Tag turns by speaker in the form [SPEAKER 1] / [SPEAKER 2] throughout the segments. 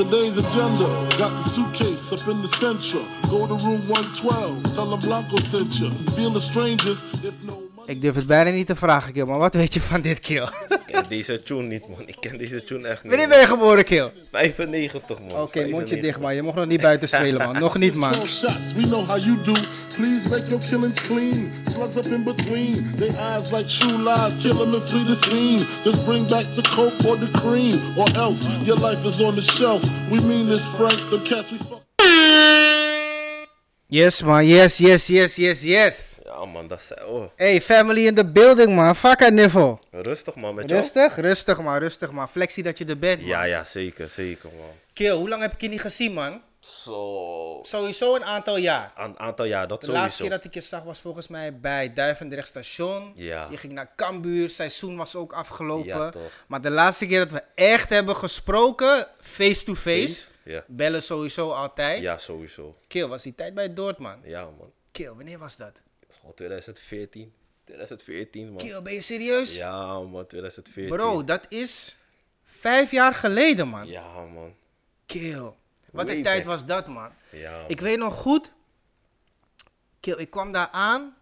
[SPEAKER 1] Today's agenda got the suitcase up in the central. Go to room 112, tell them Blanco sent you. Feeling strangers if no money.
[SPEAKER 2] Ik durf het bijna niet te vragen, Kil, maar wat weet je van dit, Kil?
[SPEAKER 3] Ik ken deze tune niet, man. Ik ken deze tune echt niet.
[SPEAKER 2] Wanneer ben je geboren, Kil? Oké,
[SPEAKER 3] 95, man.
[SPEAKER 2] mondje
[SPEAKER 3] 95.
[SPEAKER 2] dicht, man. Je mocht nog niet buiten spelen, man. Nog niet, man.
[SPEAKER 1] No shots, we know how you do. Please make your killings clean. Slugs up in between, they eyes like shoe lies. Kill 'em and flee the scene. Just bring back the coke or the cream, or else your life is on the shelf. We mean this, Frank. The cats we fuck.
[SPEAKER 2] Yes, man. Yes, yes, yes, yes, yes.
[SPEAKER 3] Ja, man, dat is... Oh,
[SPEAKER 2] Hey, family in the building, man. Fuck it, Niffel.
[SPEAKER 3] rustig, man, met jou.
[SPEAKER 2] Rustig, rustig, man. Rustig, man. Flexie dat je er bent, man.
[SPEAKER 3] Ja, ja, zeker, zeker, man.
[SPEAKER 2] Kil, hoe lang heb ik je niet gezien, man?
[SPEAKER 3] Zo...
[SPEAKER 2] Sowieso een aantal jaar.
[SPEAKER 3] Een aantal jaar, dat
[SPEAKER 2] De laatste
[SPEAKER 3] sowieso.
[SPEAKER 2] keer dat ik je zag was volgens mij bij Duivendrecht station.
[SPEAKER 3] Ja.
[SPEAKER 2] Je ging naar Cambuur, seizoen was ook afgelopen.
[SPEAKER 3] Ja, toch.
[SPEAKER 2] Maar de laatste keer dat we echt hebben gesproken, face-to-face,
[SPEAKER 3] Face? Ja.
[SPEAKER 2] bellen sowieso altijd.
[SPEAKER 3] Ja, sowieso.
[SPEAKER 2] Kil, was die tijd bij Dordt, man?
[SPEAKER 3] Ja, man.
[SPEAKER 2] Kil, wanneer was dat?
[SPEAKER 3] Dat is gewoon 2014. 2014, man.
[SPEAKER 2] Kil, ben je serieus?
[SPEAKER 3] Ja, man, 2014.
[SPEAKER 2] Bro, dat is vijf jaar geleden, man.
[SPEAKER 3] Ja, man.
[SPEAKER 2] Keel. Wat
[SPEAKER 3] Way
[SPEAKER 2] een tijd
[SPEAKER 3] back.
[SPEAKER 2] was dat, man.
[SPEAKER 3] Ja, man.
[SPEAKER 2] Ik weet nog goed. Keel, ik kwam daar aan.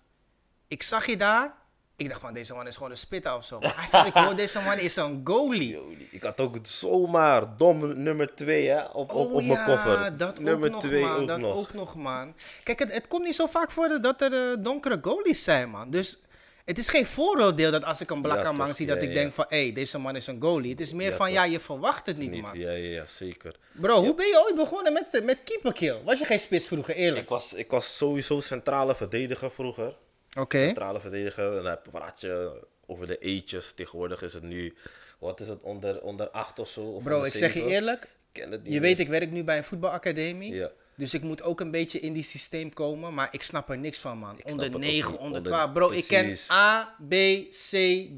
[SPEAKER 2] Ik zag je daar. Ik dacht van, deze man is gewoon een spitter of zo. Maar hij zegt, ik hoor, deze man is een goalie.
[SPEAKER 3] Yo, Ik had ook zomaar dom nummer 2 hè, op, op, op mijn koffer.
[SPEAKER 2] Oh dat
[SPEAKER 3] nummer
[SPEAKER 2] ook nog,
[SPEAKER 3] twee
[SPEAKER 2] man.
[SPEAKER 3] ook
[SPEAKER 2] dat
[SPEAKER 3] nog.
[SPEAKER 2] ook nog, man. Kijk, het, het komt niet zo vaak voor dat- dat er eh, donkere goalies zijn, man. Dus het is geen vooroordeel dat als ik een blakke
[SPEAKER 3] Ja,
[SPEAKER 2] man
[SPEAKER 3] toch.
[SPEAKER 2] zie, dat
[SPEAKER 3] Ja,
[SPEAKER 2] ik
[SPEAKER 3] ja.
[SPEAKER 2] denk van, hé, hey, deze man is een goalie. Het is meer
[SPEAKER 3] Ja,
[SPEAKER 2] van,
[SPEAKER 3] toch.
[SPEAKER 2] ja, je verwacht het niet,
[SPEAKER 3] Niet,
[SPEAKER 2] man.
[SPEAKER 3] ja, ja, ja, zeker.
[SPEAKER 2] Bro, hoe ben je ooit begonnen met, met keeperkill? Was je geen spits vroeger, eerlijk?
[SPEAKER 3] Ik was, ik was sowieso centrale verdediger vroeger.
[SPEAKER 2] Oké.
[SPEAKER 3] Centrale verdediger. En dan praat je over de eetjes. Tegenwoordig is het nu, wat is het, onder, onder 8 of zo? Of
[SPEAKER 2] Bro,
[SPEAKER 3] onder
[SPEAKER 2] ik zeg je
[SPEAKER 3] zeven?
[SPEAKER 2] eerlijk.
[SPEAKER 3] Ik ken het niet
[SPEAKER 2] Je
[SPEAKER 3] meer.
[SPEAKER 2] weet, ik werk nu bij een voetbalacademie.
[SPEAKER 3] Ja.
[SPEAKER 2] Dus ik moet ook een beetje in die systeem komen. Maar ik snap er niks van, man.
[SPEAKER 3] snap het
[SPEAKER 2] onder
[SPEAKER 3] ook
[SPEAKER 2] 9,
[SPEAKER 3] niet.
[SPEAKER 2] onder
[SPEAKER 3] Onder-
[SPEAKER 2] 12. Bro, ik ken
[SPEAKER 3] precies.
[SPEAKER 2] A, B, C,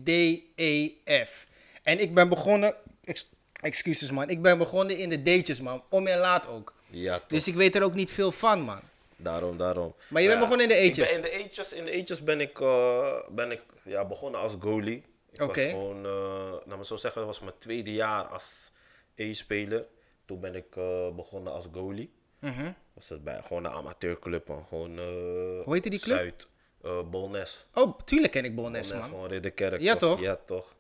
[SPEAKER 2] D, E, F. En ik ben begonnen... ex- excuses, man. Ik ben begonnen in de D'tjes, man. Om en laat ook.
[SPEAKER 3] Ja, toch.
[SPEAKER 2] Dus ik weet er ook niet veel van, man.
[SPEAKER 3] Daarom, daarom.
[SPEAKER 2] Maar je bent begonnen in de
[SPEAKER 3] ik ben
[SPEAKER 2] eetjes?
[SPEAKER 3] In de eetjes, in de eetjes ben ik, eh, ben ik ja, begonnen als goalie. Ik
[SPEAKER 2] Oké.
[SPEAKER 3] was gewoon, eh laat me zo zeggen, dat was mijn tweede jaar als E-speler. Toen ben ik eh, begonnen als goalie.
[SPEAKER 2] Mhm.
[SPEAKER 3] Was het bij gewoon een amateurclub, man. Gewoon, eh,
[SPEAKER 2] Hoe heette die club?
[SPEAKER 3] Zuid, eh Bolnes.
[SPEAKER 2] Oh, tuurlijk ken ik Bolnes,
[SPEAKER 3] Net
[SPEAKER 2] man.
[SPEAKER 3] van Ridderkerk.
[SPEAKER 2] Ja, toch?
[SPEAKER 3] Ja, toch.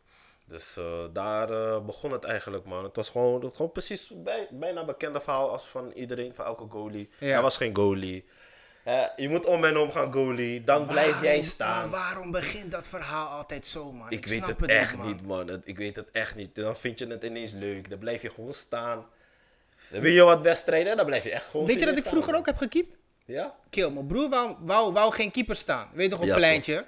[SPEAKER 3] Dus eh, daar eh, begon het eigenlijk, man. Het was gewoon, gewoon precies bij, bijna bekende verhaal als van iedereen, van elke goalie.
[SPEAKER 2] Ja.
[SPEAKER 3] Er was geen goalie. Eh, je moet om en om gaan goalie, dan blijf jij staan.
[SPEAKER 2] Maar waarom begint dat verhaal altijd zo, man?
[SPEAKER 3] Ik, weet
[SPEAKER 2] snap
[SPEAKER 3] het, echt
[SPEAKER 2] man.
[SPEAKER 3] niet, man. Het- ik weet het echt niet. Dan vind je het ineens leuk. Dan blijf je gewoon staan. Dan wil je wat wedstrijden, dan blijf je echt gewoon
[SPEAKER 2] Weet je dat ik
[SPEAKER 3] serieus staan,
[SPEAKER 2] vroeger ook heb gekiept?
[SPEAKER 3] man. Ja?
[SPEAKER 2] Kill, mijn broer wou, wou, wou geen keeper staan. Weet je toch, op
[SPEAKER 3] Ja,
[SPEAKER 2] een pleintje.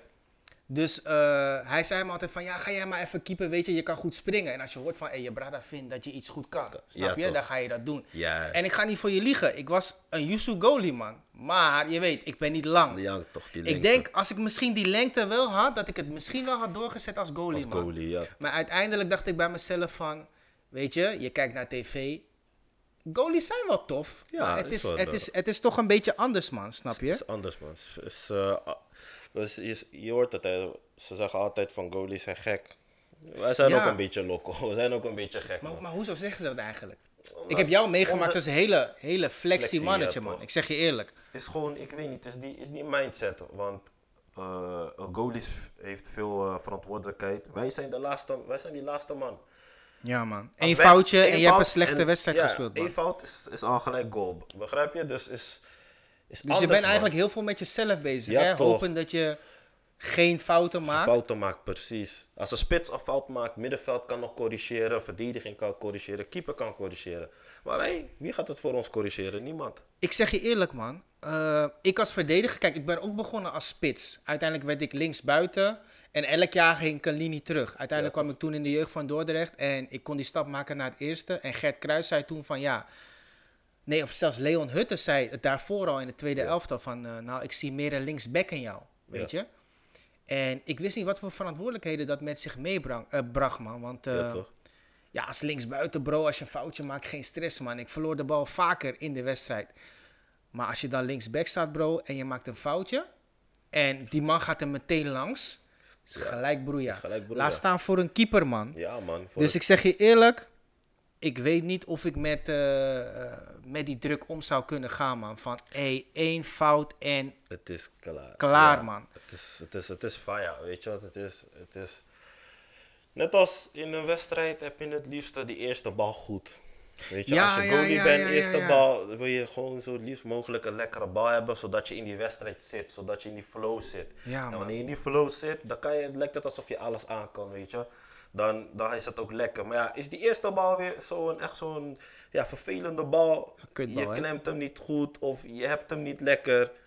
[SPEAKER 2] Dus eh, hij zei me altijd van, ja, ga jij maar even keeper, weet je, je kan goed springen. En als je hoort van, hey, je brada vindt dat je iets goed kan, snap
[SPEAKER 3] Ja,
[SPEAKER 2] je,
[SPEAKER 3] toch.
[SPEAKER 2] dan ga je dat doen.
[SPEAKER 3] Juist.
[SPEAKER 2] En ik ga niet voor je liegen, ik was een Yusu goalie, man. Maar, je weet, ik ben niet lang.
[SPEAKER 3] Ja, toch, die
[SPEAKER 2] ik
[SPEAKER 3] lengte.
[SPEAKER 2] denk, als ik misschien die lengte wel had, dat ik het misschien wel had doorgezet als goalie,
[SPEAKER 3] Als
[SPEAKER 2] man.
[SPEAKER 3] goalie, ja.
[SPEAKER 2] Maar uiteindelijk dacht ik bij mezelf van, weet je, je kijkt naar tv... Goalies zijn wel tof,
[SPEAKER 3] Ja,
[SPEAKER 2] maar het
[SPEAKER 3] is
[SPEAKER 2] is,
[SPEAKER 3] wel,
[SPEAKER 2] het,
[SPEAKER 3] eh,
[SPEAKER 2] is, het is toch een beetje anders, man, snap je?
[SPEAKER 3] is anders, man. Is, is, eh, a- dus je, je hoort het, hè. ze zeggen altijd van goalies zijn gek. Wij zijn
[SPEAKER 2] Ja.
[SPEAKER 3] ook een beetje loco, we zijn ook een beetje gek.
[SPEAKER 2] Maar,
[SPEAKER 3] man.
[SPEAKER 2] maar hoezo zeggen ze dat eigenlijk? ik heb jou meegemaakt als een hele, hele flexie
[SPEAKER 3] Flexie,
[SPEAKER 2] mannetje,
[SPEAKER 3] ja,
[SPEAKER 2] man.
[SPEAKER 3] toch.
[SPEAKER 2] Ik zeg je eerlijk.
[SPEAKER 3] Het is gewoon, ik weet niet, het is die, is die mindset. Want eh een goalies heeft veel eh, verantwoordelijkheid. Wij zijn, de laatste, wij zijn die laatste man.
[SPEAKER 2] Ja, man.
[SPEAKER 3] Als
[SPEAKER 2] Eén
[SPEAKER 3] wij-
[SPEAKER 2] foutje
[SPEAKER 3] één
[SPEAKER 2] en je hebt een
[SPEAKER 3] fout
[SPEAKER 2] slechte
[SPEAKER 3] en-
[SPEAKER 2] wedstrijd
[SPEAKER 3] ja,
[SPEAKER 2] gespeeld, man.
[SPEAKER 3] één fout is, is al gelijk goal, begrijp je? Dus, is, is
[SPEAKER 2] Dus je bent eigenlijk heel veel met jezelf bezig,
[SPEAKER 3] Ja,
[SPEAKER 2] hè?
[SPEAKER 3] toch.
[SPEAKER 2] Hopen dat je geen fouten maakt.
[SPEAKER 3] Fouten maakt, precies. Als een spits een fout maakt, middenveld kan nog corrigeren, verdediging kan corrigeren, keeper kan corrigeren. Maar wij, wie gaat het voor ons corrigeren? Niemand.
[SPEAKER 2] Ik zeg je eerlijk, man. Eh, ik als verdediger, kijk, ik ben ook begonnen als spits. Uiteindelijk werd ik linksbuiten. En elk jaar ging ik een linie terug. Uiteindelijk kwam ik toen in de jeugd van Dordrecht. En ik kon die stap maken naar het eerste. En Gert Kruis zei toen van ja. Nee, of zelfs Leon Hutte zei het daarvoor al in de tweede elftal. Van eh, nou, ik zie meer een linksback in jou. Weet je? En ik wist niet wat voor verantwoordelijkheden dat met zich meebracht, man. Want eh,
[SPEAKER 3] Ja, toch?
[SPEAKER 2] ja, als linksbuiten, bro, als je een foutje maakt, geen stress, man. Ik verloor de bal vaker in de wedstrijd. Maar als je dan linksback staat, bro, en je maakt een foutje. En die man gaat er meteen langs. Is gelijk broeia.
[SPEAKER 3] gelijk broeia.
[SPEAKER 2] Laat staan voor een keeper, man.
[SPEAKER 3] Ja, man. Voor
[SPEAKER 2] dus
[SPEAKER 3] het-
[SPEAKER 2] ik zeg je eerlijk. ik weet niet of ik met, eh, eh, met die druk om zou kunnen gaan, man. Van, hey, één fout en...
[SPEAKER 3] Het is klaar.
[SPEAKER 2] Klaar, man.
[SPEAKER 3] Het is, het is, het is fire, weet je wat? Het is, het is... Net als in een wedstrijd heb je het liefste die eerste bal goed. Weet je,
[SPEAKER 2] Ja,
[SPEAKER 3] als je
[SPEAKER 2] ja,
[SPEAKER 3] goalie
[SPEAKER 2] ja,
[SPEAKER 3] bent,
[SPEAKER 2] ja, ja,
[SPEAKER 3] eerste
[SPEAKER 2] ja.
[SPEAKER 3] bal, wil je gewoon zo het liefst mogelijk een lekkere bal hebben, zodat je in die wedstrijd zit, zodat je in die flow zit.
[SPEAKER 2] Ja,
[SPEAKER 3] en
[SPEAKER 2] man.
[SPEAKER 3] wanneer je in die flow zit, dan kan je, het lijkt het alsof je alles aan kan, weet je. Dan, dan is het ook lekker. Maar ja, is die eerste bal weer zo'n echt zo'n ja, vervelende bal?
[SPEAKER 2] kutbal,
[SPEAKER 3] je
[SPEAKER 2] hè?
[SPEAKER 3] klemt hem niet goed of je hebt hem niet lekker.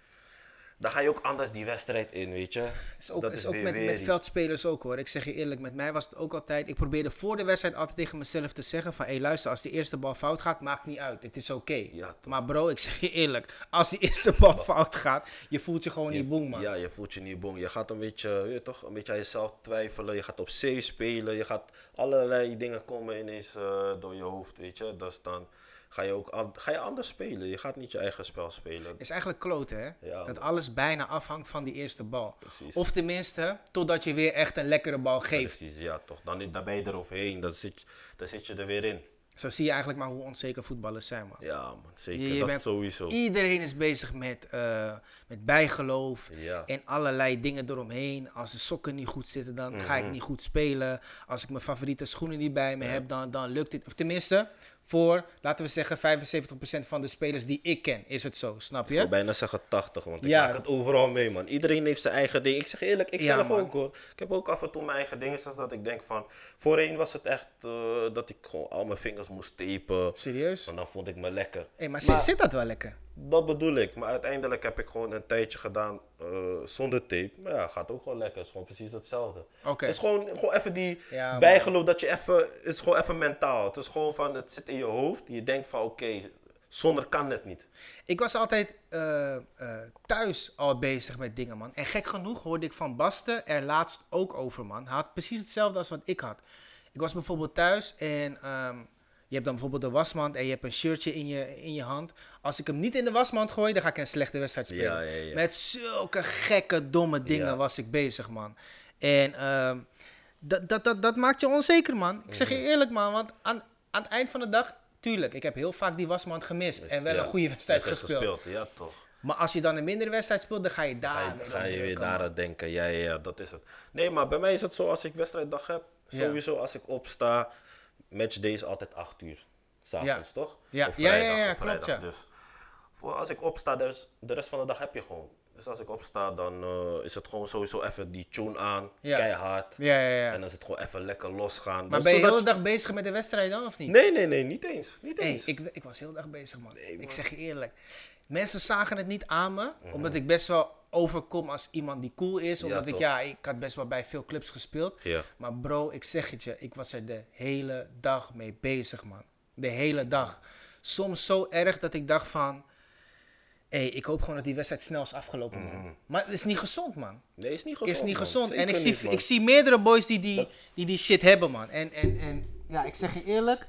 [SPEAKER 3] Dan ga je ook anders die wedstrijd in, weet je.
[SPEAKER 2] Is ook,
[SPEAKER 3] Dat
[SPEAKER 2] is ook
[SPEAKER 3] weer
[SPEAKER 2] met,
[SPEAKER 3] weer
[SPEAKER 2] met
[SPEAKER 3] die-
[SPEAKER 2] veldspelers ook, hoor. Ik zeg je eerlijk, met mij was het ook altijd... Ik probeerde voor de wedstrijd altijd tegen mezelf te zeggen van... Hé, hey, luister, als die eerste bal fout gaat, maakt niet uit. Het is oké.
[SPEAKER 3] Ja, toch.
[SPEAKER 2] maar bro, ik zeg je eerlijk. Als die eerste bal fout gaat, je voelt je gewoon niet boem, man.
[SPEAKER 3] Ja, je voelt je niet bong. Je gaat een beetje, je weet toch, een beetje aan jezelf twijfelen. Je gaat op C spelen. Je gaat allerlei dingen komen ineens eh, door je hoofd, weet je. Dus dan ga je ook an- ga je anders spelen. Je gaat niet je eigen spel spelen.
[SPEAKER 2] is eigenlijk kloten, hè?
[SPEAKER 3] Ja,
[SPEAKER 2] dat
[SPEAKER 3] man.
[SPEAKER 2] alles bijna afhangt van die eerste bal.
[SPEAKER 3] Precies.
[SPEAKER 2] Of tenminste, totdat je weer echt een lekkere bal geeft.
[SPEAKER 3] Precies, ja toch. Dan, dan ben je eroverheen. Dan zit, dan zit je er weer in.
[SPEAKER 2] Zo zie je eigenlijk maar hoe onzeker voetballers zijn, man.
[SPEAKER 3] Ja, man,
[SPEAKER 2] Je-
[SPEAKER 3] zeker.
[SPEAKER 2] je
[SPEAKER 3] dat
[SPEAKER 2] bent-
[SPEAKER 3] sowieso.
[SPEAKER 2] Iedereen is bezig met, eh, met bijgeloof
[SPEAKER 3] Ja.
[SPEAKER 2] en allerlei dingen eromheen. Als de sokken niet goed zitten, dan ga
[SPEAKER 3] Mhm.
[SPEAKER 2] ik niet goed spelen. Als ik mijn favoriete schoenen niet bij me heb, dan, dan lukt het. Of tenminste, voor, laten we zeggen, 75% van de spelers die ik ken, is het zo. Snap
[SPEAKER 3] Ik wil
[SPEAKER 2] je?
[SPEAKER 3] bijna zeggen 80, want ik
[SPEAKER 2] Ja.
[SPEAKER 3] maak het overal mee, man. Iedereen heeft zijn eigen ding. Ik zeg eerlijk, ik
[SPEAKER 2] Ja,
[SPEAKER 3] zelf
[SPEAKER 2] man.
[SPEAKER 3] ook hoor. Ik heb ook af en toe mijn eigen dingetjes dat ik denk van. Voorheen was het echt eh, dat ik gewoon al mijn vingers moest tapen.
[SPEAKER 2] Serieus?
[SPEAKER 3] En dan vond ik me lekker.
[SPEAKER 2] Hey, maar, zit- zit dat wel lekker?
[SPEAKER 3] Dat bedoel ik. Maar uiteindelijk heb ik gewoon een tijdje gedaan eh, zonder tape. Maar ja, gaat ook gewoon lekker. Het is gewoon precies hetzelfde.
[SPEAKER 2] Oké.
[SPEAKER 3] Het is gewoon, gewoon even die
[SPEAKER 2] Ja, man.
[SPEAKER 3] bijgeloof dat je even... Het is gewoon even mentaal. Het is gewoon van, het zit in je hoofd. Je denkt van, oké, zonder kan het niet.
[SPEAKER 2] Ik was altijd eh, eh, thuis al bezig met dingen, man. En gek genoeg hoorde ik van Basten er laatst ook over, man. Hij had precies hetzelfde als wat ik had. Ik was bijvoorbeeld thuis en ehm, je hebt dan bijvoorbeeld de wasmand en je hebt een shirtje in je, in je hand. Als ik hem niet in de wasmand gooi, dan ga ik een slechte wedstrijd spelen.
[SPEAKER 3] Ja, ja, ja.
[SPEAKER 2] Met zulke gekke, domme dingen
[SPEAKER 3] Ja.
[SPEAKER 2] was ik bezig, man. En ehm, dat, dat, dat, dat maakt je onzeker, man. Ik
[SPEAKER 3] Mhm.
[SPEAKER 2] zeg je eerlijk, man. Want aan, aan het eind van de dag, tuurlijk, ik heb heel vaak die wasmand gemist. en wel
[SPEAKER 3] Ja,
[SPEAKER 2] een goede wedstrijd
[SPEAKER 3] wedstrijd
[SPEAKER 2] gespeeld.
[SPEAKER 3] Ja, toch.
[SPEAKER 2] Maar als je dan een mindere wedstrijd speelt, dan eh, ga je daar
[SPEAKER 3] Ga je-
[SPEAKER 2] weer
[SPEAKER 3] ga
[SPEAKER 2] op
[SPEAKER 3] je weer
[SPEAKER 2] drukken,
[SPEAKER 3] daar
[SPEAKER 2] man.
[SPEAKER 3] aan denken. Ja, ja, ja, dat is het. Nee, maar bij mij is het zo als ik wedstrijddag heb.
[SPEAKER 2] Ja.
[SPEAKER 3] Sowieso als ik opsta, matchday is altijd 8 uur. S'avonds,
[SPEAKER 2] Ja.
[SPEAKER 3] toch?
[SPEAKER 2] Ja.
[SPEAKER 3] Of
[SPEAKER 2] Ja, ja,
[SPEAKER 3] vrijdag,
[SPEAKER 2] ja,
[SPEAKER 3] of
[SPEAKER 2] klopt,
[SPEAKER 3] vrijdag.
[SPEAKER 2] ja.
[SPEAKER 3] Dus voor als ik opsta, dus de rest van de dag heb je gewoon. Dus als ik opsta, dan eh, is het gewoon sowieso even die tune aan,
[SPEAKER 2] Ja.
[SPEAKER 3] keihard.
[SPEAKER 2] Ja, ja, ja.
[SPEAKER 3] En dan is het gewoon even lekker losgaan.
[SPEAKER 2] Maar
[SPEAKER 3] Dus
[SPEAKER 2] ben je de
[SPEAKER 3] zodat
[SPEAKER 2] hele dag bezig met de wedstrijd dan, of niet?
[SPEAKER 3] Nee, nee, nee, niet eens. Niet
[SPEAKER 2] Hey,
[SPEAKER 3] eens.
[SPEAKER 2] ik, ik was heel dag bezig, man. Ik zeg je eerlijk. Mensen zagen het niet aan me,
[SPEAKER 3] Mhm.
[SPEAKER 2] omdat ik best wel overkom als iemand die cool is. Omdat ik,
[SPEAKER 3] toch.
[SPEAKER 2] ja, ik had best wel bij veel clubs gespeeld.
[SPEAKER 3] Ja.
[SPEAKER 2] Maar bro, ik zeg het je, ik was er de hele dag mee bezig, man. De hele dag. Soms zo erg dat ik dacht van... Hé, ik hoop gewoon dat die wedstrijd snel is afgelopen, man.
[SPEAKER 3] Mhm.
[SPEAKER 2] Maar het is niet gezond, man.
[SPEAKER 3] Nee, is niet gezond.
[SPEAKER 2] is niet
[SPEAKER 3] man.
[SPEAKER 2] gezond. En
[SPEAKER 3] Zeker
[SPEAKER 2] ik zie,
[SPEAKER 3] niet, man.
[SPEAKER 2] ik zie meerdere boys die die, die die shit hebben, man. En, en, en ja, ik zeg je eerlijk,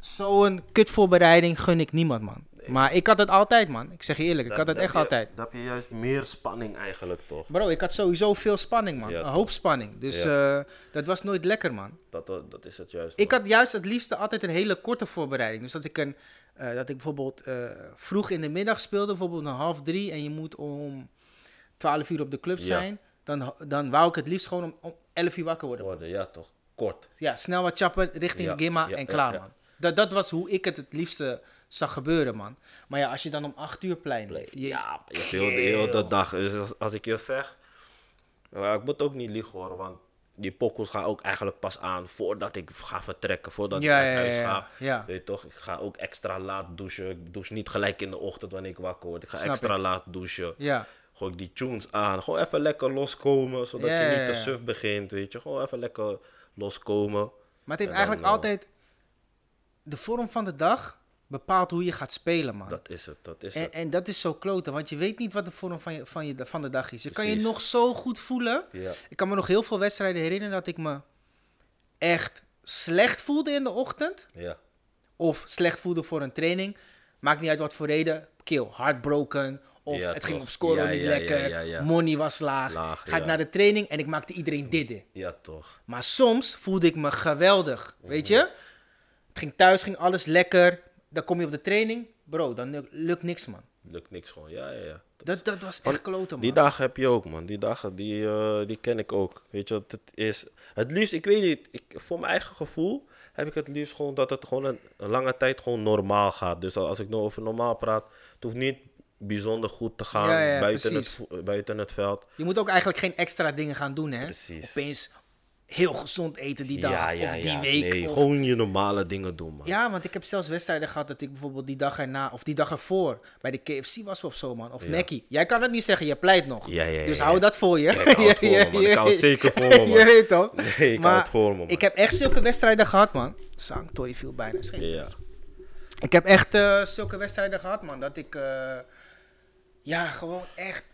[SPEAKER 2] zo'n kutvoorbereiding gun ik niemand, man. Maar ik had het altijd, man. Ik zeg je eerlijk, ik had het
[SPEAKER 3] Dan
[SPEAKER 2] echt
[SPEAKER 3] heb je-
[SPEAKER 2] altijd.
[SPEAKER 3] Dan heb je juist meer spanning eigenlijk, toch?
[SPEAKER 2] Bro, ik had sowieso veel spanning, man.
[SPEAKER 3] Ja,
[SPEAKER 2] een
[SPEAKER 3] toch.
[SPEAKER 2] hoop spanning. Dus eh, dat was nooit lekker, man.
[SPEAKER 3] Dat, dat, dat is het juist.
[SPEAKER 2] Ik
[SPEAKER 3] man.
[SPEAKER 2] had juist het liefste altijd een hele korte voorbereiding. Dus dat ik, een, eh, dat ik bijvoorbeeld eh, vroeg in de middag speelde, bijvoorbeeld om half drie, en je moet om twaalf uur op de club
[SPEAKER 3] Ja.
[SPEAKER 2] zijn. Dan, dan wou ik het liefst gewoon om, om elf uur wakker worden.
[SPEAKER 3] worden, ja toch? Kort.
[SPEAKER 2] Ja, snel wat chappen richting
[SPEAKER 3] Ja,
[SPEAKER 2] de Gimma
[SPEAKER 3] ja,
[SPEAKER 2] en
[SPEAKER 3] ja,
[SPEAKER 2] klaar,
[SPEAKER 3] ja.
[SPEAKER 2] man. Dat, dat was hoe ik het het liefste zag gebeuren, man. Maar ja, als je dan om acht uur plein leeft. je-
[SPEAKER 3] Ja, je hebt heel, de- heel de dag. Dus als, als ik je zeg, ja, ik moet ook niet liegen hoor, want die pokkels gaan ook eigenlijk pas aan voordat ik ga vertrekken, voordat
[SPEAKER 2] Ja,
[SPEAKER 3] ik
[SPEAKER 2] ja,
[SPEAKER 3] uit huis
[SPEAKER 2] ja, ja.
[SPEAKER 3] ga.
[SPEAKER 2] Ja.
[SPEAKER 3] Weet je toch? Ik ga ook extra laat douchen. Ik douche niet gelijk in de ochtend wanneer ik wakker word. Ik ga
[SPEAKER 2] Snap
[SPEAKER 3] extra
[SPEAKER 2] ik.
[SPEAKER 3] laat douchen.
[SPEAKER 2] Ja.
[SPEAKER 3] Gooi ik die tunes aan. Gewoon even lekker loskomen, zodat
[SPEAKER 2] Ja,
[SPEAKER 3] je
[SPEAKER 2] ja,
[SPEAKER 3] niet te
[SPEAKER 2] ja.
[SPEAKER 3] suf begint, weet je. Gewoon even lekker loskomen.
[SPEAKER 2] Maar het heeft
[SPEAKER 3] En dan,
[SPEAKER 2] eigenlijk
[SPEAKER 3] eh,
[SPEAKER 2] altijd... De vorm van de dag bepaalt hoe je gaat spelen, man.
[SPEAKER 3] Dat is het, dat is het.
[SPEAKER 2] en, en dat is zo kloten, want je weet niet wat de vorm van, je, van, je, van de dag is. Je kan je
[SPEAKER 3] Precies.
[SPEAKER 2] nog zo goed voelen.
[SPEAKER 3] Ja.
[SPEAKER 2] Ik kan me nog heel veel wedstrijden herinneren dat ik me echt slecht voelde in de ochtend.
[SPEAKER 3] Ja.
[SPEAKER 2] of slecht voelde voor een training. Maakt niet uit wat voor reden. Kill, heartbroken. Of
[SPEAKER 3] Ja,
[SPEAKER 2] het ging
[SPEAKER 3] toch.
[SPEAKER 2] op scoren
[SPEAKER 3] Ja,
[SPEAKER 2] niet
[SPEAKER 3] ja,
[SPEAKER 2] lekker.
[SPEAKER 3] ja, ja, ja.
[SPEAKER 2] Money was laag.
[SPEAKER 3] Laag,
[SPEAKER 2] Ga ik
[SPEAKER 3] ja.
[SPEAKER 2] naar de training en ik maakte iedereen dit. in.
[SPEAKER 3] ja, toch.
[SPEAKER 2] Maar soms voelde ik me geweldig. Weet je? Het ging thuis, ging alles lekker. Dan kom je op de training. Bro, dan luk- lukt niks, man.
[SPEAKER 3] Lukt niks gewoon. Ja, ja, ja.
[SPEAKER 2] Dat, dat was echt kloten,
[SPEAKER 3] Die
[SPEAKER 2] man.
[SPEAKER 3] dagen heb je ook, man. Die dagen, die, eh, die ken ik ook. Weet je wat het is? Het liefst, ik weet niet, ik, voor mijn eigen gevoel heb ik het liefst gewoon dat het gewoon een, een lange tijd gewoon normaal gaat. Dus al- als ik nu over normaal praat, het hoeft niet bijzonder goed te gaan
[SPEAKER 2] Ja, ja,
[SPEAKER 3] buiten, het,
[SPEAKER 2] precies.
[SPEAKER 3] vo- buiten het veld.
[SPEAKER 2] Je moet ook eigenlijk geen extra dingen gaan doen, hè?
[SPEAKER 3] Precies.
[SPEAKER 2] Opeens heel gezond eten die dag.
[SPEAKER 3] ja, ja,
[SPEAKER 2] of die
[SPEAKER 3] ja.
[SPEAKER 2] week.
[SPEAKER 3] nee,
[SPEAKER 2] of-
[SPEAKER 3] gewoon je normale dingen doen, man.
[SPEAKER 2] Ja, want ik heb zelfs wedstrijden gehad dat ik bijvoorbeeld die dag erna of die dag ervoor bij de KFC was of zo, man. Of Mackie. Jij kan dat niet zeggen, je pleit nog.
[SPEAKER 3] Ja, ja, ja,
[SPEAKER 2] dus
[SPEAKER 3] ja.
[SPEAKER 2] hou dat voor je.
[SPEAKER 3] Ja, ik hou het voor me, man. Ik hou het zeker voor me, man.
[SPEAKER 2] Je weet toch?
[SPEAKER 3] Nee, ik hou het voor me, man.
[SPEAKER 2] Ik heb echt zulke wedstrijden gehad, man. Sanctory viel bijna. is geen
[SPEAKER 3] Ja.
[SPEAKER 2] stress. Ik heb echt eh, zulke wedstrijden gehad, man. Dat ik, eh, ja, gewoon echt.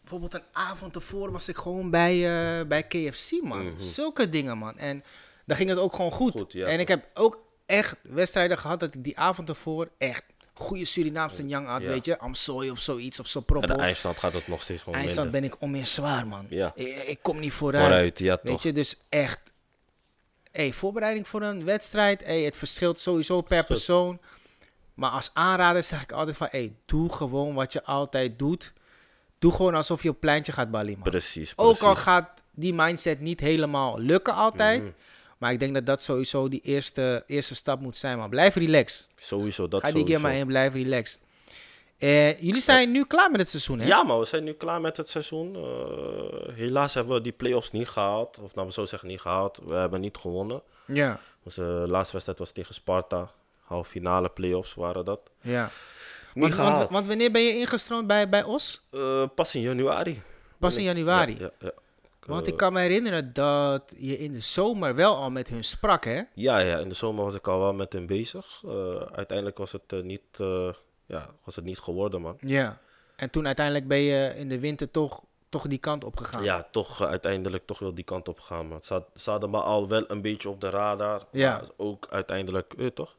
[SPEAKER 2] Bijvoorbeeld een avond ervoor was ik gewoon bij, eh, bij KFC, man. Zulke dingen, man. En dan ging het ook gewoon goed.
[SPEAKER 3] Mhm. Goed, ja,
[SPEAKER 2] en ik heb ook echt wedstrijden gehad dat ik die avond ervoor echt goede Surinaamse Yang had,
[SPEAKER 3] Ja.
[SPEAKER 2] weet je. Amsooi of zoiets, of zo
[SPEAKER 3] En de
[SPEAKER 2] proper.
[SPEAKER 3] eindstand gaat het nog steeds gewoon
[SPEAKER 2] IJsland
[SPEAKER 3] minder.
[SPEAKER 2] ben ik onmeer zwaar, man.
[SPEAKER 3] Ja.
[SPEAKER 2] Ik, ik kom niet vooruit.
[SPEAKER 3] Vooruit, ja,
[SPEAKER 2] Weet
[SPEAKER 3] toch.
[SPEAKER 2] je, dus echt. Hey, voorbereiding voor een wedstrijd. Hey, het verschilt sowieso per persoon. Maar als aanrader zeg ik altijd van... Hey, doe gewoon wat je altijd doet. Doe gewoon alsof je op pleintje gaat ballen, man.
[SPEAKER 3] Precies,
[SPEAKER 2] Ook al
[SPEAKER 3] precies.
[SPEAKER 2] gaat die mindset niet helemaal lukken altijd. Maar ik denk dat dat sowieso die eerste, eerste stap moet zijn, man. Blijf relaxed.
[SPEAKER 3] Sowieso, dat
[SPEAKER 2] Ga die
[SPEAKER 3] sowieso.
[SPEAKER 2] keer maar in, blijf relaxed. Eh, jullie zijn nu klaar met het seizoen, hè?
[SPEAKER 3] Ja, maar we zijn nu klaar met het seizoen. Eh, helaas hebben we die play-offs niet gehaald. Of nou, we zo zeggen, niet gehaald. We hebben niet gewonnen.
[SPEAKER 2] Ja,
[SPEAKER 3] Onze laatste wedstrijd was tegen Sparta. Half finale play-offs waren dat.
[SPEAKER 2] ja.
[SPEAKER 3] Niet
[SPEAKER 2] Want,
[SPEAKER 3] gehaald.
[SPEAKER 2] want, want wanneer ben je ingestroomd bij, bij OS?
[SPEAKER 3] Eh, pas in januari.
[SPEAKER 2] Pas in januari.
[SPEAKER 3] Ja, ja,
[SPEAKER 2] Want ik kan me herinneren dat je in de zomer wel al met hun sprak, hè?
[SPEAKER 3] ja. ja, ja, in de zomer was ik al wel met hem bezig. Eh, uiteindelijk was het, eh, niet, eh, ja, was het niet geworden, man.
[SPEAKER 2] Ja. En toen uiteindelijk ben je in de winter toch, toch die kant op gegaan.
[SPEAKER 3] Ja, toch eh, uiteindelijk toch wel die kant op gaan, man. Ze had- ze hadden me al wel een beetje op de radar.
[SPEAKER 2] Ja.
[SPEAKER 3] maar Ook uiteindelijk, eh, toch?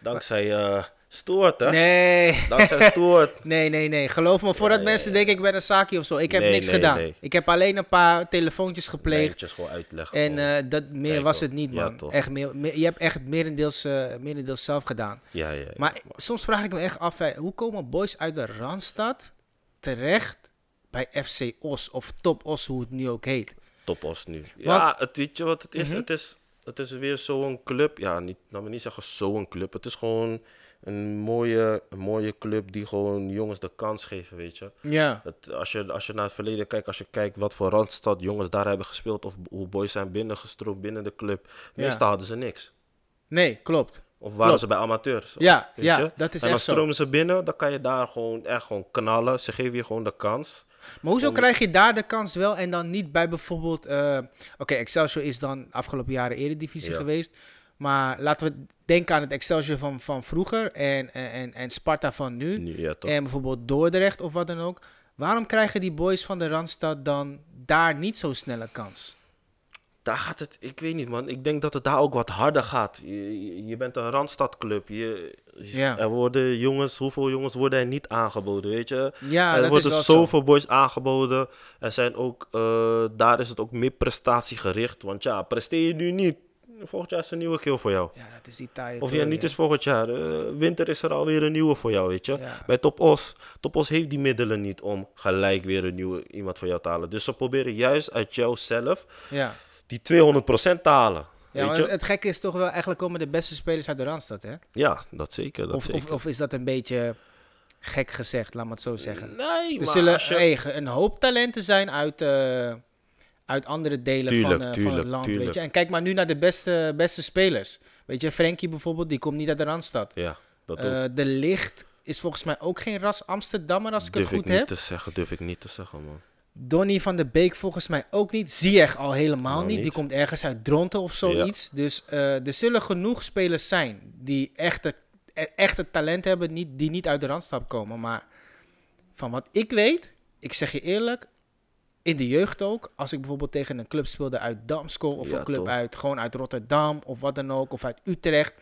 [SPEAKER 3] Dankzij eh Stoort, hè?
[SPEAKER 2] Nee.
[SPEAKER 3] Dankzij Stoort.
[SPEAKER 2] Nee, nee, nee. Geloof me, voordat mensen denken ik ben een zaakje of zo. Ik heb
[SPEAKER 3] Nee,
[SPEAKER 2] niks
[SPEAKER 3] nee,
[SPEAKER 2] gedaan.
[SPEAKER 3] nee.
[SPEAKER 2] Ik heb alleen een paar telefoontjes gepleegd.
[SPEAKER 3] Lijntjes gewoon uitleggen.
[SPEAKER 2] En
[SPEAKER 3] gewoon.
[SPEAKER 2] eh, dat, meer
[SPEAKER 3] Kijk,
[SPEAKER 2] was
[SPEAKER 3] hoor.
[SPEAKER 2] het niet,
[SPEAKER 3] Ja,
[SPEAKER 2] man.
[SPEAKER 3] toch.
[SPEAKER 2] echt meer, meer- je hebt echt het merendeels, eh, merendeels zelf gedaan.
[SPEAKER 3] ja, ja, ja.
[SPEAKER 2] Maar soms vraag ik me echt af, hè, hoe komen boys uit de Randstad terecht bij FC Os of Top Os, hoe het nu ook heet?
[SPEAKER 3] Top Os nu. Ja, het, weet je wat het
[SPEAKER 2] Mhm.
[SPEAKER 3] is? Het is, het is weer zo'n club. Ja, niet, laat me niet zeggen zo'n club. Het is gewoon een mooie, een mooie club die gewoon jongens de kans geven, weet je.
[SPEAKER 2] Ja.
[SPEAKER 3] Het, als, je, als je naar het verleden kijkt, als je kijkt wat voor Randstad jongens daar hebben gespeeld of hoe boys zijn binnengestroomd binnen de club. Meestal hadden ze niks.
[SPEAKER 2] Nee, klopt.
[SPEAKER 3] Of waren ze bij amateurs.
[SPEAKER 2] Ja,
[SPEAKER 3] weet
[SPEAKER 2] ja,
[SPEAKER 3] je?
[SPEAKER 2] dat is
[SPEAKER 3] en dan
[SPEAKER 2] echt zo.
[SPEAKER 3] stromen ze binnen, dan kan je daar gewoon echt gewoon knallen. Ze geven je gewoon de kans.
[SPEAKER 2] Maar
[SPEAKER 3] Oh.
[SPEAKER 2] hoezo krijg je daar de kans wel en dan niet bij bijvoorbeeld... eh, Oké, Excelsior is dan afgelopen jaren eredivisie
[SPEAKER 3] Ja.
[SPEAKER 2] geweest. Maar laten we denken aan het Excelsior van, van vroeger en, en, en- en Sparta van nu.
[SPEAKER 3] Nu, ja, toch?
[SPEAKER 2] En bijvoorbeeld Dordrecht of wat dan ook. Waarom krijgen die boys van de Randstad dan daar niet zo snelle kans?
[SPEAKER 3] Daar gaat het, ik weet niet man, ik denk dat het daar ook wat harder gaat. Je, je- je bent een randstadclub. Je, je-
[SPEAKER 2] Ja.
[SPEAKER 3] Er worden jongens, hoeveel jongens worden er niet aangeboden, weet je?
[SPEAKER 2] Ja,
[SPEAKER 3] er
[SPEAKER 2] dat
[SPEAKER 3] worden
[SPEAKER 2] is wel zo.
[SPEAKER 3] zoveel boys aangeboden. Er zijn ook, eh, daar is het ook meer prestatiegericht. Want ja, presteer je nu niet, volgend jaar is er een nieuwe keel voor jou.
[SPEAKER 2] Ja, dat is die taaie
[SPEAKER 3] Of ja,
[SPEAKER 2] toren,
[SPEAKER 3] niet
[SPEAKER 2] ja.
[SPEAKER 3] eens volgend jaar. eh, winter is er alweer een nieuwe voor jou, weet je.
[SPEAKER 2] Ja.
[SPEAKER 3] Bij Top Os. Top Os heeft die middelen niet om gelijk weer een nieuwe iemand voor jou te halen. Dus ze proberen juist uit jouzelf
[SPEAKER 2] Ja,
[SPEAKER 3] die 200% te halen.
[SPEAKER 2] ja
[SPEAKER 3] weet
[SPEAKER 2] maar
[SPEAKER 3] je?
[SPEAKER 2] het gekke is toch wel, eigenlijk komen de beste spelers uit de Randstad, hè?
[SPEAKER 3] Ja, dat zeker. Dat
[SPEAKER 2] Of,
[SPEAKER 3] zeker.
[SPEAKER 2] of, of is dat een beetje gek gezegd, laat me het zo zeggen.
[SPEAKER 3] nee,
[SPEAKER 2] Er
[SPEAKER 3] maar
[SPEAKER 2] zullen
[SPEAKER 3] als je-
[SPEAKER 2] hey, een hoop talenten zijn uit, eh, uit andere delen
[SPEAKER 3] Tuurlijk,
[SPEAKER 2] van, eh, van
[SPEAKER 3] tuurlijk,
[SPEAKER 2] het land, weet
[SPEAKER 3] tuurlijk.
[SPEAKER 2] je. En kijk maar nu naar de beste, beste spelers. Weet je, Frenkie bijvoorbeeld, die komt niet uit de Randstad.
[SPEAKER 3] Ja, dat ook.
[SPEAKER 2] Eh, de Licht is volgens mij ook geen ras Amsterdammer, als ik
[SPEAKER 3] durf
[SPEAKER 2] het
[SPEAKER 3] ik
[SPEAKER 2] goed
[SPEAKER 3] niet
[SPEAKER 2] heb.
[SPEAKER 3] te zeggen, durf ik niet te zeggen, man.
[SPEAKER 2] Donny van de Beek volgens mij ook niet. Ziyech al helemaal
[SPEAKER 3] Nou,
[SPEAKER 2] niet. Die
[SPEAKER 3] niet.
[SPEAKER 2] komt ergens uit Dronten of zoiets. Dus eh, er zullen genoeg spelers zijn die echt het, e- echt het talent hebben, niet, die niet uit de Randstad komen. Maar van wat ik weet, ik zeg je eerlijk, in de jeugd ook. Als ik bijvoorbeeld tegen een club speelde uit Damsko of
[SPEAKER 3] Ja,
[SPEAKER 2] een club
[SPEAKER 3] toch.
[SPEAKER 2] uit, gewoon uit Rotterdam of wat dan ook, of uit Utrecht.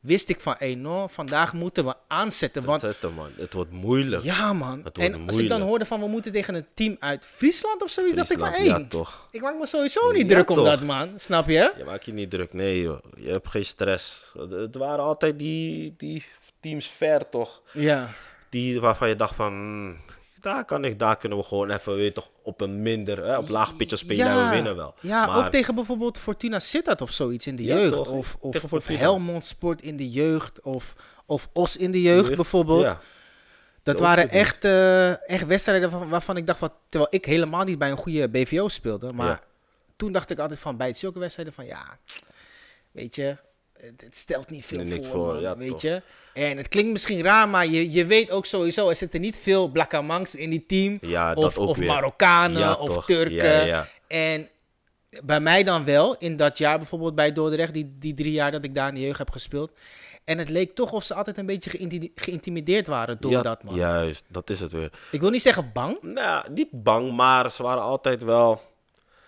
[SPEAKER 2] Wist ik van, hé, no, vandaag moeten we aanzetten. Want
[SPEAKER 3] Zetten, man. Het wordt moeilijk.
[SPEAKER 2] ja, man.
[SPEAKER 3] Het wordt
[SPEAKER 2] En als ik dan
[SPEAKER 3] moeilijk.
[SPEAKER 2] hoorde van, we moeten tegen een team uit Friesland of zoiets, dacht ik van, hé,
[SPEAKER 3] Friesland, ja, toch.
[SPEAKER 2] ik maak me sowieso niet
[SPEAKER 3] Ja,
[SPEAKER 2] druk om
[SPEAKER 3] toch.
[SPEAKER 2] dat, man. Snap je?
[SPEAKER 3] Je maakt je niet druk. Nee, joh. Je hebt geen stress. Het- Het waren altijd die, die teams ver, toch?
[SPEAKER 2] Ja.
[SPEAKER 3] Die waarvan je dacht van... hmm, daar, kan ik, daar kunnen we gewoon even weet je toch, op een minder, hè, op laag pitje spelen en we winnen wel.
[SPEAKER 2] Ja,
[SPEAKER 3] Maar-
[SPEAKER 2] ook tegen bijvoorbeeld Fortuna Sittard of zoiets in de
[SPEAKER 3] Ja,
[SPEAKER 2] jeugd.
[SPEAKER 3] toch?
[SPEAKER 2] Of, of,
[SPEAKER 3] Tegen
[SPEAKER 2] of
[SPEAKER 3] Fortuna.
[SPEAKER 2] Helmond Sport in de jeugd. Of, of Os in de jeugd, bijvoorbeeld.
[SPEAKER 3] Ja,
[SPEAKER 2] Dat
[SPEAKER 3] ook
[SPEAKER 2] waren
[SPEAKER 3] goed, man.
[SPEAKER 2] echt, eh, echt wedstrijden waarvan, waarvan ik dacht, van, terwijl ik helemaal niet bij een goede BVO speelde. Maar
[SPEAKER 3] Ja.
[SPEAKER 2] toen dacht ik altijd van bij zulke wedstrijden van ja, weet je, het, het stelt niet veel
[SPEAKER 3] Nee,
[SPEAKER 2] voor,
[SPEAKER 3] niks voor,
[SPEAKER 2] man,
[SPEAKER 3] ja,
[SPEAKER 2] weet
[SPEAKER 3] toch.
[SPEAKER 2] je. En het klinkt misschien raar, maar je, je weet ook sowieso, er zitten niet veel Blakamangs in die team.
[SPEAKER 3] Ja,
[SPEAKER 2] of
[SPEAKER 3] dat ook
[SPEAKER 2] of
[SPEAKER 3] weer.
[SPEAKER 2] Marokkanen,
[SPEAKER 3] Ja,
[SPEAKER 2] of
[SPEAKER 3] toch.
[SPEAKER 2] Turken.
[SPEAKER 3] Ja, ja.
[SPEAKER 2] En bij mij dan wel, in dat jaar bijvoorbeeld bij Dordrecht, die, die drie jaar dat ik daar in de jeugd heb gespeeld. En het leek toch of ze altijd een beetje geïnti- geïntimideerd waren door
[SPEAKER 3] ja,
[SPEAKER 2] dat, man.
[SPEAKER 3] Juist, dat is het weer.
[SPEAKER 2] Ik wil niet zeggen bang.
[SPEAKER 3] Nou, niet bang, maar ze waren altijd wel...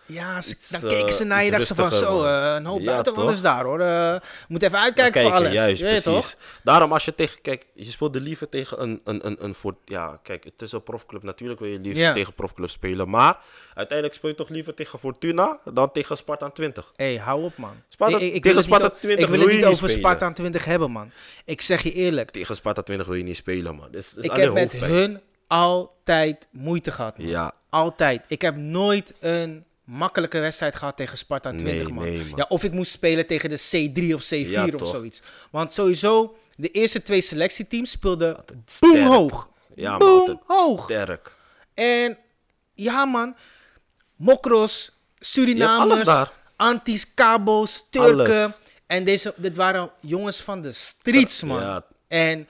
[SPEAKER 2] Ja, ze-
[SPEAKER 3] Iets,
[SPEAKER 2] dan
[SPEAKER 3] eh,
[SPEAKER 2] keken ze naar je
[SPEAKER 3] iets
[SPEAKER 2] dachten ze van
[SPEAKER 3] rustiger,
[SPEAKER 2] zo,
[SPEAKER 3] man.
[SPEAKER 2] eh, een hoop
[SPEAKER 3] Ja,
[SPEAKER 2] buitenlanders daar hoor. Eh, moet even uitkijken
[SPEAKER 3] Kijken,
[SPEAKER 2] voor alles.
[SPEAKER 3] juist,
[SPEAKER 2] je weet
[SPEAKER 3] precies.
[SPEAKER 2] toch?
[SPEAKER 3] Daarom als je tegen, kijk, je speelde liever tegen een, een, een, een voor, ja, kijk, het is een profclub, natuurlijk wil je liever
[SPEAKER 2] Ja.
[SPEAKER 3] tegen profclub spelen, maar uiteindelijk speel je toch liever tegen Fortuna dan tegen Sparta 20.
[SPEAKER 2] Hé, hey, hou op man.
[SPEAKER 3] Sparta-
[SPEAKER 2] Ik- ik, ik
[SPEAKER 3] tegen
[SPEAKER 2] wil het niet
[SPEAKER 3] Sparta
[SPEAKER 2] o-
[SPEAKER 3] 20
[SPEAKER 2] Ik wil
[SPEAKER 3] wil
[SPEAKER 2] het
[SPEAKER 3] je
[SPEAKER 2] niet
[SPEAKER 3] niet
[SPEAKER 2] over
[SPEAKER 3] spelen.
[SPEAKER 2] Sparta 20 hebben man. Ik zeg je eerlijk.
[SPEAKER 3] Tegen Sparta 20 wil je niet spelen, man. Dit is, dit is
[SPEAKER 2] ik
[SPEAKER 3] alleen
[SPEAKER 2] heb met
[SPEAKER 3] hoofdpijn.
[SPEAKER 2] hun altijd moeite gehad. man.
[SPEAKER 3] Ja.
[SPEAKER 2] Altijd. Ik heb nooit een makkelijke wedstrijd gehad tegen Sparta 20
[SPEAKER 3] Nee,
[SPEAKER 2] man.
[SPEAKER 3] nee, man.
[SPEAKER 2] Ja, of ik moest spelen tegen de C3 of C4
[SPEAKER 3] Ja,
[SPEAKER 2] of
[SPEAKER 3] toch.
[SPEAKER 2] zoiets. Want sowieso, de eerste twee selectieteams speelden
[SPEAKER 3] sterk.
[SPEAKER 2] boomhoog.
[SPEAKER 3] Ja, man, altijd
[SPEAKER 2] boomhoog.
[SPEAKER 3] sterk.
[SPEAKER 2] En ja, man. Mokros,
[SPEAKER 3] Je hebt alles
[SPEAKER 2] Surinamers,
[SPEAKER 3] daar.
[SPEAKER 2] Antis, Cabo's, Turken.
[SPEAKER 3] Alles.
[SPEAKER 2] En deze, dit waren jongens van de streets, man.
[SPEAKER 3] Ja.
[SPEAKER 2] En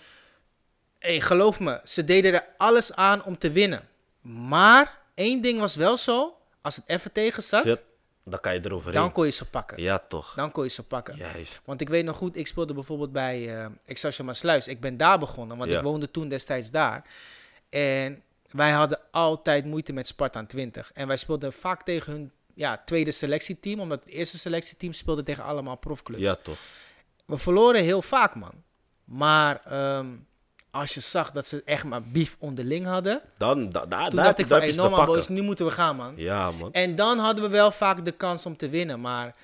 [SPEAKER 2] hey, geloof me, ze deden er alles aan om te winnen. Maar één ding was wel zo. Als het even tegen zat,
[SPEAKER 3] Zit, dan kan je eroverheen.
[SPEAKER 2] dan kon je ze pakken.
[SPEAKER 3] Ja, toch.
[SPEAKER 2] Dan kon je ze pakken.
[SPEAKER 3] Juist.
[SPEAKER 2] Want ik weet nog goed, ik speelde bijvoorbeeld bij eh Excelsior Maasluis. Ik ben daar begonnen, want
[SPEAKER 3] Ja.
[SPEAKER 2] ik woonde toen destijds daar. En wij hadden altijd moeite met Spartaan 20. En wij speelden vaak tegen hun ja, tweede selectieteam, omdat het eerste selectieteam speelde tegen allemaal profclubs.
[SPEAKER 3] Ja, toch.
[SPEAKER 2] We verloren heel vaak, man. Maar ehm, als je zag dat ze echt maar beef onderling hadden,
[SPEAKER 3] Dan, da, da,
[SPEAKER 2] toen
[SPEAKER 3] daar
[SPEAKER 2] dacht ik
[SPEAKER 3] heb je-
[SPEAKER 2] van,
[SPEAKER 3] daar heb
[SPEAKER 2] hey,
[SPEAKER 3] je ze
[SPEAKER 2] no
[SPEAKER 3] te
[SPEAKER 2] man,
[SPEAKER 3] pakken.
[SPEAKER 2] boys, nu moeten we gaan, man.
[SPEAKER 3] Ja, man.
[SPEAKER 2] En dan hadden we wel vaak de kans om te winnen. Maar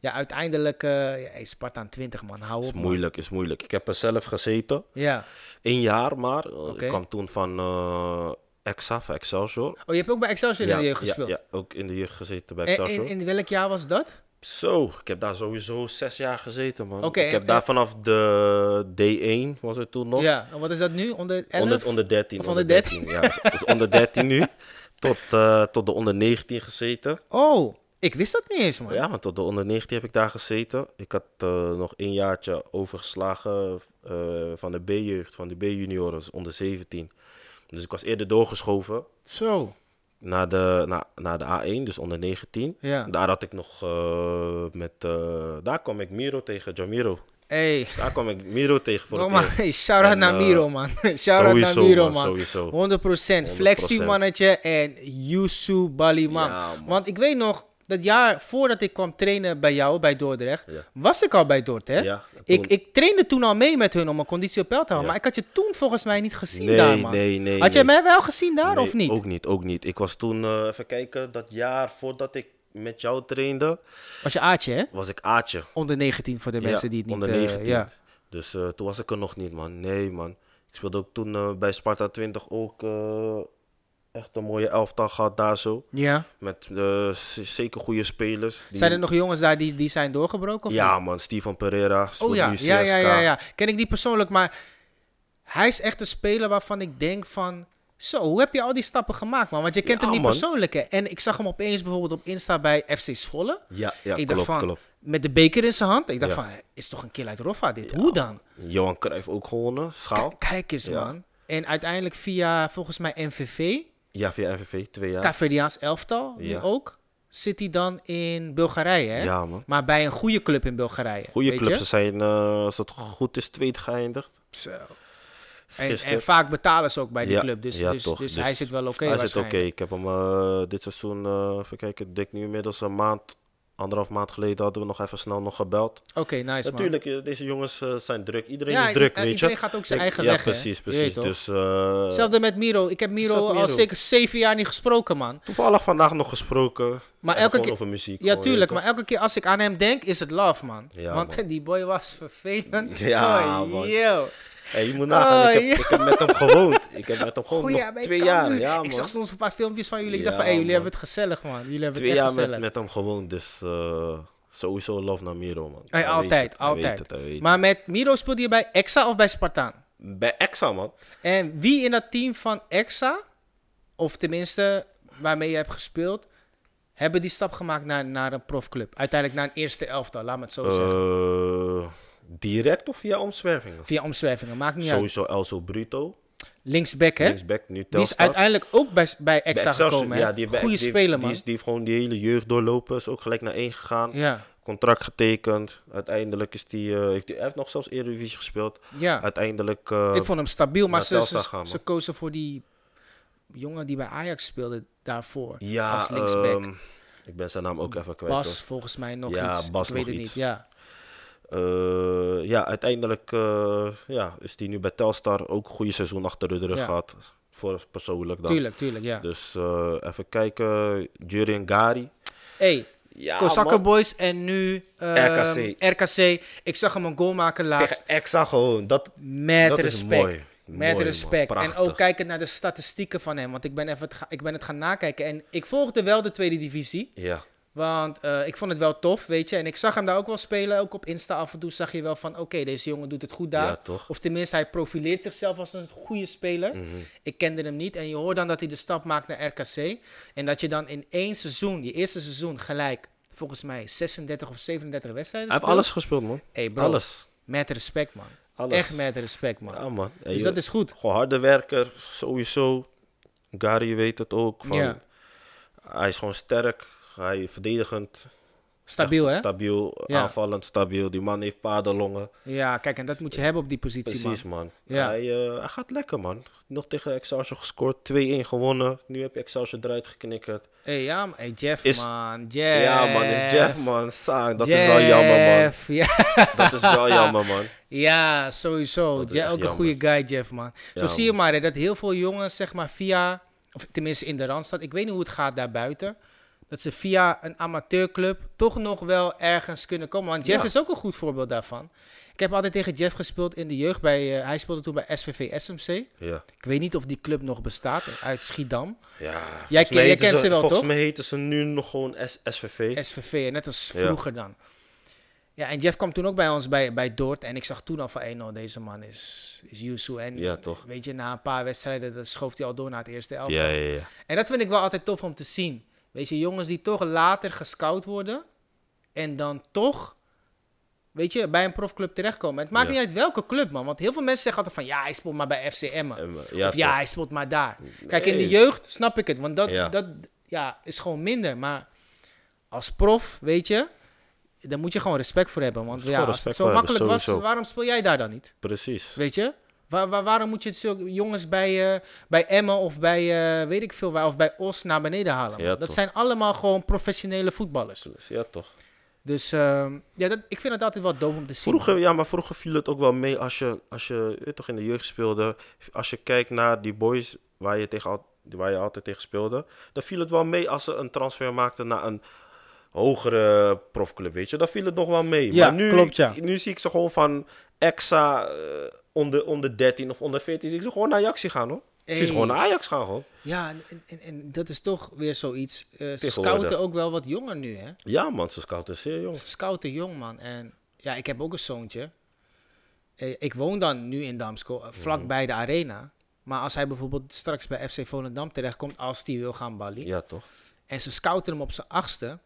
[SPEAKER 2] ja, uiteindelijk... eh ja, hey, Spartaan 20, man. Hou
[SPEAKER 3] Is
[SPEAKER 2] op, man.
[SPEAKER 3] moeilijk, is moeilijk. Ik heb er zelf gezeten.
[SPEAKER 2] Ja.
[SPEAKER 3] Eén jaar maar. Eh,
[SPEAKER 2] Oké.
[SPEAKER 3] Ik kwam toen van eh Exa, van Excelsior.
[SPEAKER 2] Oh, je hebt ook bij Excelsior in de jeugd gespeeld.
[SPEAKER 3] Ja, ja, ook in de jeugd gezeten bij
[SPEAKER 2] En
[SPEAKER 3] Excelsior.
[SPEAKER 2] in, in welk jaar was dat?
[SPEAKER 3] Zo, ik heb daar sowieso zes jaar gezeten, man.
[SPEAKER 2] Oké,
[SPEAKER 3] ik
[SPEAKER 2] en-
[SPEAKER 3] heb daar vanaf de D1, was het toen nog.
[SPEAKER 2] Ja. En wat is dat nu? Onder 11?
[SPEAKER 3] Onder, onder 13.
[SPEAKER 2] Of
[SPEAKER 3] onder
[SPEAKER 2] onder
[SPEAKER 3] 13. ja, dus, dus onder 13 nu. Tot, eh, tot de onder 19 gezeten.
[SPEAKER 2] Oh, ik wist dat niet eens, man.
[SPEAKER 3] Ja, want tot de onder 19 heb ik daar gezeten. Ik had eh, nog een jaartje overgeslagen eh, van de B-jeugd, van de B-junioren, dus onder 17. Dus ik was eerder doorgeschoven
[SPEAKER 2] Zo.
[SPEAKER 3] naar de, naar, naar de A1, dus onder 19.
[SPEAKER 2] Ja.
[SPEAKER 3] Daar had ik nog eh, met. eh, daar kwam ik Miro tegen, Jamiro.
[SPEAKER 2] Hey.
[SPEAKER 3] Daar kwam ik Miro tegen voor
[SPEAKER 2] Oh,
[SPEAKER 3] het
[SPEAKER 2] man.
[SPEAKER 3] eerst.
[SPEAKER 2] Hey, shout-out
[SPEAKER 3] En,
[SPEAKER 2] naar
[SPEAKER 3] eh,
[SPEAKER 2] Miro, man. shout-out naar
[SPEAKER 3] sowieso,
[SPEAKER 2] Miro,
[SPEAKER 3] man,
[SPEAKER 2] man.
[SPEAKER 3] sowieso.
[SPEAKER 2] 100%. Flexie
[SPEAKER 3] 100%.
[SPEAKER 2] mannetje en Yusu Baliman.
[SPEAKER 3] Ja, man.
[SPEAKER 2] Want ik weet nog, dat jaar voordat ik kwam trainen bij jou, bij Dordrecht,
[SPEAKER 3] Ja.
[SPEAKER 2] was ik al bij Dordrecht.
[SPEAKER 3] Ja,
[SPEAKER 2] ik,
[SPEAKER 3] toen-
[SPEAKER 2] ik trainde toen al mee met hun om mijn conditie op peil te houden.
[SPEAKER 3] Ja.
[SPEAKER 2] Maar ik had je toen volgens mij niet gezien
[SPEAKER 3] Nee,
[SPEAKER 2] daar, man.
[SPEAKER 3] nee, nee,
[SPEAKER 2] Had jij
[SPEAKER 3] nee.
[SPEAKER 2] mij wel gezien daar
[SPEAKER 3] Nee,
[SPEAKER 2] of niet?
[SPEAKER 3] Ook niet, ook niet. Ik was toen, eh, even kijken, dat jaar voordat ik met jou trainde,
[SPEAKER 2] Was je Aatje, hè?
[SPEAKER 3] was ik Aatje.
[SPEAKER 2] Onder 19 voor de mensen die het niet...
[SPEAKER 3] onder
[SPEAKER 2] eh,
[SPEAKER 3] 19.
[SPEAKER 2] ja.
[SPEAKER 3] Dus eh, toen was ik er nog niet, man. Nee, man. Ik speelde ook toen eh, bij Sparta 20 ook eh, echt een mooie elftal gehad daar zo.
[SPEAKER 2] ja.
[SPEAKER 3] Met eh, z- zeker goede spelers. die-
[SPEAKER 2] Zijn er nog jongens daar die, die zijn doorgebroken? Of niet?
[SPEAKER 3] Ja, man. Steven Pereira.
[SPEAKER 2] Oh
[SPEAKER 3] speelt
[SPEAKER 2] ja,
[SPEAKER 3] nu
[SPEAKER 2] ja, ja,
[SPEAKER 3] CSKA.
[SPEAKER 2] ja, ja. Ken ik die persoonlijk, maar hij is echt een speler waarvan ik denk van... Zo, hoe heb je al die stappen gemaakt, man? Want je kent
[SPEAKER 3] Ja,
[SPEAKER 2] hem niet
[SPEAKER 3] man.
[SPEAKER 2] persoonlijk, hè? En ik zag hem opeens bijvoorbeeld op Insta bij FC Zwolle.
[SPEAKER 3] Ja, ja,
[SPEAKER 2] ik
[SPEAKER 3] klopt,
[SPEAKER 2] dacht van,
[SPEAKER 3] klopt.
[SPEAKER 2] met de beker in zijn hand. Ik dacht
[SPEAKER 3] Ja.
[SPEAKER 2] van, is toch een kill uit Roffa dit? Hoe dan?
[SPEAKER 3] Johan Cruijff ook gewonnen. Schaal.
[SPEAKER 2] K- Kijk eens,
[SPEAKER 3] Ja.
[SPEAKER 2] man. En uiteindelijk via, volgens mij, NVV,
[SPEAKER 3] Ja, via FVV. Twee jaar.
[SPEAKER 2] Caverdiaans elftal, nu
[SPEAKER 3] Ja.
[SPEAKER 2] ook, zit hij dan in Bulgarije, hè?
[SPEAKER 3] Ja, man.
[SPEAKER 2] Maar bij een goede club in Bulgarije.
[SPEAKER 3] Goede
[SPEAKER 2] weet
[SPEAKER 3] club.
[SPEAKER 2] je?
[SPEAKER 3] Ze zijn, eh, als het goed is, tweede geëindigd.
[SPEAKER 2] En, en
[SPEAKER 3] Gisteren.
[SPEAKER 2] vaak betalen ze ook bij die
[SPEAKER 3] Ja,
[SPEAKER 2] club. Dus,
[SPEAKER 3] ja,
[SPEAKER 2] dus,
[SPEAKER 3] toch.
[SPEAKER 2] dus
[SPEAKER 3] Dus
[SPEAKER 2] hij zit wel oké
[SPEAKER 3] Hij zit oké.
[SPEAKER 2] waarschijnlijk.
[SPEAKER 3] Ik heb hem eh, dit seizoen, eh even kijken, ik denk nu inmiddels een maand anderhalf maand geleden hadden we nog even snel nog gebeld.
[SPEAKER 2] Oké, nice man.
[SPEAKER 3] Natuurlijk, eh, deze jongens eh, zijn druk. Iedereen
[SPEAKER 2] Ja,
[SPEAKER 3] is druk,
[SPEAKER 2] i- eh,
[SPEAKER 3] weet je.
[SPEAKER 2] iedereen gaat ook zijn
[SPEAKER 3] Ik-
[SPEAKER 2] eigen
[SPEAKER 3] ja,
[SPEAKER 2] weg, hè.
[SPEAKER 3] precies,
[SPEAKER 2] Je weet
[SPEAKER 3] precies.
[SPEAKER 2] toch?
[SPEAKER 3] Dus, eh,
[SPEAKER 2] Hetzelfde met Miro. Ik heb Miro
[SPEAKER 3] Zelfde
[SPEAKER 2] al
[SPEAKER 3] Miro.
[SPEAKER 2] zeker zeven jaar niet gesproken, man.
[SPEAKER 3] toevallig vandaag nog gesproken.
[SPEAKER 2] Maar
[SPEAKER 3] En
[SPEAKER 2] elke
[SPEAKER 3] gewoon
[SPEAKER 2] keer-
[SPEAKER 3] over muziek.
[SPEAKER 2] Ja,
[SPEAKER 3] gewoon, je
[SPEAKER 2] tuurlijk.
[SPEAKER 3] weet
[SPEAKER 2] Maar elke keer als ik aan hem denk, is het love, man.
[SPEAKER 3] Ja,
[SPEAKER 2] Want
[SPEAKER 3] man.
[SPEAKER 2] die boy was vervelend.
[SPEAKER 3] Ja,
[SPEAKER 2] Oh,
[SPEAKER 3] man.
[SPEAKER 2] Yo.
[SPEAKER 3] toch. Hey, je moet nagaan,
[SPEAKER 2] Oh,
[SPEAKER 3] ik, heb,
[SPEAKER 2] ja.
[SPEAKER 3] ik heb met hem gewoond. Ik heb met hem gewoond
[SPEAKER 2] Goeie,
[SPEAKER 3] nog
[SPEAKER 2] maar ik
[SPEAKER 3] twee
[SPEAKER 2] kan
[SPEAKER 3] jaar.
[SPEAKER 2] niet.
[SPEAKER 3] Ja, man.
[SPEAKER 2] ik zag soms een paar filmpjes van jullie. Ik dacht
[SPEAKER 3] Ja,
[SPEAKER 2] van, hey, jullie
[SPEAKER 3] man.
[SPEAKER 2] hebben het gezellig, man. Jullie hebben
[SPEAKER 3] twee
[SPEAKER 2] het echt
[SPEAKER 3] jaar
[SPEAKER 2] gezellig.
[SPEAKER 3] met, met hem gewoond. Dus eh, sowieso love naar Miro, man.
[SPEAKER 2] Hey,
[SPEAKER 3] Hij weet
[SPEAKER 2] altijd,
[SPEAKER 3] het, hij weet
[SPEAKER 2] altijd.
[SPEAKER 3] het, hij weet
[SPEAKER 2] maar met Miro speelde je bij Exa of bij Spartaan?
[SPEAKER 3] het. Bij Exa, man.
[SPEAKER 2] En wie in dat team van Exa, of tenminste waarmee je hebt gespeeld, hebben die stap gemaakt naar, naar een profclub? Uiteindelijk naar een eerste elftal, laat me het zo zeggen.
[SPEAKER 3] Eh, direct of via omzwervingen?
[SPEAKER 2] Via omzwervingen, maakt niet uit.
[SPEAKER 3] Sowieso Elso Bruto.
[SPEAKER 2] Linksback, hè?
[SPEAKER 3] Linksback, nu
[SPEAKER 2] die is
[SPEAKER 3] Telstar.
[SPEAKER 2] uiteindelijk ook bij, bij Exa
[SPEAKER 3] Excelsior,
[SPEAKER 2] gekomen, hè?
[SPEAKER 3] die heeft bij-
[SPEAKER 2] Goeie
[SPEAKER 3] die-
[SPEAKER 2] speler,
[SPEAKER 3] Die,
[SPEAKER 2] man.
[SPEAKER 3] is- die heeft gewoon die hele jeugd doorlopen. Is ook gelijk naar één gegaan.
[SPEAKER 2] ja,
[SPEAKER 3] Contract getekend. Uiteindelijk is die, eh, heeft die, hij heeft nog zelfs Eredivisie gespeeld.
[SPEAKER 2] ja.
[SPEAKER 3] Uiteindelijk... eh,
[SPEAKER 2] ik vond hem stabiel, maar
[SPEAKER 3] naar
[SPEAKER 2] ze,
[SPEAKER 3] Telstar
[SPEAKER 2] ze,
[SPEAKER 3] gaan, man.
[SPEAKER 2] ze kozen voor die jongen die bij Ajax speelde daarvoor.
[SPEAKER 3] ja,
[SPEAKER 2] als linksback.
[SPEAKER 3] ehm, ik ben zijn naam ook even kwijt.
[SPEAKER 2] Bas,
[SPEAKER 3] hoor.
[SPEAKER 2] volgens mij nog
[SPEAKER 3] Ja,
[SPEAKER 2] iets.
[SPEAKER 3] Bas
[SPEAKER 2] ik weet
[SPEAKER 3] nog
[SPEAKER 2] het
[SPEAKER 3] iets.
[SPEAKER 2] niet, ja.
[SPEAKER 3] Eh, ja, uiteindelijk eh, ja, is die nu bij Telstar ook een goede seizoen achter de rug
[SPEAKER 2] Ja.
[SPEAKER 3] gehad. Voor persoonlijk dan.
[SPEAKER 2] Tuurlijk, tuurlijk, ja.
[SPEAKER 3] Dus eh, even kijken. Jurien Gari.
[SPEAKER 2] hey,
[SPEAKER 3] Ja,
[SPEAKER 2] Kozakken
[SPEAKER 3] man.
[SPEAKER 2] Boys en nu ehm,
[SPEAKER 3] RKC.
[SPEAKER 2] RKC. Ik zag hem een goal maken laatst.
[SPEAKER 3] Tegen Exa gewoon. Dat,
[SPEAKER 2] Met
[SPEAKER 3] dat is
[SPEAKER 2] respect.
[SPEAKER 3] mooi. Mooi,
[SPEAKER 2] Met
[SPEAKER 3] man.
[SPEAKER 2] respect. En
[SPEAKER 3] Prachtig.
[SPEAKER 2] ook kijken naar de statistieken van hem. Want ik ben, even het ga- ik ben het gaan nakijken. En ik volgde wel de tweede divisie.
[SPEAKER 3] Ja.
[SPEAKER 2] Want eh, ik vond het wel tof, weet je. En ik zag hem daar ook wel spelen. Ook op Insta af en toe zag je wel van... Oké, deze jongen doet het goed daar.
[SPEAKER 3] Ja, toch? Mhm.
[SPEAKER 2] Of tenminste, hij profileert zichzelf als een goede speler. Ik kende hem niet. En je hoort dan dat hij de stap maakt naar RKC. En dat je dan in één seizoen, je eerste seizoen, gelijk... Volgens mij 36 of 37 wedstrijden
[SPEAKER 3] Hij heeft
[SPEAKER 2] speelt.
[SPEAKER 3] alles gespeeld, man.
[SPEAKER 2] Hey, bro.
[SPEAKER 3] Alles.
[SPEAKER 2] Met respect, man.
[SPEAKER 3] Alles.
[SPEAKER 2] Echt met respect, man.
[SPEAKER 3] Ja, man. Hey,
[SPEAKER 2] dus
[SPEAKER 3] joh.
[SPEAKER 2] dat is goed.
[SPEAKER 3] Gewoon harde werker, sowieso. Gary weet het ook. Van,
[SPEAKER 2] Ja.
[SPEAKER 3] Hij is gewoon sterk. Hij is verdedigend.
[SPEAKER 2] Stabiel, hè?
[SPEAKER 3] Stabiel,
[SPEAKER 2] Ja.
[SPEAKER 3] aanvallend, stabiel. Die man heeft paardenlongen.
[SPEAKER 2] Ja, kijk, en dat moet je hebben op die positie,
[SPEAKER 3] Precies,
[SPEAKER 2] man.
[SPEAKER 3] man.
[SPEAKER 2] Ja.
[SPEAKER 3] Hij, eh, hij gaat lekker, man. Nog tegen Excelsior gescoord. 2-1 gewonnen. Nu heb je Excelsior eruit geknikkerd.
[SPEAKER 2] hey, ja, man. hey, Jeff,
[SPEAKER 3] Is-
[SPEAKER 2] man. Jeff.
[SPEAKER 3] Ja, man. Is Jeff, man. Saai. Dat is wel jammer, man.
[SPEAKER 2] Eh, Jeff, Ja,
[SPEAKER 3] Dat is wel jammer, man.
[SPEAKER 2] ja sowieso.
[SPEAKER 3] Dat is
[SPEAKER 2] Je-
[SPEAKER 3] echt
[SPEAKER 2] ook een
[SPEAKER 3] jammer.
[SPEAKER 2] goede guy, Jeff, man. Zo
[SPEAKER 3] Ja,
[SPEAKER 2] zie je maar hè, dat heel veel jongens, zeg maar, via... Of tenminste in de Randstad. Ik weet niet hoe het gaat daarbuiten. Dat ze via een amateurclub toch nog wel ergens kunnen komen. Want Jeff
[SPEAKER 3] Ja.
[SPEAKER 2] is ook een goed voorbeeld daarvan. Ik heb altijd tegen Jeff gespeeld in de jeugd. Bij, eh, hij speelde toen bij SVV SMC.
[SPEAKER 3] Ja.
[SPEAKER 2] Ik weet niet of die club nog bestaat uit Schiedam.
[SPEAKER 3] Ja, volgens
[SPEAKER 2] ken-
[SPEAKER 3] mij
[SPEAKER 2] jij
[SPEAKER 3] heten
[SPEAKER 2] kent ze wel,
[SPEAKER 3] Volgens
[SPEAKER 2] toch?
[SPEAKER 3] mij heten ze nu nog gewoon S- SVV.
[SPEAKER 2] SVV, net als
[SPEAKER 3] Ja.
[SPEAKER 2] vroeger dan. Ja, en Jeff kwam toen ook bij ons bij, bij Dort. En ik zag toen al van, hey, nou, deze man is, is Yusu. En
[SPEAKER 3] Ja, toch?
[SPEAKER 2] weet je, na een paar wedstrijden dan schoof hij al door naar het eerste elftal.
[SPEAKER 3] ja, ja, ja.
[SPEAKER 2] En dat vind ik wel altijd tof om te zien. Weet je, jongens die toch later gescout worden. En dan toch, weet je, bij een profclub terechtkomen. Het maakt
[SPEAKER 3] Ja.
[SPEAKER 2] niet uit welke club, man. Want heel veel mensen zeggen altijd van, ja, hij speelt maar bij FC Emmen.
[SPEAKER 3] En, eh, ja,
[SPEAKER 2] of ja,
[SPEAKER 3] toch.
[SPEAKER 2] hij speelt maar daar. Kijk, in de
[SPEAKER 3] Nee.
[SPEAKER 2] jeugd snap ik het, want dat,
[SPEAKER 3] Ja.
[SPEAKER 2] dat ja, is gewoon minder. Maar als prof, weet je, daar moet je gewoon respect voor hebben. Want
[SPEAKER 3] Moet je
[SPEAKER 2] ja,
[SPEAKER 3] gewoon
[SPEAKER 2] als het
[SPEAKER 3] respect
[SPEAKER 2] zo
[SPEAKER 3] voor hebben,
[SPEAKER 2] makkelijk was,
[SPEAKER 3] sowieso.
[SPEAKER 2] waarom speel jij daar dan niet?
[SPEAKER 3] Precies.
[SPEAKER 2] Weet je? Waar, waar- waarom moet je het zulke jongens bij, eh, bij Emmen of bij eh, weet ik veel waar, of bij Os naar beneden halen? man?
[SPEAKER 3] Ja,
[SPEAKER 2] dat
[SPEAKER 3] toch.
[SPEAKER 2] zijn allemaal gewoon professionele voetballers.
[SPEAKER 3] Dus Ja, toch.
[SPEAKER 2] Dus ehm, ja, dat, ik vind het altijd wel doof om te zien.
[SPEAKER 3] Vroeger, ja, maar vroeger viel het ook wel mee als je, als je, je weet toch in de jeugd speelde. Als je kijkt naar die boys waar je, tegen, al- waar je altijd tegen speelde. Dan viel het wel mee als ze een transfer maakten naar een hogere profclub, weet je. Dan viel het nog wel mee.
[SPEAKER 2] Ja,
[SPEAKER 3] maar nu,
[SPEAKER 2] klopt, ja.
[SPEAKER 3] nu zie ik ze gewoon van Exa eh, onder, onder 13 of onder 14. Zie ik ze gewoon naar Ajax gaan, hoor. Ze
[SPEAKER 2] Hey.
[SPEAKER 3] is gewoon naar Ajax gaan, hoor.
[SPEAKER 2] Ja, en, en- en, en dat is toch weer zoiets. Eh, ze
[SPEAKER 3] Tegenwoordig.
[SPEAKER 2] scouten ook wel wat jonger nu, hè?
[SPEAKER 3] Ja, man, ze scouten zeer jong.
[SPEAKER 2] Ze scouten jong, man. En ja, ik heb ook een zoontje. Eh, Ik woon dan nu in Damsko, eh, vlakbij de arena. Maar als hij bijvoorbeeld straks bij FC Volendam terechtkomt, als die wil gaan ballen.
[SPEAKER 3] Ja, toch?
[SPEAKER 2] En ze scouten hem op zijn achtste.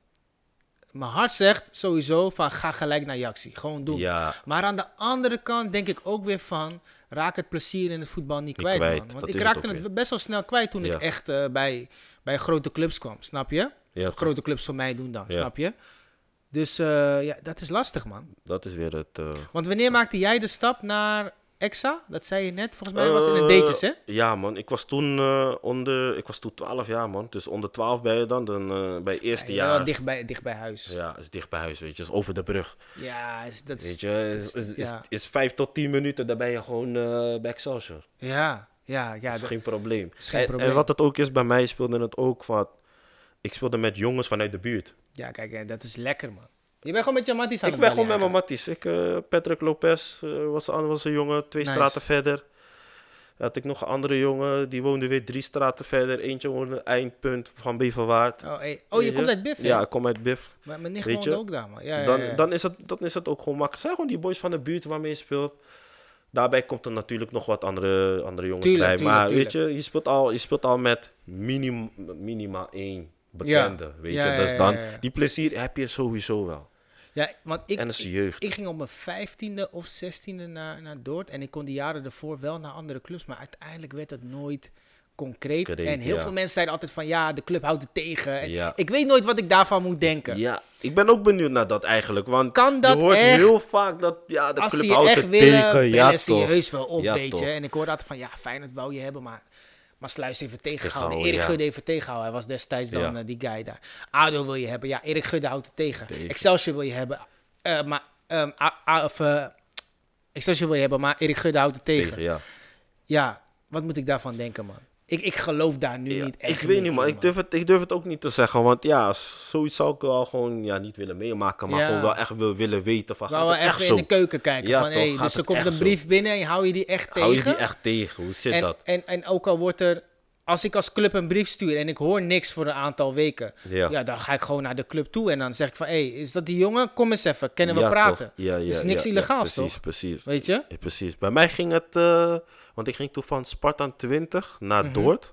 [SPEAKER 2] Mijn hart zegt sowieso van ga gelijk naar Jaxi. Gewoon doen.
[SPEAKER 3] Ja.
[SPEAKER 2] Maar aan de andere kant denk ik ook weer van... raak het plezier in het voetbal niet kwijt,
[SPEAKER 3] kwijt,
[SPEAKER 2] man. Want
[SPEAKER 3] dat
[SPEAKER 2] ik
[SPEAKER 3] is het
[SPEAKER 2] raakte
[SPEAKER 3] ook
[SPEAKER 2] het,
[SPEAKER 3] weer.
[SPEAKER 2] best wel snel kwijt toen
[SPEAKER 3] Ja.
[SPEAKER 2] ik echt eh, bij, bij grote clubs kwam. Snap je?
[SPEAKER 3] Ja, toch.
[SPEAKER 2] grote clubs voor mij doen dan,
[SPEAKER 3] Ja.
[SPEAKER 2] snap je? Dus eh, ja, dat is lastig, man.
[SPEAKER 3] Dat is weer het... eh,
[SPEAKER 2] Want wanneer maakte jij de stap naar Exa, dat zei je net, volgens mij was het in een datejes, hè?
[SPEAKER 3] Eh, Ja, man. Ik was toen eh, onder... Ik was toen 12 jaar, man. Dus onder 12 ben je dan, dan eh, bij eerste
[SPEAKER 2] Ja,
[SPEAKER 3] jaar.
[SPEAKER 2] wel dicht bij, dicht bij huis.
[SPEAKER 3] Ja, is dicht bij huis, weet je. Is over de brug.
[SPEAKER 2] Ja, is, dat is...
[SPEAKER 3] Weet je,
[SPEAKER 2] dat
[SPEAKER 3] is, is, is,
[SPEAKER 2] ja.
[SPEAKER 3] is 5 tot 10 minuten, dan ben je gewoon eh bij Excelsior.
[SPEAKER 2] ja, ja, ja.
[SPEAKER 3] Dat is
[SPEAKER 2] dat-
[SPEAKER 3] geen probleem.
[SPEAKER 2] is geen
[SPEAKER 3] En- En,
[SPEAKER 2] probleem.
[SPEAKER 3] wat het ook is, bij mij speelde het ook wat... Ik speelde met jongens vanuit de buurt.
[SPEAKER 2] ja, kijk, eh, dat is lekker, man. Je bent gewoon met je matties aan
[SPEAKER 3] ik
[SPEAKER 2] het
[SPEAKER 3] ben gewoon met mijn
[SPEAKER 2] ballen
[SPEAKER 3] matties. Ik, eh, Patrick Lopez eh, was, een- was een jongen, twee
[SPEAKER 2] Nice.
[SPEAKER 3] straten verder. Had ik nog een andere jongen, die woonde weer drie straten verder. Eentje woonde eindpunt van Beverwaard.
[SPEAKER 2] jagen. Oh, hey. oh, je
[SPEAKER 3] Weet
[SPEAKER 2] komt uit Biff, hè?
[SPEAKER 3] Ja, ik kom uit Biff.
[SPEAKER 2] Maar mijn nicht
[SPEAKER 3] Weet
[SPEAKER 2] woonde
[SPEAKER 3] je,
[SPEAKER 2] ook daar, man. Ja, ja,
[SPEAKER 3] dan,
[SPEAKER 2] ja, ja.
[SPEAKER 3] Dan, is het, dan is het ook gewoon makkelijk. Het zijn gewoon die boys van de buurt waarmee je speelt. Daarbij komt er natuurlijk nog wat andere, andere jongens
[SPEAKER 2] Tuurlijk,
[SPEAKER 3] bij.
[SPEAKER 2] tuurlijk,
[SPEAKER 3] maar
[SPEAKER 2] tuurlijk.
[SPEAKER 3] weet je, je speelt al, je speelt al met minim, minima één bekende. Weet
[SPEAKER 2] Ja,
[SPEAKER 3] je,
[SPEAKER 2] ja,
[SPEAKER 3] dus
[SPEAKER 2] ja,
[SPEAKER 3] dan,
[SPEAKER 2] ja, ja.
[SPEAKER 3] die plezier heb je sowieso wel.
[SPEAKER 2] Ja, want ik,
[SPEAKER 3] en dat is
[SPEAKER 2] ik-
[SPEAKER 3] jeugd.
[SPEAKER 2] ik ging op mijn vijftiende of zestiende naar, naar Dordt. En ik kon die jaren ervoor wel naar andere clubs. Maar uiteindelijk werd het nooit concreet.
[SPEAKER 3] Concreet,
[SPEAKER 2] en heel
[SPEAKER 3] ja.
[SPEAKER 2] veel mensen zeiden altijd van... Ja, de club houdt het tegen. En
[SPEAKER 3] Ja.
[SPEAKER 2] Ik weet nooit wat ik daarvan moet denken.
[SPEAKER 3] Ja, ik ben ook benieuwd naar dat eigenlijk. Want
[SPEAKER 2] Kan dat
[SPEAKER 3] je hoort
[SPEAKER 2] echt?
[SPEAKER 3] heel vaak dat ja, de
[SPEAKER 2] Als ze
[SPEAKER 3] club
[SPEAKER 2] je
[SPEAKER 3] houdt
[SPEAKER 2] echt
[SPEAKER 3] het
[SPEAKER 2] willen,
[SPEAKER 3] tegen.
[SPEAKER 2] tegen,
[SPEAKER 3] Ja,
[SPEAKER 2] ze je
[SPEAKER 3] toch.
[SPEAKER 2] heus wel op,
[SPEAKER 3] Ja,
[SPEAKER 2] weet
[SPEAKER 3] toch.
[SPEAKER 2] je. En ik hoorde altijd van... Ja, Feyenoord wou je hebben, maar... Maar Sluis even tegenhouden.
[SPEAKER 3] Tegenhouden,
[SPEAKER 2] Erik
[SPEAKER 3] ja.
[SPEAKER 2] Gudde even tegenhouden. Hij was destijds dan
[SPEAKER 3] Ja.
[SPEAKER 2] eh, die guy daar. ADO wil je hebben. Ja, Erik Gudde houdt het tegen.
[SPEAKER 3] Tegen.
[SPEAKER 2] Excelsior wil je hebben. eh, maar... ehm, A- A- of, eh, Excelsior wil je hebben, maar Erik Gudde houdt het tegen.
[SPEAKER 3] Tegen, ja.
[SPEAKER 2] Ja, wat moet ik daarvan denken, man? Ik, ik geloof daar nu
[SPEAKER 3] Ja,
[SPEAKER 2] niet echt
[SPEAKER 3] ik weet
[SPEAKER 2] meer
[SPEAKER 3] niet,
[SPEAKER 2] in,
[SPEAKER 3] maar ik durf, het, ik durf het ook niet te zeggen. Want ja, zoiets zou ik wel gewoon ja, niet willen meemaken. Maar
[SPEAKER 2] Ja.
[SPEAKER 3] gewoon wel echt wil, willen weten van,
[SPEAKER 2] Ik wou
[SPEAKER 3] gaat
[SPEAKER 2] wel
[SPEAKER 3] het
[SPEAKER 2] echt
[SPEAKER 3] echt
[SPEAKER 2] weer
[SPEAKER 3] zo?
[SPEAKER 2] in de keuken kijken.
[SPEAKER 3] Ja,
[SPEAKER 2] van,
[SPEAKER 3] toch,
[SPEAKER 2] hey,
[SPEAKER 3] gaat
[SPEAKER 2] dus er
[SPEAKER 3] het
[SPEAKER 2] komt
[SPEAKER 3] echt
[SPEAKER 2] een
[SPEAKER 3] zo?
[SPEAKER 2] brief binnen en hou je die echt tegen?
[SPEAKER 3] Hou je die echt tegen? Hoe zit
[SPEAKER 2] en,
[SPEAKER 3] dat?
[SPEAKER 2] En, en ook al wordt er... Als ik als club een brief stuur en ik hoor niks voor een aantal weken... Ja,
[SPEAKER 3] Ja.
[SPEAKER 2] dan ga ik gewoon naar de club toe en dan zeg ik van... hey, is dat die jongen? Kom eens even, kunnen we
[SPEAKER 3] Ja,
[SPEAKER 2] praten?
[SPEAKER 3] toch. Ja, ja,
[SPEAKER 2] is niks
[SPEAKER 3] ja, ja,
[SPEAKER 2] illegaals,
[SPEAKER 3] precies,
[SPEAKER 2] toch?
[SPEAKER 3] Precies,
[SPEAKER 2] Weet je?
[SPEAKER 3] Ja, precies. Bij mij ging het, eh, want ik ging toen van Sparta 20 naar
[SPEAKER 2] Mhm.
[SPEAKER 3] Dordt.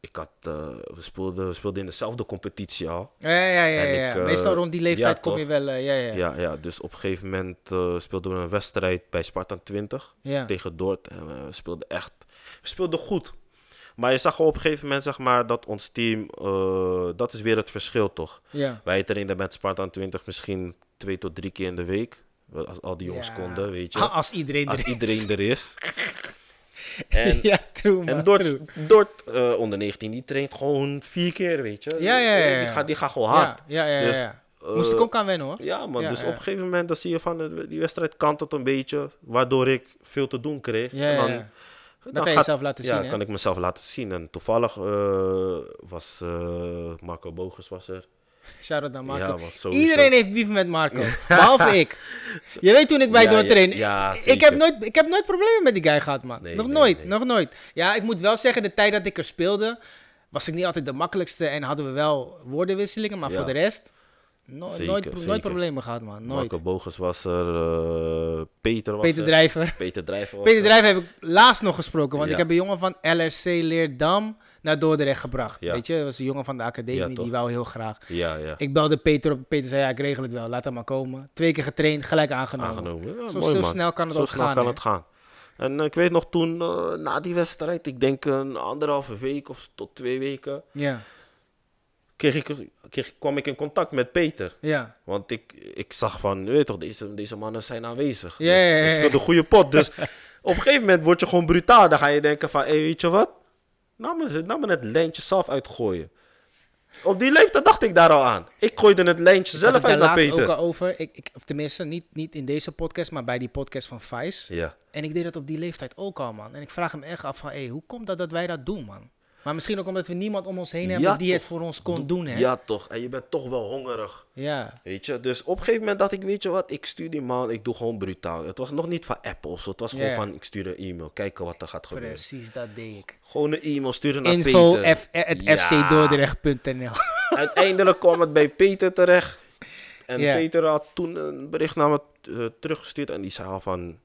[SPEAKER 3] Ik had, eh, we, speelden, we speelden in dezelfde competitie al.
[SPEAKER 2] Ja, ja, ja.
[SPEAKER 3] En
[SPEAKER 2] ja.
[SPEAKER 3] ik, eh,
[SPEAKER 2] Meestal rond die leeftijd
[SPEAKER 3] ja,
[SPEAKER 2] kom je
[SPEAKER 3] toch.
[SPEAKER 2] wel... eh, ja, ja. ja.
[SPEAKER 3] Ja, ja, dus op een gegeven moment eh, speelden we een wedstrijd bij Sparta 20
[SPEAKER 2] Ja.
[SPEAKER 3] tegen Dordt. En we speelden echt, we speelden goed. Maar je zag gewoon op een gegeven moment zeg maar, dat ons team, eh, dat is weer het verschil toch?
[SPEAKER 2] Ja.
[SPEAKER 3] Wij trainden met Sparta 20 misschien twee tot drie keer in de week. Wel, Als al die jongens
[SPEAKER 2] Ja.
[SPEAKER 3] konden, weet je.
[SPEAKER 2] Als iedereen
[SPEAKER 3] als
[SPEAKER 2] er is.
[SPEAKER 3] iedereen er is. En,
[SPEAKER 2] ja, true, man,
[SPEAKER 3] en
[SPEAKER 2] true.
[SPEAKER 3] Dort, Dort eh, onder 19, die traint gewoon vier keer, weet je.
[SPEAKER 2] Ja, ja, ja,
[SPEAKER 3] Eh,
[SPEAKER 2] ja.
[SPEAKER 3] Die gaat, die gaat gewoon hard.
[SPEAKER 2] Ja, ja, ja.
[SPEAKER 3] Dus,
[SPEAKER 2] ja. Moest
[SPEAKER 3] eh,
[SPEAKER 2] ik ook aan wennen hoor.
[SPEAKER 3] Ja, man.
[SPEAKER 2] Ja,
[SPEAKER 3] dus
[SPEAKER 2] ja.
[SPEAKER 3] op een gegeven moment dan zie je van eh, die wedstrijd kantelt een beetje, waardoor ik veel te doen kreeg.
[SPEAKER 2] Ja,
[SPEAKER 3] en
[SPEAKER 2] ja,
[SPEAKER 3] dan,
[SPEAKER 2] ja. kan je jezelf laten zien, hè?
[SPEAKER 3] Ja, kan ik mezelf laten zien. En toevallig eh, was eh, Marco Bogus was er.
[SPEAKER 2] Shout out naar Marco.
[SPEAKER 3] Ja, want sowieso-
[SPEAKER 2] Iedereen heeft beef met Marco. Behalve ik. Je weet toen ik bij
[SPEAKER 3] Ja,
[SPEAKER 2] Dort
[SPEAKER 3] ja,
[SPEAKER 2] train.
[SPEAKER 3] ja,
[SPEAKER 2] ik,
[SPEAKER 3] zeker.
[SPEAKER 2] heb nooit, ik heb nooit problemen met die guy gehad, man.
[SPEAKER 3] Nee,
[SPEAKER 2] nog
[SPEAKER 3] nee,
[SPEAKER 2] nooit,
[SPEAKER 3] nee.
[SPEAKER 2] nog nooit. Ja, ik moet wel zeggen, de tijd dat ik er speelde, was ik niet altijd de makkelijkste. En hadden we wel woordenwisselingen, maar
[SPEAKER 3] Ja.
[SPEAKER 2] voor de rest, no-
[SPEAKER 3] Zeker,
[SPEAKER 2] nooit, pro-
[SPEAKER 3] zeker.
[SPEAKER 2] nooit problemen gehad, man. Nooit.
[SPEAKER 3] Marco Bogus was er. eh, Peter was
[SPEAKER 2] Peter
[SPEAKER 3] er.
[SPEAKER 2] Drijver.
[SPEAKER 3] Peter Drijver was
[SPEAKER 2] Peter
[SPEAKER 3] er.
[SPEAKER 2] Drijven heb ik laatst nog gesproken. Want
[SPEAKER 3] Ja.
[SPEAKER 2] ik heb een jongen van LRC Leerdam naar Dordrecht gebracht.
[SPEAKER 3] Ja.
[SPEAKER 2] Weet je, dat was een jongen van de academie.
[SPEAKER 3] Ja, toch.
[SPEAKER 2] die wou heel graag.
[SPEAKER 3] Ja, ja.
[SPEAKER 2] Ik belde Peter op. Peter zei, ja, ik regel het wel. Laat hem maar komen. Twee keer getraind, gelijk aangenomen.
[SPEAKER 3] aangenomen. Ja,
[SPEAKER 2] oh. zo
[SPEAKER 3] mooi,
[SPEAKER 2] zo
[SPEAKER 3] man.
[SPEAKER 2] snel kan het
[SPEAKER 3] Zo
[SPEAKER 2] ook
[SPEAKER 3] snel
[SPEAKER 2] gaan.
[SPEAKER 3] kan
[SPEAKER 2] hè?
[SPEAKER 3] het gaan. En eh, ik weet nog toen, eh, na die wedstrijd, ik denk een anderhalve week of tot twee weken,
[SPEAKER 2] Ja,
[SPEAKER 3] kreeg ik, kreeg, kwam ik in contact met Peter.
[SPEAKER 2] ja.
[SPEAKER 3] Want ik, ik zag van, je weet toch, deze, deze mannen zijn aanwezig.
[SPEAKER 2] Ja, ja, ja,
[SPEAKER 3] Dus
[SPEAKER 2] ja.
[SPEAKER 3] ik speelde een goede pot. Dus op een gegeven moment word je gewoon brutaal. Dan ga je denken van, hé, weet je wat? Nou me, nou me het lijntje zelf uitgooien. Op die leeftijd dacht ik daar al aan. Ik gooide het lijntje
[SPEAKER 2] Ik had het
[SPEAKER 3] zelf uit
[SPEAKER 2] daar
[SPEAKER 3] naar
[SPEAKER 2] laatst
[SPEAKER 3] Peter.
[SPEAKER 2] ook al over. Ik, ik, of tenminste, niet, niet in deze podcast, maar bij die podcast van Vice.
[SPEAKER 3] Ja.
[SPEAKER 2] En ik deed dat op die leeftijd ook al, man. En ik vraag hem echt af van, hey, hoe komt dat dat wij dat doen, man? Maar misschien ook omdat we niemand om ons heen hebben
[SPEAKER 3] Ja,
[SPEAKER 2] die het
[SPEAKER 3] toch.
[SPEAKER 2] voor ons kon doen, hè?
[SPEAKER 3] Ja, toch. En je bent toch wel hongerig.
[SPEAKER 2] ja.
[SPEAKER 3] Weet je, dus op een gegeven moment dacht ik, weet je wat, ik stuur die man, ik doe gewoon brutaal. Het was nog niet van app of zo, het was gewoon
[SPEAKER 2] Ja.
[SPEAKER 3] van, ik stuur een e-mail, kijken wat er gaat gebeuren.
[SPEAKER 2] Precies, dat deed ik.
[SPEAKER 3] Gewoon een e-mail sturen naar
[SPEAKER 2] Info
[SPEAKER 3] Peter.
[SPEAKER 2] F- at
[SPEAKER 3] Ja.
[SPEAKER 2] fcdordrecht.nl.
[SPEAKER 3] Uiteindelijk kwam het bij Peter terecht. En
[SPEAKER 2] Ja.
[SPEAKER 3] Peter had toen een bericht naar me eh, teruggestuurd en die zei al van,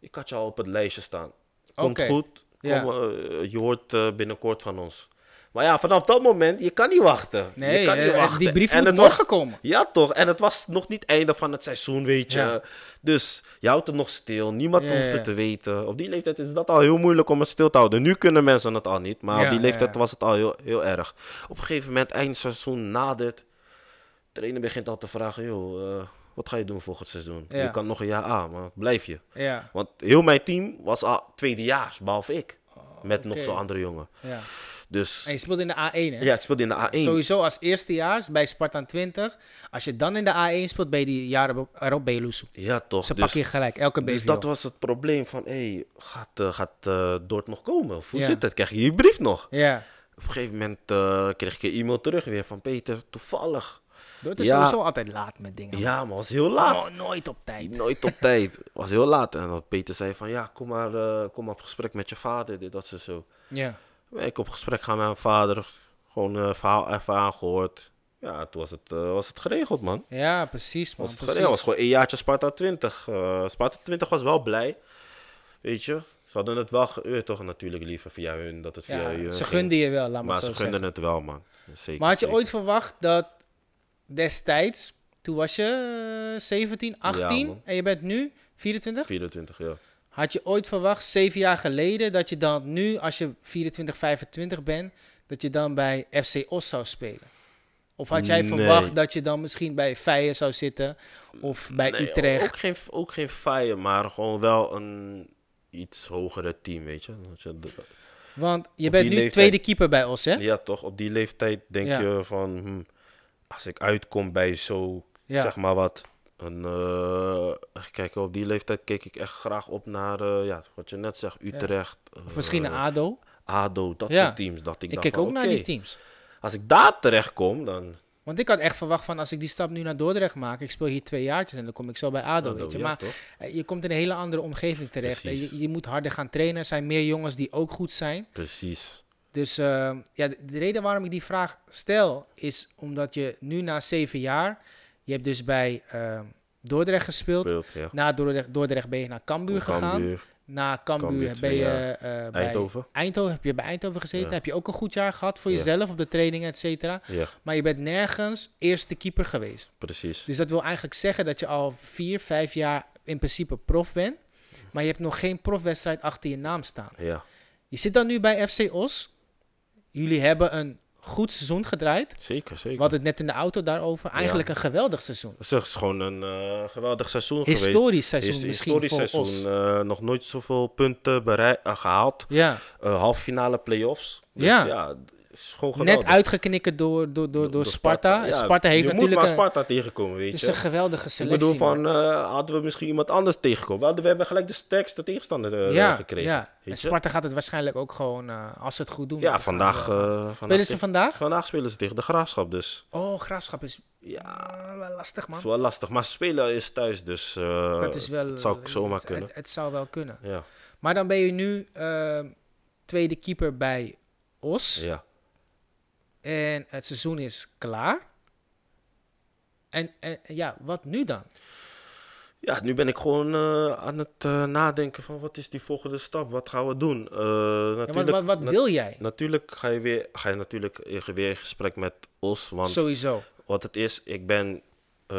[SPEAKER 3] ik had je al op het lijstje staan. Komt
[SPEAKER 2] Oké.
[SPEAKER 3] goed, kom,
[SPEAKER 2] Ja.
[SPEAKER 3] eh, je hoort eh, binnenkort van ons. Maar ja, vanaf dat moment, je kan niet wachten.
[SPEAKER 2] Nee,
[SPEAKER 3] je kan
[SPEAKER 2] eh, die brief moet
[SPEAKER 3] het
[SPEAKER 2] morgen
[SPEAKER 3] was-
[SPEAKER 2] komen.
[SPEAKER 3] Ja, toch. En het was nog niet einde van het seizoen, weet je.
[SPEAKER 2] Ja.
[SPEAKER 3] Dus je houdt het nog stil. Niemand
[SPEAKER 2] Ja,
[SPEAKER 3] hoeft het
[SPEAKER 2] ja, ja.
[SPEAKER 3] te weten. Op die leeftijd is dat al heel moeilijk om het stil te houden. Nu kunnen mensen het al niet. Maar
[SPEAKER 2] Ja,
[SPEAKER 3] op die
[SPEAKER 2] ja,
[SPEAKER 3] leeftijd
[SPEAKER 2] ja.
[SPEAKER 3] was het al heel, heel erg. Op een gegeven moment, eind seizoen nadert. De trainer begint al te vragen, joh, eh, Wat ga je doen volgend seizoen?
[SPEAKER 2] Ja.
[SPEAKER 3] Je kan nog een jaar A, maar blijf je.
[SPEAKER 2] Ja,
[SPEAKER 3] Want heel mijn team was al tweedejaars, behalve ik. Met nog
[SPEAKER 2] Oh, oké.
[SPEAKER 3] zo'n andere jongen.
[SPEAKER 2] ja.
[SPEAKER 3] Dus
[SPEAKER 2] En je speelt in de A1, hè?
[SPEAKER 3] ja, ik speelde in de A1.
[SPEAKER 2] Sowieso als eerstejaars bij Spartan 20. Als je dan in de A1 speelt, ben je die jaren erop ben je loesoe.
[SPEAKER 3] Ja, toch.
[SPEAKER 2] Ze
[SPEAKER 3] dus,
[SPEAKER 2] pakken je gelijk, elke BVO.
[SPEAKER 3] dus dat was het probleem van, hé, gaat, eh, gaat eh, Dort nog komen? Of hoe
[SPEAKER 2] Ja.
[SPEAKER 3] zit het? Krijg je je brief nog?
[SPEAKER 2] Ja,
[SPEAKER 3] Op een gegeven moment eh, kreeg ik een e-mail terug weer van Peter, toevallig.
[SPEAKER 2] dat is
[SPEAKER 3] Ja.
[SPEAKER 2] sowieso altijd laat met dingen.
[SPEAKER 3] Ja, maar was heel laat.
[SPEAKER 2] No- nooit op tijd.
[SPEAKER 3] Nooit op tijd. Was heel laat. En dat Peter zei van, ja, kom maar, eh, kom maar op gesprek met je vader, dit, dat, zo, zo.
[SPEAKER 2] Ja.
[SPEAKER 3] Ben ik op gesprek gaan met mijn vader. Gewoon eh, verhaal even aangehoord. Ja, toen was het, eh, was het geregeld, man.
[SPEAKER 2] ja, precies man.
[SPEAKER 3] Was het
[SPEAKER 2] precies.
[SPEAKER 3] geregeld. was gewoon een jaartje Sparta 20. Eh, Sparta 20 was wel blij. Weet je. Ze hadden het wel geur, toch natuurlijk liever via hun. Dat het via
[SPEAKER 2] Ja,
[SPEAKER 3] hun
[SPEAKER 2] ze
[SPEAKER 3] ging.
[SPEAKER 2] gunden je wel, laat maar,
[SPEAKER 3] Maar
[SPEAKER 2] het zo
[SPEAKER 3] ze
[SPEAKER 2] zeggen.
[SPEAKER 3] gunden het wel, man. Zeker,
[SPEAKER 2] Maar had je
[SPEAKER 3] zeker.
[SPEAKER 2] ooit verwacht dat destijds, toen was je eh, 17, 18
[SPEAKER 3] man.
[SPEAKER 2] en je bent nu 24?
[SPEAKER 3] 24, ja.
[SPEAKER 2] Had je ooit verwacht, zeven jaar geleden, dat je dan nu, als je 24, 25 bent, dat je dan bij FC Os zou spelen? Of had jij
[SPEAKER 3] Nee.
[SPEAKER 2] verwacht dat je dan misschien bij Feyenoord zou zitten of bij
[SPEAKER 3] Nee,
[SPEAKER 2] Utrecht?
[SPEAKER 3] Ook geen, ook geen fire, maar gewoon wel een iets hogere team, weet je. Dat je de-
[SPEAKER 2] Want je
[SPEAKER 3] op
[SPEAKER 2] bent
[SPEAKER 3] die
[SPEAKER 2] nu
[SPEAKER 3] leeftijd-
[SPEAKER 2] tweede keeper bij Os, hè?
[SPEAKER 3] Ja, toch. Op die leeftijd denk
[SPEAKER 2] Ja.
[SPEAKER 3] je van... hm, als ik uitkom bij zo,
[SPEAKER 2] Ja.
[SPEAKER 3] zeg maar wat... Een, eh, even kijken, op die leeftijd keek ik echt graag op naar... eh, ja, wat je net zegt, Utrecht.
[SPEAKER 2] Of misschien
[SPEAKER 3] eh,
[SPEAKER 2] een ADO.
[SPEAKER 3] ADO, dat
[SPEAKER 2] Ja.
[SPEAKER 3] soort teams. Dat ik,
[SPEAKER 2] Ik
[SPEAKER 3] dacht
[SPEAKER 2] kijk
[SPEAKER 3] van,
[SPEAKER 2] ook naar die
[SPEAKER 3] oké,
[SPEAKER 2] teams.
[SPEAKER 3] Als ik daar terecht kom, dan...
[SPEAKER 2] Want ik had echt verwacht van, als ik die stap nu naar Dordrecht maak, ik speel hier twee jaartjes en dan kom ik zo bij ADO,
[SPEAKER 3] ADO,
[SPEAKER 2] weet je.
[SPEAKER 3] ja,
[SPEAKER 2] maar
[SPEAKER 3] toch?
[SPEAKER 2] eh, je komt in een hele andere omgeving terecht. En
[SPEAKER 3] Precies.
[SPEAKER 2] Je, je moet harder gaan trainen. Er zijn meer jongens die ook goed zijn.
[SPEAKER 3] Precies.
[SPEAKER 2] Dus eh, ja, de, de reden waarom ik die vraag stel is omdat je nu na zeven jaar, je hebt dus bij eh, Dordrecht gespeeld.
[SPEAKER 3] Speelt, ja.
[SPEAKER 2] Na Dordrecht, Dordrecht ben je naar Cambuur gegaan.
[SPEAKER 3] Cambuur,
[SPEAKER 2] Na Cambuur
[SPEAKER 3] Cambuur
[SPEAKER 2] ben
[SPEAKER 3] twee
[SPEAKER 2] je
[SPEAKER 3] jaar.
[SPEAKER 2] eh, bij
[SPEAKER 3] Eindhoven.
[SPEAKER 2] Eindhoven heb je bij Eindhoven gezeten.
[SPEAKER 3] Ja.
[SPEAKER 2] Heb je ook een goed jaar gehad voor
[SPEAKER 3] Ja.
[SPEAKER 2] jezelf op de trainingen, et cetera.
[SPEAKER 3] Ja,
[SPEAKER 2] Maar je bent nergens eerste keeper geweest.
[SPEAKER 3] precies.
[SPEAKER 2] Dus dat wil eigenlijk zeggen dat je al vier, vijf jaar in principe prof bent. Maar je hebt nog geen profwedstrijd achter je naam staan.
[SPEAKER 3] Ja,
[SPEAKER 2] Je zit dan nu bij FC Os. Jullie hebben een goed seizoen gedraaid.
[SPEAKER 3] zeker, zeker.
[SPEAKER 2] We hadden het net in de auto daarover. Eigenlijk een geweldig seizoen.
[SPEAKER 3] Het is gewoon een eh, geweldig seizoen geweest.
[SPEAKER 2] Historisch seizoen
[SPEAKER 3] Is-
[SPEAKER 2] misschien
[SPEAKER 3] historisch
[SPEAKER 2] voor
[SPEAKER 3] seizoen. eh, nog nooit zoveel punten berei- eh, gehaald.
[SPEAKER 2] Os. Ja,
[SPEAKER 3] Eh, halve finale play-offs. Dus
[SPEAKER 2] Ja.
[SPEAKER 3] ja. is gewoon geweldig.
[SPEAKER 2] net uitgeknikken door, door, door, door Sparta. En
[SPEAKER 3] Ja,
[SPEAKER 2] Sparta heeft
[SPEAKER 3] je
[SPEAKER 2] natuurlijk
[SPEAKER 3] moet
[SPEAKER 2] een,
[SPEAKER 3] maar Sparta tegenkomen, weet
[SPEAKER 2] het is
[SPEAKER 3] je.
[SPEAKER 2] een geweldige
[SPEAKER 3] Ik
[SPEAKER 2] selectie.
[SPEAKER 3] bedoel,
[SPEAKER 2] man.
[SPEAKER 3] van, eh, hadden we misschien iemand anders tegengekomen. We, hadden, we hebben gelijk de sterkste tegenstander eh,
[SPEAKER 2] ja,
[SPEAKER 3] gekregen.
[SPEAKER 2] ja.
[SPEAKER 3] weet
[SPEAKER 2] En
[SPEAKER 3] je.
[SPEAKER 2] Sparta gaat het waarschijnlijk ook gewoon, eh, als ze het goed doen.
[SPEAKER 3] ja,
[SPEAKER 2] dan
[SPEAKER 3] vandaag,
[SPEAKER 2] gaan we-
[SPEAKER 3] eh, vandaag...
[SPEAKER 2] Spelen ze
[SPEAKER 3] tegen-
[SPEAKER 2] vandaag?
[SPEAKER 3] Vandaag spelen ze tegen de Graafschap, dus
[SPEAKER 2] Oh, Graafschap is
[SPEAKER 3] ja,
[SPEAKER 2] ah, wel lastig,
[SPEAKER 3] het
[SPEAKER 2] man.
[SPEAKER 3] is wel lastig. Maar spelen is thuis, dus eh,
[SPEAKER 2] Dat is wel,
[SPEAKER 3] het zou ook zomaar
[SPEAKER 2] het-
[SPEAKER 3] kunnen.
[SPEAKER 2] Het, het zou wel kunnen.
[SPEAKER 3] Ja,
[SPEAKER 2] Maar dan ben je nu eh, tweede keeper bij Os.
[SPEAKER 3] ja.
[SPEAKER 2] En het seizoen is klaar. En, en en ja, wat nu dan?
[SPEAKER 3] Ja, nu ben ik gewoon eh, aan het eh, nadenken van wat is die volgende stap? Wat gaan we doen? Eh,
[SPEAKER 2] Ja,
[SPEAKER 3] natuurlijk,
[SPEAKER 2] wat, wat, wat
[SPEAKER 3] na-
[SPEAKER 2] wil jij?
[SPEAKER 3] natuurlijk ga je, weer, ga je natuurlijk in- weer in gesprek met Os. Want
[SPEAKER 2] Sowieso.
[SPEAKER 3] wat het is, ik ben eh,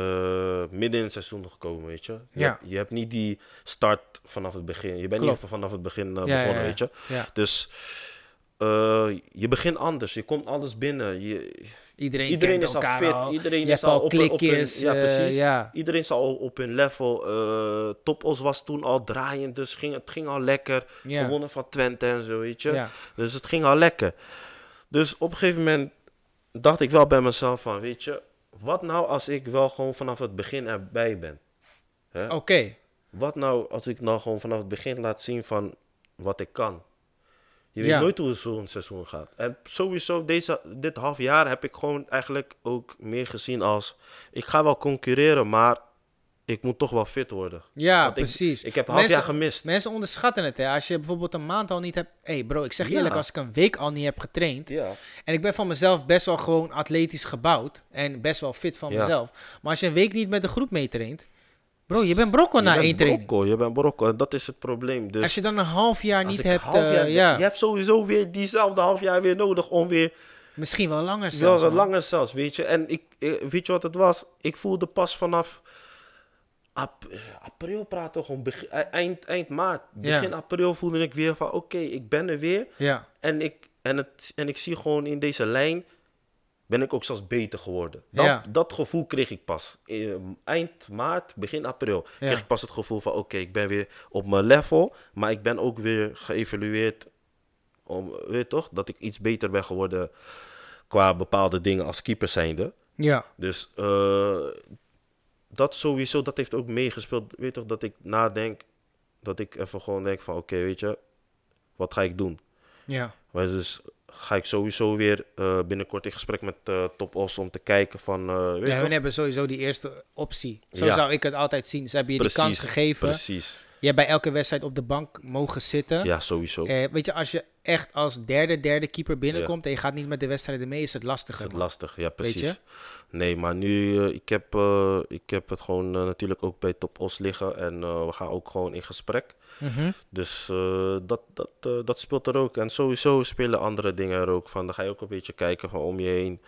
[SPEAKER 3] midden in het seizoen gekomen, weet je. Je,
[SPEAKER 2] Ja.
[SPEAKER 3] hebt, je hebt niet die start vanaf het begin. Je bent
[SPEAKER 2] Klopt.
[SPEAKER 3] niet vanaf het begin eh,
[SPEAKER 2] ja,
[SPEAKER 3] begonnen,
[SPEAKER 2] ja.
[SPEAKER 3] weet je.
[SPEAKER 2] Ja.
[SPEAKER 3] Dus eh, je begint anders. Je komt anders binnen. Je,
[SPEAKER 2] Iedereen,
[SPEAKER 3] Iedereen
[SPEAKER 2] kent
[SPEAKER 3] is al
[SPEAKER 2] elkaar
[SPEAKER 3] fit.
[SPEAKER 2] al.
[SPEAKER 3] Iedereen
[SPEAKER 2] Je
[SPEAKER 3] is
[SPEAKER 2] hebt
[SPEAKER 3] al
[SPEAKER 2] al
[SPEAKER 3] op een- op een-
[SPEAKER 2] klikjes.
[SPEAKER 3] ja,
[SPEAKER 2] eh,
[SPEAKER 3] precies.
[SPEAKER 2] ja.
[SPEAKER 3] Iedereen is al op hun level. eh Topos was toen al draaiend, dus ging, het ging al lekker.
[SPEAKER 2] Ja.
[SPEAKER 3] Gewonnen van Twente en zo, weet je.
[SPEAKER 2] Ja.
[SPEAKER 3] Dus het ging al lekker. Dus op een gegeven moment dacht ik wel bij mezelf van, weet je... Wat nou als ik wel gewoon vanaf het begin erbij ben?
[SPEAKER 2] Oké.
[SPEAKER 3] Wat nou als ik nou gewoon vanaf het begin laat zien van wat ik kan? Je
[SPEAKER 2] Ja.
[SPEAKER 3] weet nooit hoe zo'n seizoen gaat. En sowieso, deze, dit half jaar heb ik gewoon eigenlijk ook meer gezien als... Ik ga wel concurreren, maar ik moet toch wel fit worden.
[SPEAKER 2] Ja,
[SPEAKER 3] Want ik-
[SPEAKER 2] precies.
[SPEAKER 3] ik heb een half jaar gemist.
[SPEAKER 2] Mensen onderschatten het. Hè. Als je bijvoorbeeld een maand al niet hebt... Hé hey bro, ik zeg je
[SPEAKER 3] Ja.
[SPEAKER 2] eerlijk, als ik een week al niet heb getraind...
[SPEAKER 3] Ja,
[SPEAKER 2] En ik ben van mezelf best wel gewoon atletisch gebouwd. En best wel fit van
[SPEAKER 3] Ja.
[SPEAKER 2] mezelf. Maar als je een week niet met de groep meetraint... Bro, je bent brokkel na
[SPEAKER 3] je
[SPEAKER 2] één
[SPEAKER 3] bent
[SPEAKER 2] training.
[SPEAKER 3] Marokko, je bent Marokko. En dat is het probleem. Dus
[SPEAKER 2] Als je dan een half jaar
[SPEAKER 3] als
[SPEAKER 2] niet
[SPEAKER 3] ik
[SPEAKER 2] hebt...
[SPEAKER 3] half jaar-
[SPEAKER 2] eh, ja,
[SPEAKER 3] Je hebt sowieso weer diezelfde half jaar weer nodig om weer...
[SPEAKER 2] Misschien wel langer
[SPEAKER 3] Wel
[SPEAKER 2] zelfs.
[SPEAKER 3] wat
[SPEAKER 2] man.
[SPEAKER 3] langer zelfs, weet je. En ik, eh, weet je wat het was? Ik voelde pas vanaf ap- eh, april praten, we gewoon begin- eh, eind, eind maart.
[SPEAKER 2] Ja.
[SPEAKER 3] Begin april voelde ik weer van, oké, ik ben er weer.
[SPEAKER 2] Ja,
[SPEAKER 3] En ik, en, het, en ik zie gewoon in deze lijn, ben ik ook zelfs beter geworden. Dat,
[SPEAKER 2] Ja.
[SPEAKER 3] dat gevoel kreeg ik pas. Eh, Eind maart, begin april
[SPEAKER 2] Ja.
[SPEAKER 3] kreeg ik pas het gevoel van... oké, ik ben weer op mijn level, maar ik ben ook weer geëvalueerd... Om, weet je toch, dat ik iets beter ben geworden qua bepaalde dingen als keeper zijnde.
[SPEAKER 2] Ja.
[SPEAKER 3] Dus eh, dat sowieso, dat heeft ook meegespeeld. Weet je toch, dat ik nadenk, dat ik even gewoon denk van... oké, weet je, wat ga ik doen?
[SPEAKER 2] Ja.
[SPEAKER 3] Maar dus ga ik sowieso weer eh, binnenkort in gesprek met eh Top Os om te kijken van... eh, weet je
[SPEAKER 2] ja
[SPEAKER 3] toch?
[SPEAKER 2] hun hebben sowieso die eerste optie. Zo
[SPEAKER 3] Ja.
[SPEAKER 2] zou ik het altijd zien. Ze hebben je
[SPEAKER 3] Precies,
[SPEAKER 2] die kans gegeven.
[SPEAKER 3] Precies,
[SPEAKER 2] Je hebt bij elke wedstrijd op de bank mogen zitten.
[SPEAKER 3] ja, sowieso. Dat
[SPEAKER 2] Eh, weet je, als je echt als derde, derde keeper binnenkomt en je gaat niet met de wedstrijden mee, is het
[SPEAKER 3] is
[SPEAKER 2] lastiger.
[SPEAKER 3] het
[SPEAKER 2] man.
[SPEAKER 3] lastig, ja, precies.
[SPEAKER 2] je?
[SPEAKER 3] Nee, maar nu, eh, ik, heb, eh, ik heb het gewoon eh, natuurlijk ook bij Top Os liggen en eh, we gaan ook gewoon in gesprek.
[SPEAKER 2] Mhm.
[SPEAKER 3] Dus eh, dat, dat, eh, dat speelt er ook. En sowieso spelen andere dingen er ook van. Dan ga je ook een beetje kijken van om je heen.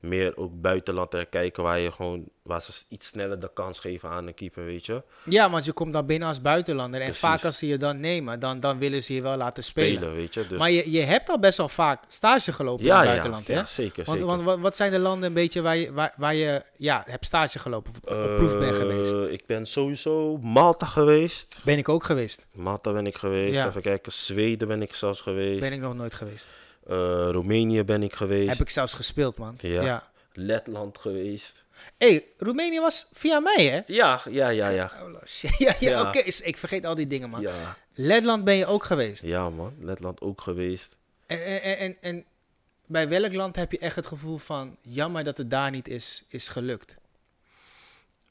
[SPEAKER 3] Meer ook buitenland te kijken waar, je gewoon, waar ze s- iets sneller de kans geven aan een keeper, weet je.
[SPEAKER 2] Ja, want je komt dan binnen als buitenlander. En
[SPEAKER 3] Precies.
[SPEAKER 2] vaak als ze je dan nemen, dan, dan willen ze je wel laten spelen.
[SPEAKER 3] Spelen, weet je. Dus,
[SPEAKER 2] Maar je, je hebt al best wel vaak stage gelopen in
[SPEAKER 3] ja,
[SPEAKER 2] het
[SPEAKER 3] ja,
[SPEAKER 2] buitenland,
[SPEAKER 3] ja,
[SPEAKER 2] hè?
[SPEAKER 3] zeker,
[SPEAKER 2] Want,
[SPEAKER 3] zeker.
[SPEAKER 2] want wa- wat zijn de landen een beetje waar je, waar, waar je ja, hebt stage gelopen of op, op
[SPEAKER 3] Eh,
[SPEAKER 2] proef bent geweest?
[SPEAKER 3] Ik ben sowieso Malta geweest.
[SPEAKER 2] Ben ik ook geweest.
[SPEAKER 3] Malta ben ik geweest.
[SPEAKER 2] Ja.
[SPEAKER 3] Even kijken, Zweden ben ik zelfs geweest.
[SPEAKER 2] Ben ik nog nooit geweest.
[SPEAKER 3] Eh, Roemenië ben ik geweest.
[SPEAKER 2] Heb ik zelfs gespeeld, man.
[SPEAKER 3] Ja.
[SPEAKER 2] Ja.
[SPEAKER 3] Letland geweest.
[SPEAKER 2] hey, Roemenië was via mij, hè?
[SPEAKER 3] Ja, ja, ja, ja.
[SPEAKER 2] Oh, shit. Ja, ja,
[SPEAKER 3] Ja.
[SPEAKER 2] oké. is- Ik vergeet al die dingen, man.
[SPEAKER 3] Ja,
[SPEAKER 2] Letland ben je ook geweest.
[SPEAKER 3] ja man. Letland ook geweest.
[SPEAKER 2] En, en- en, en, en bij welk land heb je echt het gevoel van... jammer dat het daar niet is, is gelukt?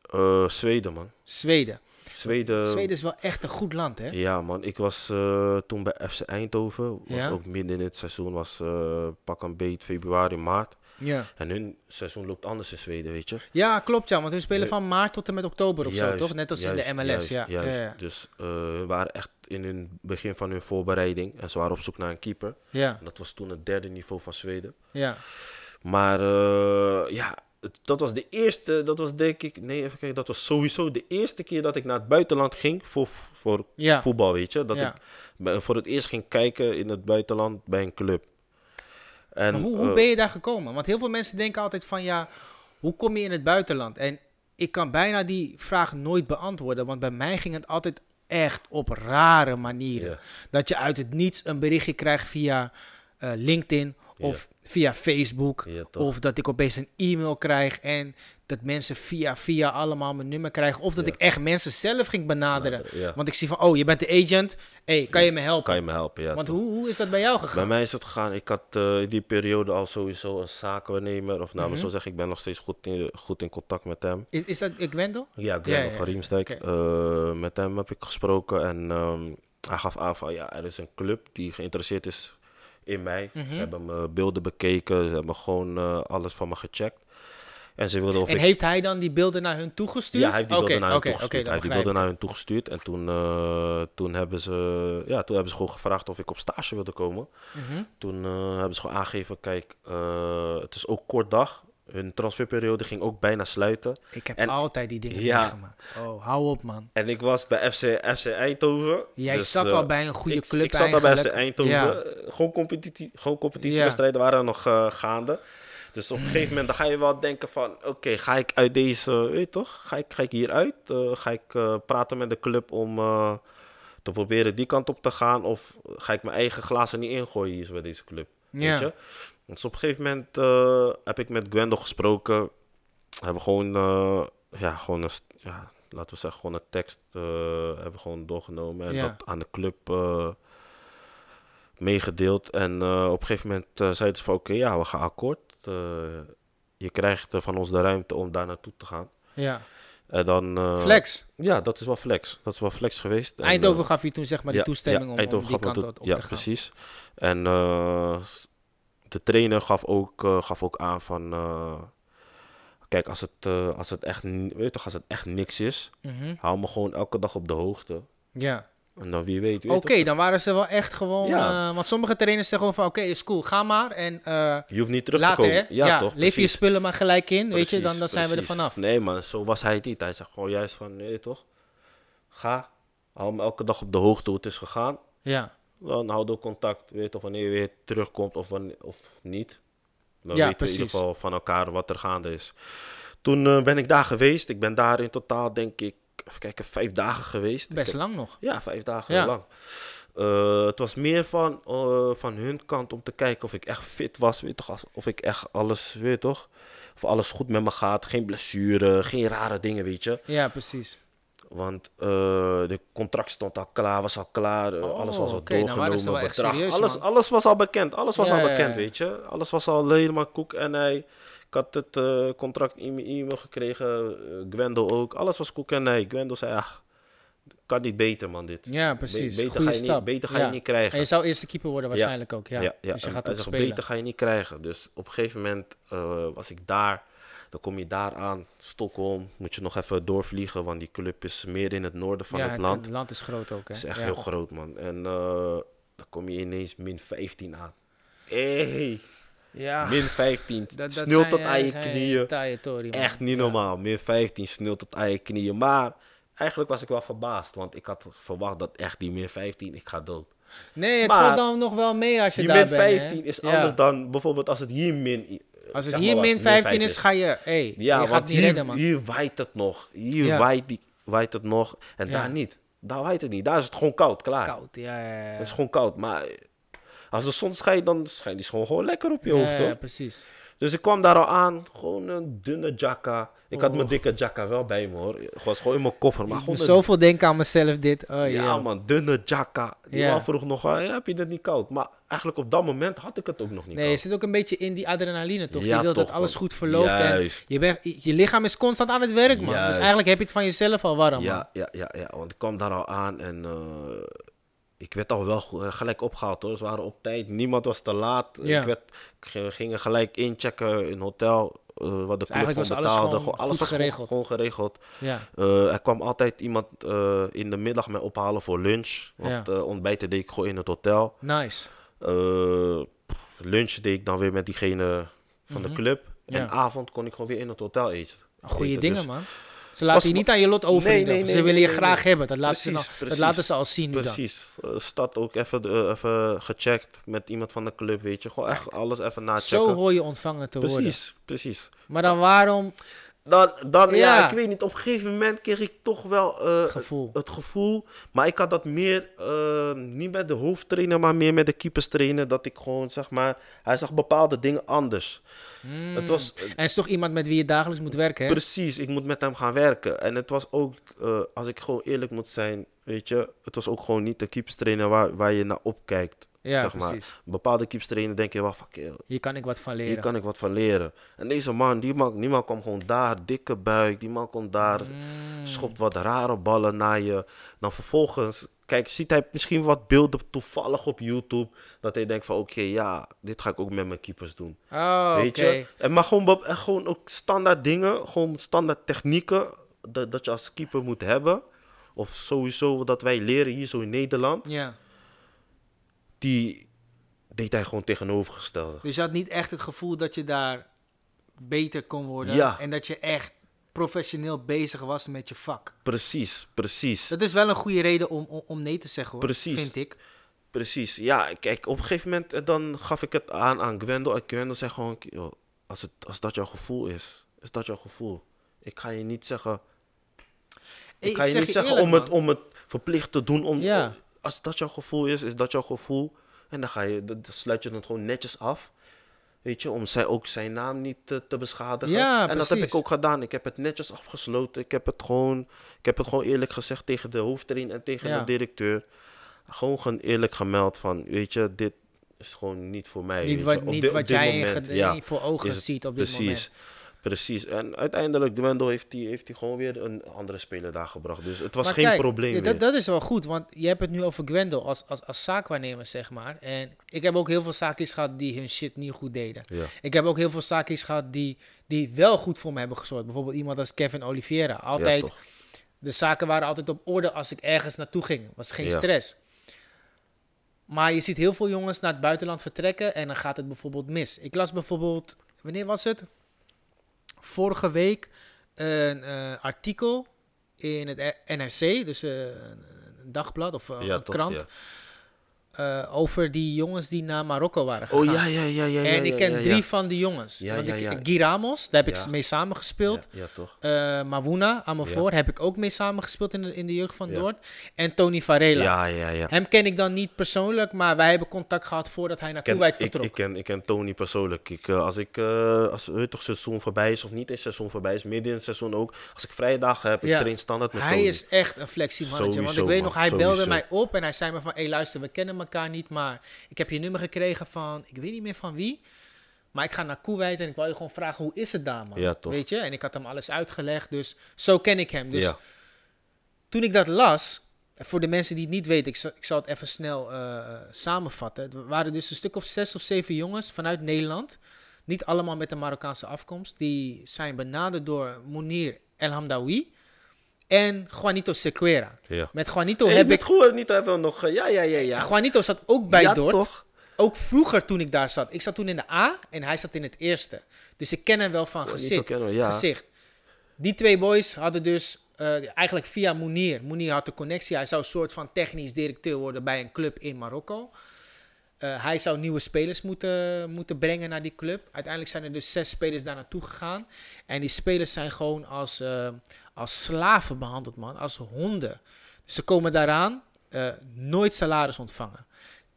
[SPEAKER 3] Eh, Zweden, man.
[SPEAKER 2] Zweden.
[SPEAKER 3] Zweden.
[SPEAKER 2] Zweden is wel echt een goed land, hè?
[SPEAKER 3] Eh, Ja, man. Ik was eh, toen bij FC Eindhoven. Was
[SPEAKER 2] Ja?
[SPEAKER 3] ook midden in het seizoen. Was eh, pak een beet februari, maart.
[SPEAKER 2] Ja.
[SPEAKER 3] En hun seizoen loopt anders in Zweden, weet je.
[SPEAKER 2] Ja, klopt, ja. Want hun spelen
[SPEAKER 3] Nee.
[SPEAKER 2] van maart tot en met oktober of
[SPEAKER 3] Juist,
[SPEAKER 2] zo, toch? Net als
[SPEAKER 3] juist,
[SPEAKER 2] in de MLS,
[SPEAKER 3] juist,
[SPEAKER 2] ja.
[SPEAKER 3] juist.
[SPEAKER 2] Ja, ja.
[SPEAKER 3] Dus eh, we waren echt in hun begin van hun voorbereiding. En ze waren op zoek naar een keeper.
[SPEAKER 2] ja,
[SPEAKER 3] En dat was toen het derde niveau van Zweden.
[SPEAKER 2] ja.
[SPEAKER 3] Maar eh, ja, het- dat was de eerste, dat was denk ik, nee even kijken, dat was sowieso de eerste keer dat ik naar het buitenland ging voor, voor
[SPEAKER 2] Ja.
[SPEAKER 3] voetbal, weet je. Dat
[SPEAKER 2] Ja.
[SPEAKER 3] ik bij- voor het eerst ging kijken in het buitenland bij een club. En,
[SPEAKER 2] Maar hoe, hoe
[SPEAKER 3] eh,
[SPEAKER 2] ben je daar gekomen? Want heel veel mensen denken altijd van, ja, hoe kom je in het buitenland? En ik kan bijna die vraag nooit beantwoorden, want bij mij ging het altijd echt op rare manieren.
[SPEAKER 3] Ja.
[SPEAKER 2] Dat je uit het niets een berichtje krijgt via eh, LinkedIn of via Facebook.
[SPEAKER 3] Ja, toch.
[SPEAKER 2] of dat ik opeens een e-mail krijg en dat mensen via via allemaal mijn nummer krijgen. Of dat
[SPEAKER 3] Ja.
[SPEAKER 2] ik echt mensen zelf ging benaderen.
[SPEAKER 3] Benaderen, ja.
[SPEAKER 2] Want ik zie van, oh, je bent de agent. hey, kan je me helpen?
[SPEAKER 3] kan je me helpen? Ja,
[SPEAKER 2] Want
[SPEAKER 3] toch.
[SPEAKER 2] hoe, hoe is dat bij jou
[SPEAKER 3] Bij
[SPEAKER 2] gegaan?
[SPEAKER 3] mij is het gegaan, ik had eh, in die periode al sowieso een zakenwaarnemer, of nou, maar
[SPEAKER 2] Mhm.
[SPEAKER 3] zo zeg ik, ben nog steeds goed in, goed in contact met hem.
[SPEAKER 2] Is, is dat ik Wendel?
[SPEAKER 3] Ja, Glenn
[SPEAKER 2] Ja, ja,
[SPEAKER 3] van
[SPEAKER 2] ja.
[SPEAKER 3] Riemsdijk.
[SPEAKER 2] Oké.
[SPEAKER 3] Eh, met hem heb ik gesproken en ehm, hij gaf aan van ja, er is een club die geïnteresseerd is in mij.
[SPEAKER 2] Mhm.
[SPEAKER 3] Ze hebben mijn beelden bekeken, ze hebben gewoon eh, alles van me gecheckt. En ze wilden of
[SPEAKER 2] En
[SPEAKER 3] ik...
[SPEAKER 2] heeft hij dan die beelden naar hun toegestuurd?
[SPEAKER 3] Ja, hij heeft die beelden
[SPEAKER 2] Oké,
[SPEAKER 3] naar hen
[SPEAKER 2] oké,
[SPEAKER 3] toegestuurd.
[SPEAKER 2] oké,
[SPEAKER 3] hij heeft die
[SPEAKER 2] dan
[SPEAKER 3] beelden naar hen toegestuurd. En toen, eh, toen, hebben ze, ja, toen hebben ze gewoon gevraagd of ik op stage wilde komen.
[SPEAKER 2] begrijp ik.
[SPEAKER 3] Toen eh, hebben ze gewoon aangegeven, kijk, eh, het is ook kort dag. Hun transferperiode ging ook bijna sluiten.
[SPEAKER 2] Mhm. Ik heb
[SPEAKER 3] En-
[SPEAKER 2] altijd die dingen
[SPEAKER 3] Ja.
[SPEAKER 2] meegemaakt. Oh, hou op man.
[SPEAKER 3] En ik was bij FC, FC Eindhoven.
[SPEAKER 2] Jij
[SPEAKER 3] dus,
[SPEAKER 2] zat
[SPEAKER 3] eh,
[SPEAKER 2] al bij een goede
[SPEAKER 3] ik,
[SPEAKER 2] club
[SPEAKER 3] Ik zat al bij FC
[SPEAKER 2] eigenlijk.
[SPEAKER 3] Eindhoven.
[SPEAKER 2] Ja.
[SPEAKER 3] Eh, Gewoon, competitie, gewoon competitiewedstrijden waren nog eh, gaande. Dus op een gegeven moment dan ga je wel denken van... Oké, ga ik uit deze... Weet je toch? Ga ik, ga ik hieruit? Eh, ga ik eh, praten met de club om... eh, te proberen die kant op te gaan? Of ga ik mijn eigen glazen niet ingooien hier zo bij deze club?
[SPEAKER 2] Ja.
[SPEAKER 3] Weet je? Dus op een gegeven moment eh, heb ik met Gwendel gesproken. Hebben we gewoon, eh, ja, gewoon een, st- ja, laten we zeggen, gewoon een tekst eh, hebben we gewoon doorgenomen. En
[SPEAKER 2] Ja.
[SPEAKER 3] dat aan de club eh, meegedeeld. En eh, op een gegeven moment eh, zeiden ze van, oké, ja, we gaan akkoord. Eh, je krijgt eh, van ons de ruimte om daar naartoe te gaan.
[SPEAKER 2] Ja.
[SPEAKER 3] En dan, eh,
[SPEAKER 2] Flex.
[SPEAKER 3] Ja, dat is wel flex. Dat is wel flex geweest. En, eh,
[SPEAKER 2] Eindhoven gaf je toen zeg maar de
[SPEAKER 3] ja,
[SPEAKER 2] toestemming
[SPEAKER 3] ja,
[SPEAKER 2] om- om,
[SPEAKER 3] Eindhoven
[SPEAKER 2] die
[SPEAKER 3] gaf me
[SPEAKER 2] kant
[SPEAKER 3] toe-
[SPEAKER 2] op
[SPEAKER 3] ja,
[SPEAKER 2] te gaan.
[SPEAKER 3] precies. En eh, s- de trainer gaf ook, eh, gaf ook aan van... eh, kijk, als het, eh, als, het echt, ni- weet je toch, als het echt niks is...
[SPEAKER 2] Mhm.
[SPEAKER 3] hou me gewoon elke dag op de hoogte.
[SPEAKER 2] Ja.
[SPEAKER 3] En dan wie weet... weet
[SPEAKER 2] Oké,
[SPEAKER 3] je toch,
[SPEAKER 2] dan waren ze wel echt gewoon...
[SPEAKER 3] Ja.
[SPEAKER 2] eh, want sommige trainers zeggen gewoon van... Oké, is cool, ga maar. En eh,
[SPEAKER 3] je hoeft niet terug te
[SPEAKER 2] later hè.
[SPEAKER 3] komen. Ja, toch?
[SPEAKER 2] leef je
[SPEAKER 3] precies,
[SPEAKER 2] spullen maar gelijk in. weet je,
[SPEAKER 3] precies,
[SPEAKER 2] dan, dan zijn we er
[SPEAKER 3] precies.
[SPEAKER 2] vanaf.
[SPEAKER 3] Nee, maar zo was hij niet. Hij zei gewoon juist van... Nee, toch? Ga. Hou me elke dag op de hoogte hoe het is gegaan.
[SPEAKER 2] Ja.
[SPEAKER 3] Dan houden we contact. Weet je toch, wanneer je weer terugkomt of, wanneer, of niet. Dan
[SPEAKER 2] Ja,
[SPEAKER 3] weten we in
[SPEAKER 2] precies.
[SPEAKER 3] ieder geval van elkaar wat er gaande is. Toen eh, ben ik daar geweest. Ik ben daar in totaal, denk ik, even kijken, vijf dagen geweest. Ik
[SPEAKER 2] Best
[SPEAKER 3] heb-
[SPEAKER 2] lang nog.
[SPEAKER 3] Ja, vijf dagen
[SPEAKER 2] Ja.
[SPEAKER 3] lang. Eh, het was meer van, eh, van hun kant om te kijken of ik echt fit was, weet toch? als- Of ik echt alles, weet toch? Of alles goed met me gaat. Geen blessure, geen rare dingen, weet je.
[SPEAKER 2] Ja, precies.
[SPEAKER 3] Want eh, de contract stond al klaar, was al klaar, eh,
[SPEAKER 2] Oh,
[SPEAKER 3] alles was al
[SPEAKER 2] oké, nou waren ze wel
[SPEAKER 3] doorgenomen,
[SPEAKER 2] echt
[SPEAKER 3] bedrag,
[SPEAKER 2] serieus,
[SPEAKER 3] alles,
[SPEAKER 2] man.
[SPEAKER 3] alles was al bekend, alles was
[SPEAKER 2] Ja,
[SPEAKER 3] al
[SPEAKER 2] ja,
[SPEAKER 3] bekend,
[SPEAKER 2] ja.
[SPEAKER 3] weet je. Alles was al helemaal koek en hij, ik had het eh, contract in mijn e-mail gekregen, eh, Gwendel ook, alles was koek en hij, Gwendel zei, ach, kan niet beter man dit.
[SPEAKER 2] Ja,
[SPEAKER 3] Be-
[SPEAKER 2] precies.
[SPEAKER 3] beter
[SPEAKER 2] Goeie
[SPEAKER 3] ga je
[SPEAKER 2] stap.
[SPEAKER 3] niet, beter ga
[SPEAKER 2] Ja.
[SPEAKER 3] je niet krijgen.
[SPEAKER 2] En je zou eerste keeper worden waarschijnlijk ook, ja.
[SPEAKER 3] Ja, ja.
[SPEAKER 2] Dus je
[SPEAKER 3] en
[SPEAKER 2] gaat
[SPEAKER 3] hij
[SPEAKER 2] ook
[SPEAKER 3] zegt,
[SPEAKER 2] spelen.
[SPEAKER 3] beter ga je niet krijgen. Dus op een gegeven moment eh, was ik daar. Dan kom je daar aan, Stockholm. Moet je nog even doorvliegen, want die club is meer in het noorden van
[SPEAKER 2] ja,
[SPEAKER 3] het land.
[SPEAKER 2] Het land is groot ook, hè.
[SPEAKER 3] Dat is echt
[SPEAKER 2] ja.
[SPEAKER 3] heel groot, man. En eh, dan kom je ineens min 15 aan. Hey,
[SPEAKER 2] Ja,
[SPEAKER 3] min 15.
[SPEAKER 2] Ah. dat, dat
[SPEAKER 3] Snel
[SPEAKER 2] zijn,
[SPEAKER 3] tot
[SPEAKER 2] eh,
[SPEAKER 3] aan je
[SPEAKER 2] zijn
[SPEAKER 3] knieën.
[SPEAKER 2] taaie tory, man.
[SPEAKER 3] Echt niet normaal. Min 15, snel tot aan je knieën. Maar eigenlijk was ik wel verbaasd, want ik had verwacht dat echt die min 15, ik ga dood.
[SPEAKER 2] Nee, het
[SPEAKER 3] Maar-
[SPEAKER 2] valt dan nog wel mee als je
[SPEAKER 3] Die
[SPEAKER 2] daar
[SPEAKER 3] min
[SPEAKER 2] bent, hè.
[SPEAKER 3] 15 is
[SPEAKER 2] Ja.
[SPEAKER 3] anders dan bijvoorbeeld als het hier min. i- eh,
[SPEAKER 2] Als het
[SPEAKER 3] zeg
[SPEAKER 2] hier
[SPEAKER 3] maar wat,
[SPEAKER 2] min 15 is, ga je... hey,
[SPEAKER 3] Ja,
[SPEAKER 2] je gaat
[SPEAKER 3] want
[SPEAKER 2] niet
[SPEAKER 3] hier,
[SPEAKER 2] redden, man.
[SPEAKER 3] hier waait het nog. Hier
[SPEAKER 2] Ja.
[SPEAKER 3] waait, die, waait het nog. En
[SPEAKER 2] Ja.
[SPEAKER 3] daar niet. Daar waait het niet. Daar is het gewoon koud, klaar.
[SPEAKER 2] Koud, ja, ja, ja.
[SPEAKER 3] Het is gewoon koud. Maar eh, als de zon schijnt, dan schijnt die gewoon, gewoon lekker op je
[SPEAKER 2] Ja, ja,
[SPEAKER 3] hoofd, hoor.
[SPEAKER 2] precies.
[SPEAKER 3] Dus ik kwam daar al aan. Gewoon een dunne jacka. Ik had
[SPEAKER 2] Oh.
[SPEAKER 3] mijn dikke jacka wel bij me, hoor. Het was gewoon in mijn koffer. Maar
[SPEAKER 2] Ik moet
[SPEAKER 3] gewoon een
[SPEAKER 2] zoveel denken aan mezelf dit. Oh,
[SPEAKER 3] ja,
[SPEAKER 2] ja.
[SPEAKER 3] man, dunne jacka. Die
[SPEAKER 2] Ja.
[SPEAKER 3] man vroeg nog, "Hey, heb je dat niet koud? Maar eigenlijk op dat moment had ik het ook nog niet
[SPEAKER 2] Nee, je
[SPEAKER 3] koud.
[SPEAKER 2] zit ook een beetje in die adrenaline, toch?
[SPEAKER 3] Ja,
[SPEAKER 2] je wilt dat
[SPEAKER 3] toch,
[SPEAKER 2] alles
[SPEAKER 3] man.
[SPEAKER 2] goed verloopt. En
[SPEAKER 3] Juist.
[SPEAKER 2] je, bent- je lichaam is constant aan het werk, man. Dus
[SPEAKER 3] Juist.
[SPEAKER 2] eigenlijk heb je het van jezelf al warm, man.
[SPEAKER 3] Ja, ja, ja, ja, want ik kwam daar al aan en eh, ik werd al wel go- eh, gelijk opgehaald hoor. Ze waren op tijd, niemand was te laat. Eh,
[SPEAKER 2] Ja.
[SPEAKER 3] Ik, werd, ik ging- ging er gelijk inchecken in hotel, eh wat de club
[SPEAKER 2] Dus eigenlijk
[SPEAKER 3] gewoon
[SPEAKER 2] was alles
[SPEAKER 3] betaalde.
[SPEAKER 2] gewoon
[SPEAKER 3] Gewoon-
[SPEAKER 2] goed
[SPEAKER 3] alles was gewoon-
[SPEAKER 2] geregeld.
[SPEAKER 3] Gewoon, geregeld.
[SPEAKER 2] Ja.
[SPEAKER 3] Eh, er kwam altijd iemand eh, in de middag mij ophalen voor lunch. Want
[SPEAKER 2] Ja.
[SPEAKER 3] eh, ontbijten deed ik gewoon in het hotel.
[SPEAKER 2] Nice.
[SPEAKER 3] Eh, pff, lunch deed ik dan weer met diegene van de club.
[SPEAKER 2] Mhm. Ja.
[SPEAKER 3] En avond kon ik gewoon weer in het hotel eten.
[SPEAKER 2] Goeie
[SPEAKER 3] eten.
[SPEAKER 2] dingen,
[SPEAKER 3] Dus-
[SPEAKER 2] man. Ze laten je
[SPEAKER 3] was ma-
[SPEAKER 2] niet aan je lot over. in
[SPEAKER 3] Nee,
[SPEAKER 2] ieder
[SPEAKER 3] nee,
[SPEAKER 2] geval. ze
[SPEAKER 3] nee,
[SPEAKER 2] willen je
[SPEAKER 3] nee,
[SPEAKER 2] graag
[SPEAKER 3] nee.
[SPEAKER 2] hebben. Dat laten, ze
[SPEAKER 3] Precies,
[SPEAKER 2] nou- dat
[SPEAKER 3] precies.
[SPEAKER 2] laten ze al zien nu dan.
[SPEAKER 3] Precies. Eh, stad ook even, eh, even gecheckt met iemand van de club, weet je. Gewoon echt alles even
[SPEAKER 2] Zo
[SPEAKER 3] nachecken.
[SPEAKER 2] hoor je ontvangen te worden.
[SPEAKER 3] precies, precies.
[SPEAKER 2] Maar dan waarom?
[SPEAKER 3] Dan, dan ja.
[SPEAKER 2] Ja.
[SPEAKER 3] ik weet niet, op een gegeven moment kreeg ik toch wel eh,
[SPEAKER 2] Gevoel.
[SPEAKER 3] Het, gevoel. Maar ik had dat meer, eh, niet met de hoofdtrainer, maar meer met de keeperstrainer. Dat ik gewoon, zeg maar, hij zag bepaalde dingen anders.
[SPEAKER 2] Hmm.
[SPEAKER 3] Het was,
[SPEAKER 2] En het is toch iemand met wie je dagelijks moet werken, hè?
[SPEAKER 3] Precies, ik moet met hem gaan werken. En het was ook, eh, als ik gewoon eerlijk moet zijn, weet je, het was ook gewoon niet de keeperstrainer waar, waar je naar opkijkt.
[SPEAKER 2] Ja,
[SPEAKER 3] zeg maar.
[SPEAKER 2] precies.
[SPEAKER 3] Bepaalde keeperstrainer denk je wel van, "Kerel,
[SPEAKER 2] Hier kan ik wat van leren.
[SPEAKER 3] hier kan ik wat van leren. En deze man, die man, die man kwam gewoon daar, dikke buik, die man komt daar,
[SPEAKER 2] Mm.
[SPEAKER 3] schopt wat rare ballen naar je. Dan vervolgens, kijk, ziet hij misschien wat beelden toevallig op YouTube, dat hij denkt van, oké, ja, dit ga ik ook met mijn keepers doen.
[SPEAKER 2] Oh, oké.
[SPEAKER 3] Weet je? En maar gewoon, bep- en gewoon ook standaard dingen, gewoon standaard technieken dat, dat je als keeper moet hebben. Of sowieso dat wij leren hier zo in Nederland.
[SPEAKER 2] Ja.
[SPEAKER 3] Die deed hij gewoon tegenovergestelde.
[SPEAKER 2] Dus je had niet echt het gevoel dat je daar beter kon worden.
[SPEAKER 3] Ja.
[SPEAKER 2] En dat je echt professioneel bezig was met je vak.
[SPEAKER 3] Precies, precies,
[SPEAKER 2] Dat is wel een goede reden om, om, om nee te zeggen hoor.
[SPEAKER 3] Precies.
[SPEAKER 2] Vind ik.
[SPEAKER 3] precies. Ja, kijk, op een gegeven moment eh, dan gaf ik het aan aan Gwendel. En Gwendel zei gewoon, "Yo, als, het, als dat jouw gevoel is, is dat jouw gevoel. Ik ga je niet zeggen,
[SPEAKER 2] Hey,
[SPEAKER 3] ik ga je
[SPEAKER 2] zeg
[SPEAKER 3] niet zeggen
[SPEAKER 2] eerlijk,
[SPEAKER 3] om het,
[SPEAKER 2] man.
[SPEAKER 3] om het verplicht te doen. Om,
[SPEAKER 2] Ja.
[SPEAKER 3] om- als dat jouw gevoel is, is dat jouw gevoel. En dan, ga je, dan dan sluit je het gewoon netjes af. Weet je, om zij ook zijn naam niet te, te beschadigen.
[SPEAKER 2] Ja,
[SPEAKER 3] en dat heb
[SPEAKER 2] precies.
[SPEAKER 3] ik ook gedaan. Ik heb het netjes afgesloten. Ik heb het gewoon, ik heb het gewoon eerlijk gezegd tegen de hoofdtrainer en tegen
[SPEAKER 2] Ja.
[SPEAKER 3] de directeur. Gewoon gewoon eerlijk gemeld van, weet je, dit is gewoon niet voor mij.
[SPEAKER 2] Niet
[SPEAKER 3] weet
[SPEAKER 2] wat,
[SPEAKER 3] je. Op
[SPEAKER 2] niet
[SPEAKER 3] dit- op
[SPEAKER 2] wat
[SPEAKER 3] dit
[SPEAKER 2] jij in
[SPEAKER 3] moment,
[SPEAKER 2] ged-
[SPEAKER 3] ja
[SPEAKER 2] in voor ogen
[SPEAKER 3] is het-
[SPEAKER 2] ziet op dit
[SPEAKER 3] precies,
[SPEAKER 2] moment.
[SPEAKER 3] Precies. En uiteindelijk, Gwendel heeft die, heeft die gewoon weer een andere speler daar gebracht. Dus het was
[SPEAKER 2] Maar
[SPEAKER 3] geen
[SPEAKER 2] kijk,
[SPEAKER 3] probleem
[SPEAKER 2] ja,
[SPEAKER 3] meer.
[SPEAKER 2] dat, dat is wel goed, want je hebt het nu over Gwendel als, als, als zaakwaarnemer, zeg maar. En ik heb ook heel veel zaakjes gehad die hun shit niet goed deden.
[SPEAKER 3] Ja.
[SPEAKER 2] Ik heb ook heel veel zaakjes gehad die, die wel goed voor me hebben gezorgd. Bijvoorbeeld iemand als Kevin Oliveira.
[SPEAKER 3] ja,
[SPEAKER 2] Altijd
[SPEAKER 3] toch.
[SPEAKER 2] De zaken waren altijd op orde als ik ergens naartoe ging. Was geen
[SPEAKER 3] Ja.
[SPEAKER 2] stress. Maar je ziet heel veel jongens naar het buitenland vertrekken en dan gaat het bijvoorbeeld mis. Ik las bijvoorbeeld, wanneer was het? Vorige week een eh, artikel in het NRC, dus eh, een dagblad of eh,
[SPEAKER 3] Ja,
[SPEAKER 2] een
[SPEAKER 3] toch,
[SPEAKER 2] krant.
[SPEAKER 3] ja.
[SPEAKER 2] eh, over die jongens die naar Marokko waren gegaan.
[SPEAKER 3] Oh ja, ja, ja, ja.
[SPEAKER 2] en ik ken
[SPEAKER 3] ja,
[SPEAKER 2] drie
[SPEAKER 3] ja.
[SPEAKER 2] van die jongens.
[SPEAKER 3] Ja,
[SPEAKER 2] Want
[SPEAKER 3] ja,
[SPEAKER 2] ik,
[SPEAKER 3] ja.
[SPEAKER 2] Guy Ramos, daar heb ik
[SPEAKER 3] Ja.
[SPEAKER 2] s- mee samengespeeld.
[SPEAKER 3] Ja, ja, toch?
[SPEAKER 2] Eh Mawuna, Amafor, heb ik ook mee samengespeeld in de, in de jeugd van
[SPEAKER 3] Ja.
[SPEAKER 2] Dordt. En Tony Varela.
[SPEAKER 3] Ja, ja, ja.
[SPEAKER 2] Hem ken ik dan niet persoonlijk, maar wij hebben contact gehad voordat hij naar
[SPEAKER 3] Ik ken,
[SPEAKER 2] Kuwait
[SPEAKER 3] ik,
[SPEAKER 2] vertrok.
[SPEAKER 3] ik, ken, ik ken Tony persoonlijk. Ik, eh, als ik, eh, als weet je toch seizoen voorbij is of niet in seizoen voorbij is, midden in het seizoen ook. Als ik vrije dagen heb,
[SPEAKER 2] Ja.
[SPEAKER 3] ik train standaard met
[SPEAKER 2] hij
[SPEAKER 3] Tony.
[SPEAKER 2] is echt een flexie-mannetje. Want ik
[SPEAKER 3] Sowieso,
[SPEAKER 2] weet nog,
[SPEAKER 3] man.
[SPEAKER 2] hij belde
[SPEAKER 3] Sowieso.
[SPEAKER 2] mij op en hij zei me van... Hé, luister, we kennen elkaar niet, maar ik heb je nummer gekregen van... Ik weet niet meer van wie, maar ik ga naar Kuwait en ik wil je gewoon vragen... Hoe is het daar, man?
[SPEAKER 3] Ja, toch.
[SPEAKER 2] Weet je? En ik had hem alles uitgelegd, dus zo ken ik hem. Dus
[SPEAKER 3] Ja.
[SPEAKER 2] toen ik dat las... Voor de mensen die het niet weten, ik zal, ik zal het even snel eh, samenvatten. Het waren dus een stuk of zes of zeven jongens vanuit Nederland. Niet allemaal met een Marokkaanse afkomst. Die zijn benaderd door Mounir El Hamdawi en Juanito Sequeira.
[SPEAKER 3] Ja.
[SPEAKER 2] Met Juanito
[SPEAKER 3] Hey,
[SPEAKER 2] heb
[SPEAKER 3] met
[SPEAKER 2] ik...
[SPEAKER 3] goed niet hebben we nog. eh, Ja, ja, ja, ja.
[SPEAKER 2] Juanito zat ook bij
[SPEAKER 3] ja,
[SPEAKER 2] Dort.
[SPEAKER 3] toch?
[SPEAKER 2] Ook vroeger toen ik daar zat. Ik zat toen in de A en hij zat in het eerste. Dus ik ken hem wel van
[SPEAKER 3] Juanito
[SPEAKER 2] gezicht.
[SPEAKER 3] Oh, kennen we, ja.
[SPEAKER 2] gezicht. Die twee boys hadden dus eh, eigenlijk via Mounir. Mounir had de connectie. Hij zou een soort van technisch directeur worden bij een club in Marokko. Eh, hij zou nieuwe spelers moeten, moeten brengen naar die club. Uiteindelijk zijn er dus zes spelers daar naartoe gegaan. En die spelers zijn gewoon als, eh, als slaven behandeld, man. Als honden. Dus ze komen daaraan, eh, nooit salaris ontvangen.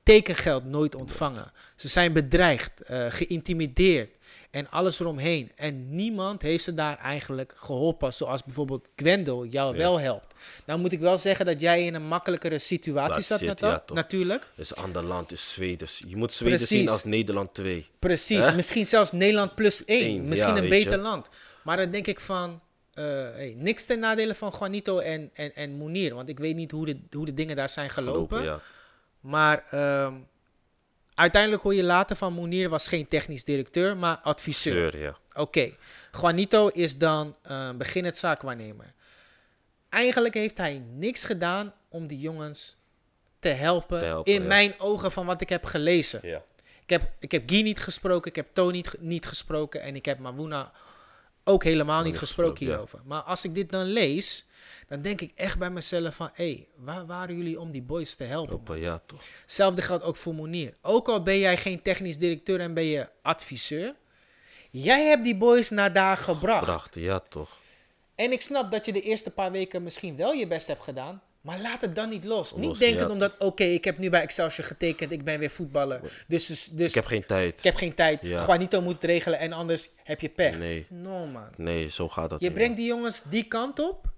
[SPEAKER 2] Tekengeld nooit ontvangen. Ze zijn bedreigd, eh, geïntimideerd. En alles eromheen. En niemand heeft ze daar eigenlijk geholpen. Zoals bijvoorbeeld Gwendel jou wel helpt. Nou moet ik wel zeggen dat jij in een makkelijkere situatie
[SPEAKER 3] Dat
[SPEAKER 2] zat,
[SPEAKER 3] zit,
[SPEAKER 2] Nathan,
[SPEAKER 3] ja, toch.
[SPEAKER 2] natuurlijk.
[SPEAKER 3] Het is een ander land, is Zweden. Dus Je moet Zweden zien
[SPEAKER 2] Precies.
[SPEAKER 3] als Nederland 2.
[SPEAKER 2] Precies, misschien zelfs Nederland plus één.
[SPEAKER 3] Eén,
[SPEAKER 2] misschien
[SPEAKER 3] ja,
[SPEAKER 2] een
[SPEAKER 3] weet
[SPEAKER 2] beter
[SPEAKER 3] je.
[SPEAKER 2] land. Maar dan denk ik van, eh, hey, niks ten nadele van Juanito en, en, en Mounir. Want ik weet niet hoe de, hoe de dingen daar zijn gelopen.
[SPEAKER 3] ja.
[SPEAKER 2] Maar ehm, uiteindelijk hoor je later van Mounir was geen technisch directeur, maar adviseur.
[SPEAKER 3] Zeur, ja.
[SPEAKER 2] Oké, Juanito is dan eh beginnend zaakwaarnemer. Eigenlijk heeft hij niks gedaan om die jongens te helpen,
[SPEAKER 3] Te helpen,
[SPEAKER 2] in
[SPEAKER 3] ja.
[SPEAKER 2] mijn ogen van wat ik heb gelezen.
[SPEAKER 3] ja.
[SPEAKER 2] Ik heb, ik heb Guy niet gesproken, ik heb Tony niet, ge- niet gesproken en ik heb Mawuna ook helemaal niet
[SPEAKER 3] niet
[SPEAKER 2] gesproken,
[SPEAKER 3] gesproken, ja.
[SPEAKER 2] hierover. Maar als ik dit dan lees, dan denk ik echt bij mezelf van... hé, waar waren jullie om die boys te helpen? man?
[SPEAKER 3] Hoppa, ja, toch?
[SPEAKER 2] Hetzelfde geldt ook voor Monier. Ook al ben jij geen technisch directeur en ben je adviseur... jij hebt die boys naar daar gebracht.
[SPEAKER 3] Prachtig, ja, toch?
[SPEAKER 2] En ik snap dat je de eerste paar weken misschien wel je best hebt gedaan... Maar laat het dan niet los. niet
[SPEAKER 3] Los,
[SPEAKER 2] denken
[SPEAKER 3] ja.
[SPEAKER 2] omdat, oké, ik heb nu bij Excelsior getekend, ik ben weer voetballer. Dus, dus
[SPEAKER 3] Ik heb geen tijd.
[SPEAKER 2] ik heb geen tijd.
[SPEAKER 3] Ja.
[SPEAKER 2] Juanito moet het regelen en anders heb je pech.
[SPEAKER 3] Nee.
[SPEAKER 2] No, man.
[SPEAKER 3] Nee, zo gaat dat
[SPEAKER 2] Je
[SPEAKER 3] niet.
[SPEAKER 2] brengt die jongens die kant op.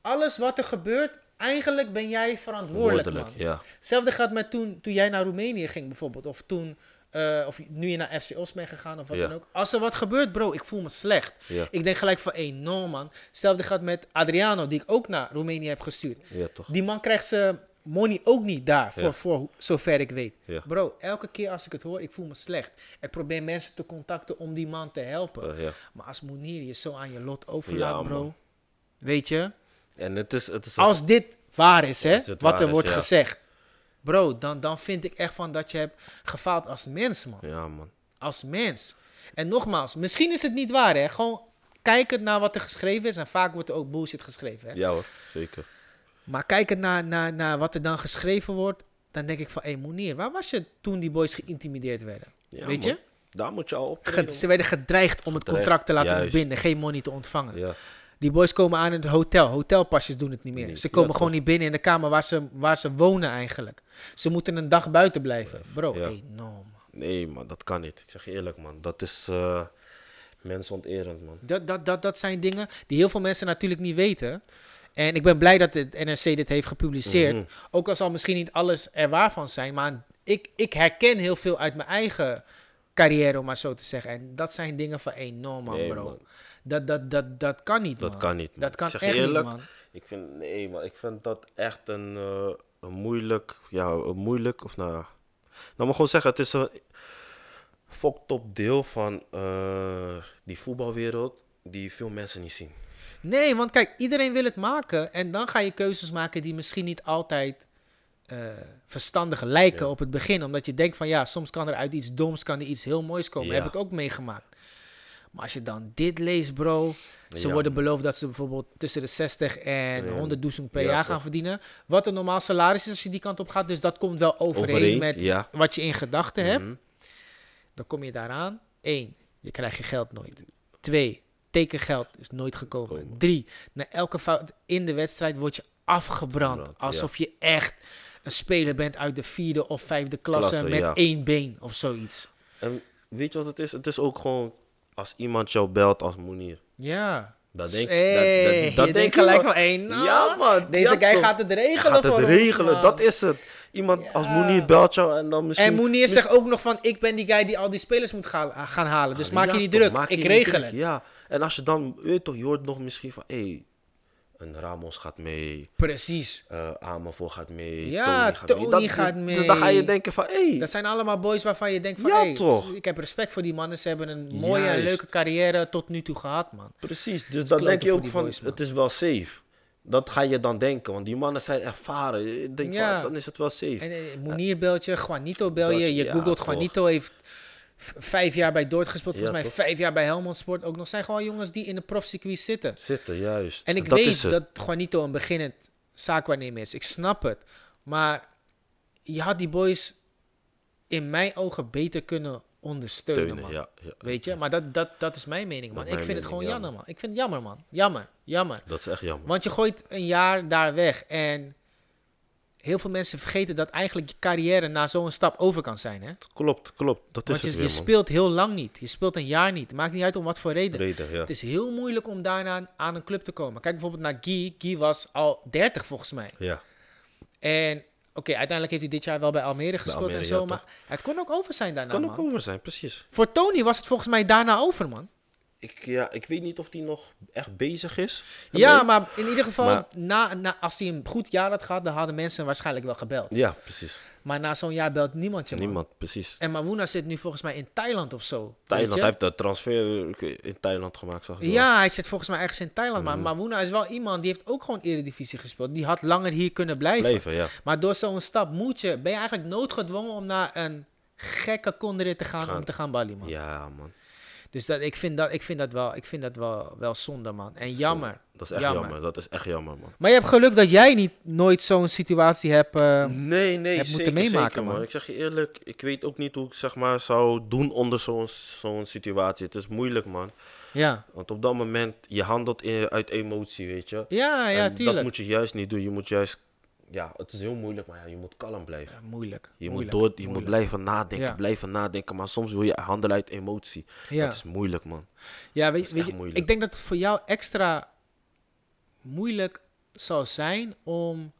[SPEAKER 2] Alles wat er gebeurt, eigenlijk ben jij verantwoordelijk, man.
[SPEAKER 3] Verantwoordelijk, ja.
[SPEAKER 2] Hetzelfde gaat met toen, toen jij naar Roemenië ging bijvoorbeeld. Of toen... eh, of nu je naar FC Os bent gegaan of wat
[SPEAKER 3] Ja.
[SPEAKER 2] dan ook. Als er wat gebeurt, bro, ik voel me slecht.
[SPEAKER 3] Ja.
[SPEAKER 2] Ik denk gelijk van, hé, no man. Hetzelfde gaat met Adriano, die ik ook naar Roemenië heb gestuurd.
[SPEAKER 3] Ja, toch?
[SPEAKER 2] Die man krijgt zijn money ook niet daar, voor, voor ho- zover ik weet.
[SPEAKER 3] Ja.
[SPEAKER 2] Bro, elke keer als ik het hoor, ik voel me slecht. Ik probeer mensen te contacten om die man te helpen.
[SPEAKER 3] Eh, ja.
[SPEAKER 2] Maar als Mounir je zo aan je lot overlaat,
[SPEAKER 3] Ja,
[SPEAKER 2] bro.
[SPEAKER 3] man.
[SPEAKER 2] Weet je,
[SPEAKER 3] En het is, het is een-
[SPEAKER 2] als dit waar is, hè,
[SPEAKER 3] Als dit
[SPEAKER 2] wat
[SPEAKER 3] waar
[SPEAKER 2] er
[SPEAKER 3] is,
[SPEAKER 2] wordt
[SPEAKER 3] ja.
[SPEAKER 2] gezegd. Bro, dan, dan vind ik echt van dat je hebt gefaald als mens, man.
[SPEAKER 3] Ja, man.
[SPEAKER 2] Als mens. En nogmaals, misschien is het niet waar, hè. Gewoon kijkend naar wat er geschreven is. En vaak wordt er ook bullshit geschreven, hè.
[SPEAKER 3] Ja, hoor. Zeker.
[SPEAKER 2] Maar kijkend naar, naar, naar wat er dan geschreven wordt, dan denk ik van, hé hey, Moenier, waar was je toen die boys geïntimideerd werden?
[SPEAKER 3] Ja,
[SPEAKER 2] Weet
[SPEAKER 3] man.
[SPEAKER 2] je?
[SPEAKER 3] Daar moet je al op.
[SPEAKER 2] Ge- ze werden gedreigd om het
[SPEAKER 3] Gedreigd,
[SPEAKER 2] contract te laten
[SPEAKER 3] juist.
[SPEAKER 2] ontbinden, geen money te ontvangen.
[SPEAKER 3] Ja.
[SPEAKER 2] Die boys komen aan in het hotel. Hotelpasjes doen het niet meer.
[SPEAKER 3] Niet,
[SPEAKER 2] Ze
[SPEAKER 3] ja,
[SPEAKER 2] komen
[SPEAKER 3] toch.
[SPEAKER 2] gewoon niet binnen in de kamer waar ze, waar ze wonen eigenlijk. Ze moeten een dag buiten blijven. Bro,
[SPEAKER 3] ja.
[SPEAKER 2] hey, no man.
[SPEAKER 3] Nee, man, dat kan niet. Ik zeg je eerlijk, man. Dat is eh mensonterend, man.
[SPEAKER 2] Dat, dat, dat, dat zijn dingen die heel veel mensen natuurlijk niet weten. En ik ben blij dat het NRC dit heeft gepubliceerd.
[SPEAKER 3] Mhm.
[SPEAKER 2] Ook al zal misschien niet alles er waar van zijn. Maar ik, ik herken heel veel uit mijn eigen carrière, om maar zo te zeggen. En dat zijn dingen van enorm, man,
[SPEAKER 3] Nee,
[SPEAKER 2] bro.
[SPEAKER 3] man.
[SPEAKER 2] Dat, dat, dat, dat kan niet,
[SPEAKER 3] Dat
[SPEAKER 2] man.
[SPEAKER 3] kan niet. Man.
[SPEAKER 2] Dat kan
[SPEAKER 3] ik zeg je
[SPEAKER 2] echt
[SPEAKER 3] eerlijk,
[SPEAKER 2] niet, man.
[SPEAKER 3] Ik vind, nee, maar ik vind dat echt een, eh, een moeilijk, ja, een moeilijk, of nou, ja. nou maar gewoon zeggen, het is een fucked up deel van eh, die voetbalwereld die veel mensen niet zien.
[SPEAKER 2] Nee, want kijk, iedereen wil het maken. En dan ga je keuzes maken die misschien niet altijd eh, verstandig lijken op het begin. Omdat je denkt van ja, soms kan er uit iets doms kan er iets heel moois komen.
[SPEAKER 3] Ja.
[SPEAKER 2] Heb ik ook meegemaakt. Maar als je dan dit leest, bro. Ze
[SPEAKER 3] Ja.
[SPEAKER 2] worden beloofd dat ze bijvoorbeeld tussen de 60 en
[SPEAKER 3] Ja.
[SPEAKER 2] 100 doezend per
[SPEAKER 3] Ja,
[SPEAKER 2] jaar
[SPEAKER 3] toch.
[SPEAKER 2] gaan verdienen. Wat een normaal salaris is als je die kant op gaat. Dus dat komt wel overeen,
[SPEAKER 3] Overeen,
[SPEAKER 2] met
[SPEAKER 3] ja.
[SPEAKER 2] wat je in gedachten hebt.
[SPEAKER 3] Mhm.
[SPEAKER 2] Dan kom je daaraan. 1. Je krijgt je geld nooit. 2. Tekengeld is nooit gekomen.
[SPEAKER 3] Komen.
[SPEAKER 2] 3. Na elke fout in de wedstrijd word je afgebrand.
[SPEAKER 3] Afgebrand, ja.
[SPEAKER 2] Alsof je echt een speler bent uit de vierde of vijfde klasse,
[SPEAKER 3] Klasse,
[SPEAKER 2] met
[SPEAKER 3] ja.
[SPEAKER 2] één been of zoiets.
[SPEAKER 3] En weet je wat het is? Het is ook gewoon als iemand jou belt als Moenier.
[SPEAKER 2] Ja.
[SPEAKER 3] Dat
[SPEAKER 2] S-
[SPEAKER 3] denk,
[SPEAKER 2] hey,
[SPEAKER 3] dat, dat,
[SPEAKER 2] je
[SPEAKER 3] dat
[SPEAKER 2] denkt
[SPEAKER 3] denk je
[SPEAKER 2] gelijk
[SPEAKER 3] wel.
[SPEAKER 2] wel één. nou,
[SPEAKER 3] ja, man.
[SPEAKER 2] Deze
[SPEAKER 3] ja,
[SPEAKER 2] guy
[SPEAKER 3] toch.
[SPEAKER 2] gaat het
[SPEAKER 3] Hij
[SPEAKER 2] regelen
[SPEAKER 3] gaat het
[SPEAKER 2] voor
[SPEAKER 3] regelen,
[SPEAKER 2] ons, man.
[SPEAKER 3] dat is het. Iemand als Moenier belt jou en dan misschien...
[SPEAKER 2] En Moenier zegt ook nog van, ik ben die guy die al die spelers moet gaan, gaan halen. Dus maak
[SPEAKER 3] Ja,
[SPEAKER 2] je niet
[SPEAKER 3] toch,
[SPEAKER 2] druk,
[SPEAKER 3] maak je
[SPEAKER 2] ik
[SPEAKER 3] niet
[SPEAKER 2] regel
[SPEAKER 3] druk,
[SPEAKER 2] het.
[SPEAKER 3] Ja, en als je dan, weet je toch, je hoort nog misschien van... Hé, hey, een Ramos gaat mee,
[SPEAKER 2] Precies.
[SPEAKER 3] eh Amevo gaat mee,
[SPEAKER 2] Ja,
[SPEAKER 3] Tony gaat
[SPEAKER 2] Tony
[SPEAKER 3] mee.
[SPEAKER 2] gaat
[SPEAKER 3] Dat- Dus dan ga je
[SPEAKER 2] mee.
[SPEAKER 3] denken van... Hé,
[SPEAKER 2] Dat zijn allemaal boys waarvan je denkt van,
[SPEAKER 3] Ja,
[SPEAKER 2] hey,
[SPEAKER 3] toch.
[SPEAKER 2] ik heb respect voor die mannen. Ze hebben een mooie en
[SPEAKER 3] Juist.
[SPEAKER 2] leuke carrière tot nu toe gehad, man.
[SPEAKER 3] Precies, dus dan
[SPEAKER 2] kloten
[SPEAKER 3] denk je
[SPEAKER 2] voor
[SPEAKER 3] ook
[SPEAKER 2] die
[SPEAKER 3] van,
[SPEAKER 2] boys, man.
[SPEAKER 3] het is wel safe. Dat ga je dan denken, want die mannen zijn ervaren. Ik denk
[SPEAKER 2] Ja.
[SPEAKER 3] van, dan is het wel safe.
[SPEAKER 2] En eh, Moenier belt je, Juanito bel
[SPEAKER 3] Dat-
[SPEAKER 2] je. Je
[SPEAKER 3] ja,
[SPEAKER 2] googelt
[SPEAKER 3] toch.
[SPEAKER 2] Juanito heeft v- vijf jaar bij Dordt gespeeld. Volgens
[SPEAKER 3] Ja,
[SPEAKER 2] mij
[SPEAKER 3] toch.
[SPEAKER 2] vijf jaar bij Helmond Sport ook nog. zijn gewoon jongens die in de profcircuit zitten.
[SPEAKER 3] Zitten, juist.
[SPEAKER 2] En ik
[SPEAKER 3] dat is
[SPEAKER 2] weet
[SPEAKER 3] het.
[SPEAKER 2] dat Juanito een beginnend zaakwaarnemer is. Ik snap het. Maar je had die boys in mijn ogen beter kunnen ondersteunen,
[SPEAKER 3] Steunen,
[SPEAKER 2] man.
[SPEAKER 3] ja, ja.
[SPEAKER 2] Weet je? Maar dat, dat, dat is mijn mening, man.
[SPEAKER 3] Dat
[SPEAKER 2] Ik
[SPEAKER 3] is
[SPEAKER 2] vind
[SPEAKER 3] mijn
[SPEAKER 2] het gewoon
[SPEAKER 3] mening,
[SPEAKER 2] jammer, man. Ik vind het jammer, man. Jammer, jammer.
[SPEAKER 3] Dat is echt jammer.
[SPEAKER 2] Want je gooit een jaar daar weg. En heel veel mensen vergeten dat eigenlijk je carrière na zo'n stap over kan zijn, hè?
[SPEAKER 3] klopt, klopt. Dat is
[SPEAKER 2] Want
[SPEAKER 3] het
[SPEAKER 2] je,
[SPEAKER 3] weer,
[SPEAKER 2] je
[SPEAKER 3] man.
[SPEAKER 2] speelt heel lang niet. Je speelt een jaar niet. Maakt niet uit om wat voor reden.
[SPEAKER 3] Reden, ja.
[SPEAKER 2] Het is heel moeilijk om daarna aan een club te komen. Kijk bijvoorbeeld naar Guy. Guy was al 30 volgens mij.
[SPEAKER 3] ja.
[SPEAKER 2] En oké, uiteindelijk heeft hij dit jaar wel bij Almere gespeeld
[SPEAKER 3] Almere,
[SPEAKER 2] en zo.
[SPEAKER 3] ja,
[SPEAKER 2] maar het kon ook over zijn daarna,
[SPEAKER 3] Kan
[SPEAKER 2] man.
[SPEAKER 3] ook over zijn, precies.
[SPEAKER 2] Voor Tony was het volgens mij daarna over, man.
[SPEAKER 3] Ik, ja, ik weet niet of die nog echt bezig is.
[SPEAKER 2] ja,
[SPEAKER 3] Nee.
[SPEAKER 2] maar in ieder geval,
[SPEAKER 3] Maar-
[SPEAKER 2] na, na, als hij een goed jaar had gehad, dan hadden mensen waarschijnlijk wel gebeld.
[SPEAKER 3] Ja, precies.
[SPEAKER 2] Maar na zo'n jaar belt niemand je, man.
[SPEAKER 3] Niemand, precies.
[SPEAKER 2] En Mawuna zit nu volgens mij in Thailand of zo. weet
[SPEAKER 3] Thailand,
[SPEAKER 2] je?
[SPEAKER 3] hij heeft dat transfer eh, in Thailand gemaakt, zag ik wel.
[SPEAKER 2] Ja, hij zit volgens mij ergens in Thailand.
[SPEAKER 3] Mm.
[SPEAKER 2] Maar Mawuna is wel iemand die heeft ook gewoon Eredivisie gespeeld. Die had langer hier kunnen blijven.
[SPEAKER 3] Leven, ja.
[SPEAKER 2] Maar door zo'n stap moet je, ben je eigenlijk noodgedwongen om naar een gekke conderit te gaan, om
[SPEAKER 3] Gaan.
[SPEAKER 2] te gaan ballen, man.
[SPEAKER 3] Ja, man.
[SPEAKER 2] Dus dat, ik, vind dat, ik vind dat, wel, ik vind dat wel, wel zonde, man. En jammer.
[SPEAKER 3] Dat is echt
[SPEAKER 2] Jammer.
[SPEAKER 3] jammer. Dat is echt jammer, man.
[SPEAKER 2] Maar je hebt geluk dat jij niet nooit zo'n situatie hebt. eh,
[SPEAKER 3] Nee, nee,
[SPEAKER 2] hebt moeten
[SPEAKER 3] zeker,
[SPEAKER 2] meemaken,
[SPEAKER 3] zeker, man.
[SPEAKER 2] man.
[SPEAKER 3] Ik zeg je eerlijk, ik weet ook niet hoe ik zeg maar zou doen onder zo'n zo'n situatie. Het is moeilijk, man.
[SPEAKER 2] ja.
[SPEAKER 3] Want op dat moment, je handelt in- uit emotie, weet je.
[SPEAKER 2] ja, ja,
[SPEAKER 3] En
[SPEAKER 2] tuurlijk.
[SPEAKER 3] Dat moet je juist niet doen. Je moet juist, ja, het is heel moeilijk, maar ja, je moet kalm blijven.
[SPEAKER 2] Moeilijk.
[SPEAKER 3] Je,
[SPEAKER 2] moeilijk,
[SPEAKER 3] moet, door, je moet
[SPEAKER 2] moeilijk.
[SPEAKER 3] blijven nadenken,
[SPEAKER 2] Ja.
[SPEAKER 3] blijven nadenken. Maar soms wil je handelen uit emotie.
[SPEAKER 2] Ja.
[SPEAKER 3] Dat is moeilijk, man.
[SPEAKER 2] Ja, weet,
[SPEAKER 3] is
[SPEAKER 2] weet
[SPEAKER 3] echt
[SPEAKER 2] je,
[SPEAKER 3] moeilijk.
[SPEAKER 2] ik denk dat het voor jou extra moeilijk zal zijn om.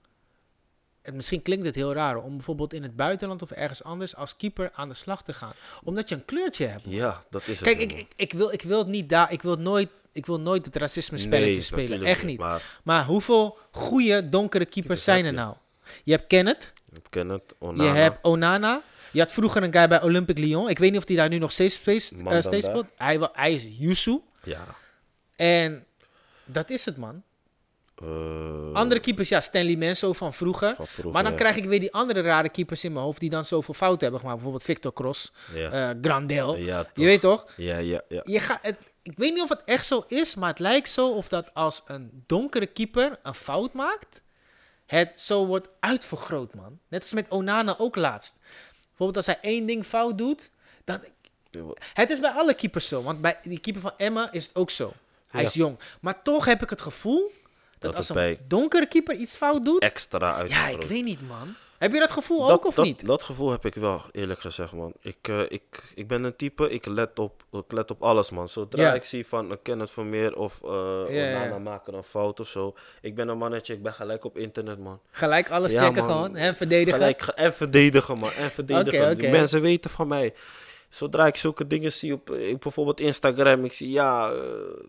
[SPEAKER 2] En misschien klinkt het heel raar om bijvoorbeeld in het buitenland of ergens anders als keeper aan de slag te gaan. Omdat je een kleurtje hebt.
[SPEAKER 3] Ja, dat is
[SPEAKER 2] Kijk,
[SPEAKER 3] het.
[SPEAKER 2] ik, ik, ik, wil, ik wil het niet daar. Ik wil nooit, ik wil nooit het racisme spelletje spelen. Echt niet. Maar,
[SPEAKER 3] Maar
[SPEAKER 2] hoeveel goede donkere keepers zijn er
[SPEAKER 3] heb je?
[SPEAKER 2] nou? Je hebt Kenneth,
[SPEAKER 3] ik ken het.
[SPEAKER 2] je hebt Onana. Je had vroeger een guy bij Olympique Lyon. Ik weet niet of hij daar nu nog steeds, steeds, eh,
[SPEAKER 3] Mandanda.
[SPEAKER 2] steeds speelt. Hij, wa- hij is Yusu.
[SPEAKER 3] Ja.
[SPEAKER 2] En dat is het, man.
[SPEAKER 3] eh,
[SPEAKER 2] Andere keepers, ja, Stanley Menso van vroeger.
[SPEAKER 3] Van vroeger,
[SPEAKER 2] maar dan
[SPEAKER 3] ja.
[SPEAKER 2] krijg ik weer die andere rare keepers in mijn hoofd die dan zoveel fouten hebben gemaakt. Bijvoorbeeld Victor Cross,
[SPEAKER 3] Ja.
[SPEAKER 2] eh, Grandel.
[SPEAKER 3] Ja, toch.
[SPEAKER 2] je weet toch?
[SPEAKER 3] ja, ja, ja.
[SPEAKER 2] Je gaat het, ik weet niet of het echt zo is, maar het lijkt zo of dat als een donkere keeper een fout maakt, het zo wordt uitvergroot, man. Net als met Onana ook laatst. Bijvoorbeeld als hij één ding fout doet, dan het is bij alle keepers zo. Want bij die keeper van Emma is het ook zo. Hij
[SPEAKER 3] Ja.
[SPEAKER 2] is jong. Maar toch heb ik het gevoel dat,
[SPEAKER 3] Dat
[SPEAKER 2] als een
[SPEAKER 3] het bij-
[SPEAKER 2] donkere keeper iets fout doet...
[SPEAKER 3] Extra uit.
[SPEAKER 2] ja, ik weet niet, man. Heb je dat gevoel
[SPEAKER 3] dat,
[SPEAKER 2] ook of
[SPEAKER 3] dat,
[SPEAKER 2] niet?
[SPEAKER 3] Dat gevoel heb ik wel, eerlijk gezegd, man. Ik, eh, ik, ik ben een type, ik let op, ik let op alles, man. Zodra
[SPEAKER 2] Ja.
[SPEAKER 3] ik zie van een Kenneth Vermeer of eh
[SPEAKER 2] ja.
[SPEAKER 3] Onana maken een fout of zo. Ik ben een mannetje, ik ben gelijk op internet, man.
[SPEAKER 2] Gelijk alles
[SPEAKER 3] Ja,
[SPEAKER 2] checken
[SPEAKER 3] man.
[SPEAKER 2] gewoon. En verdedigen.
[SPEAKER 3] Gelijk ge- en verdedigen, man. En verdedigen.
[SPEAKER 2] Oké,
[SPEAKER 3] Die
[SPEAKER 2] oké.
[SPEAKER 3] mensen weten van mij. Zodra ik zulke dingen zie op eh, ik bijvoorbeeld Instagram, ik zie ja, eh,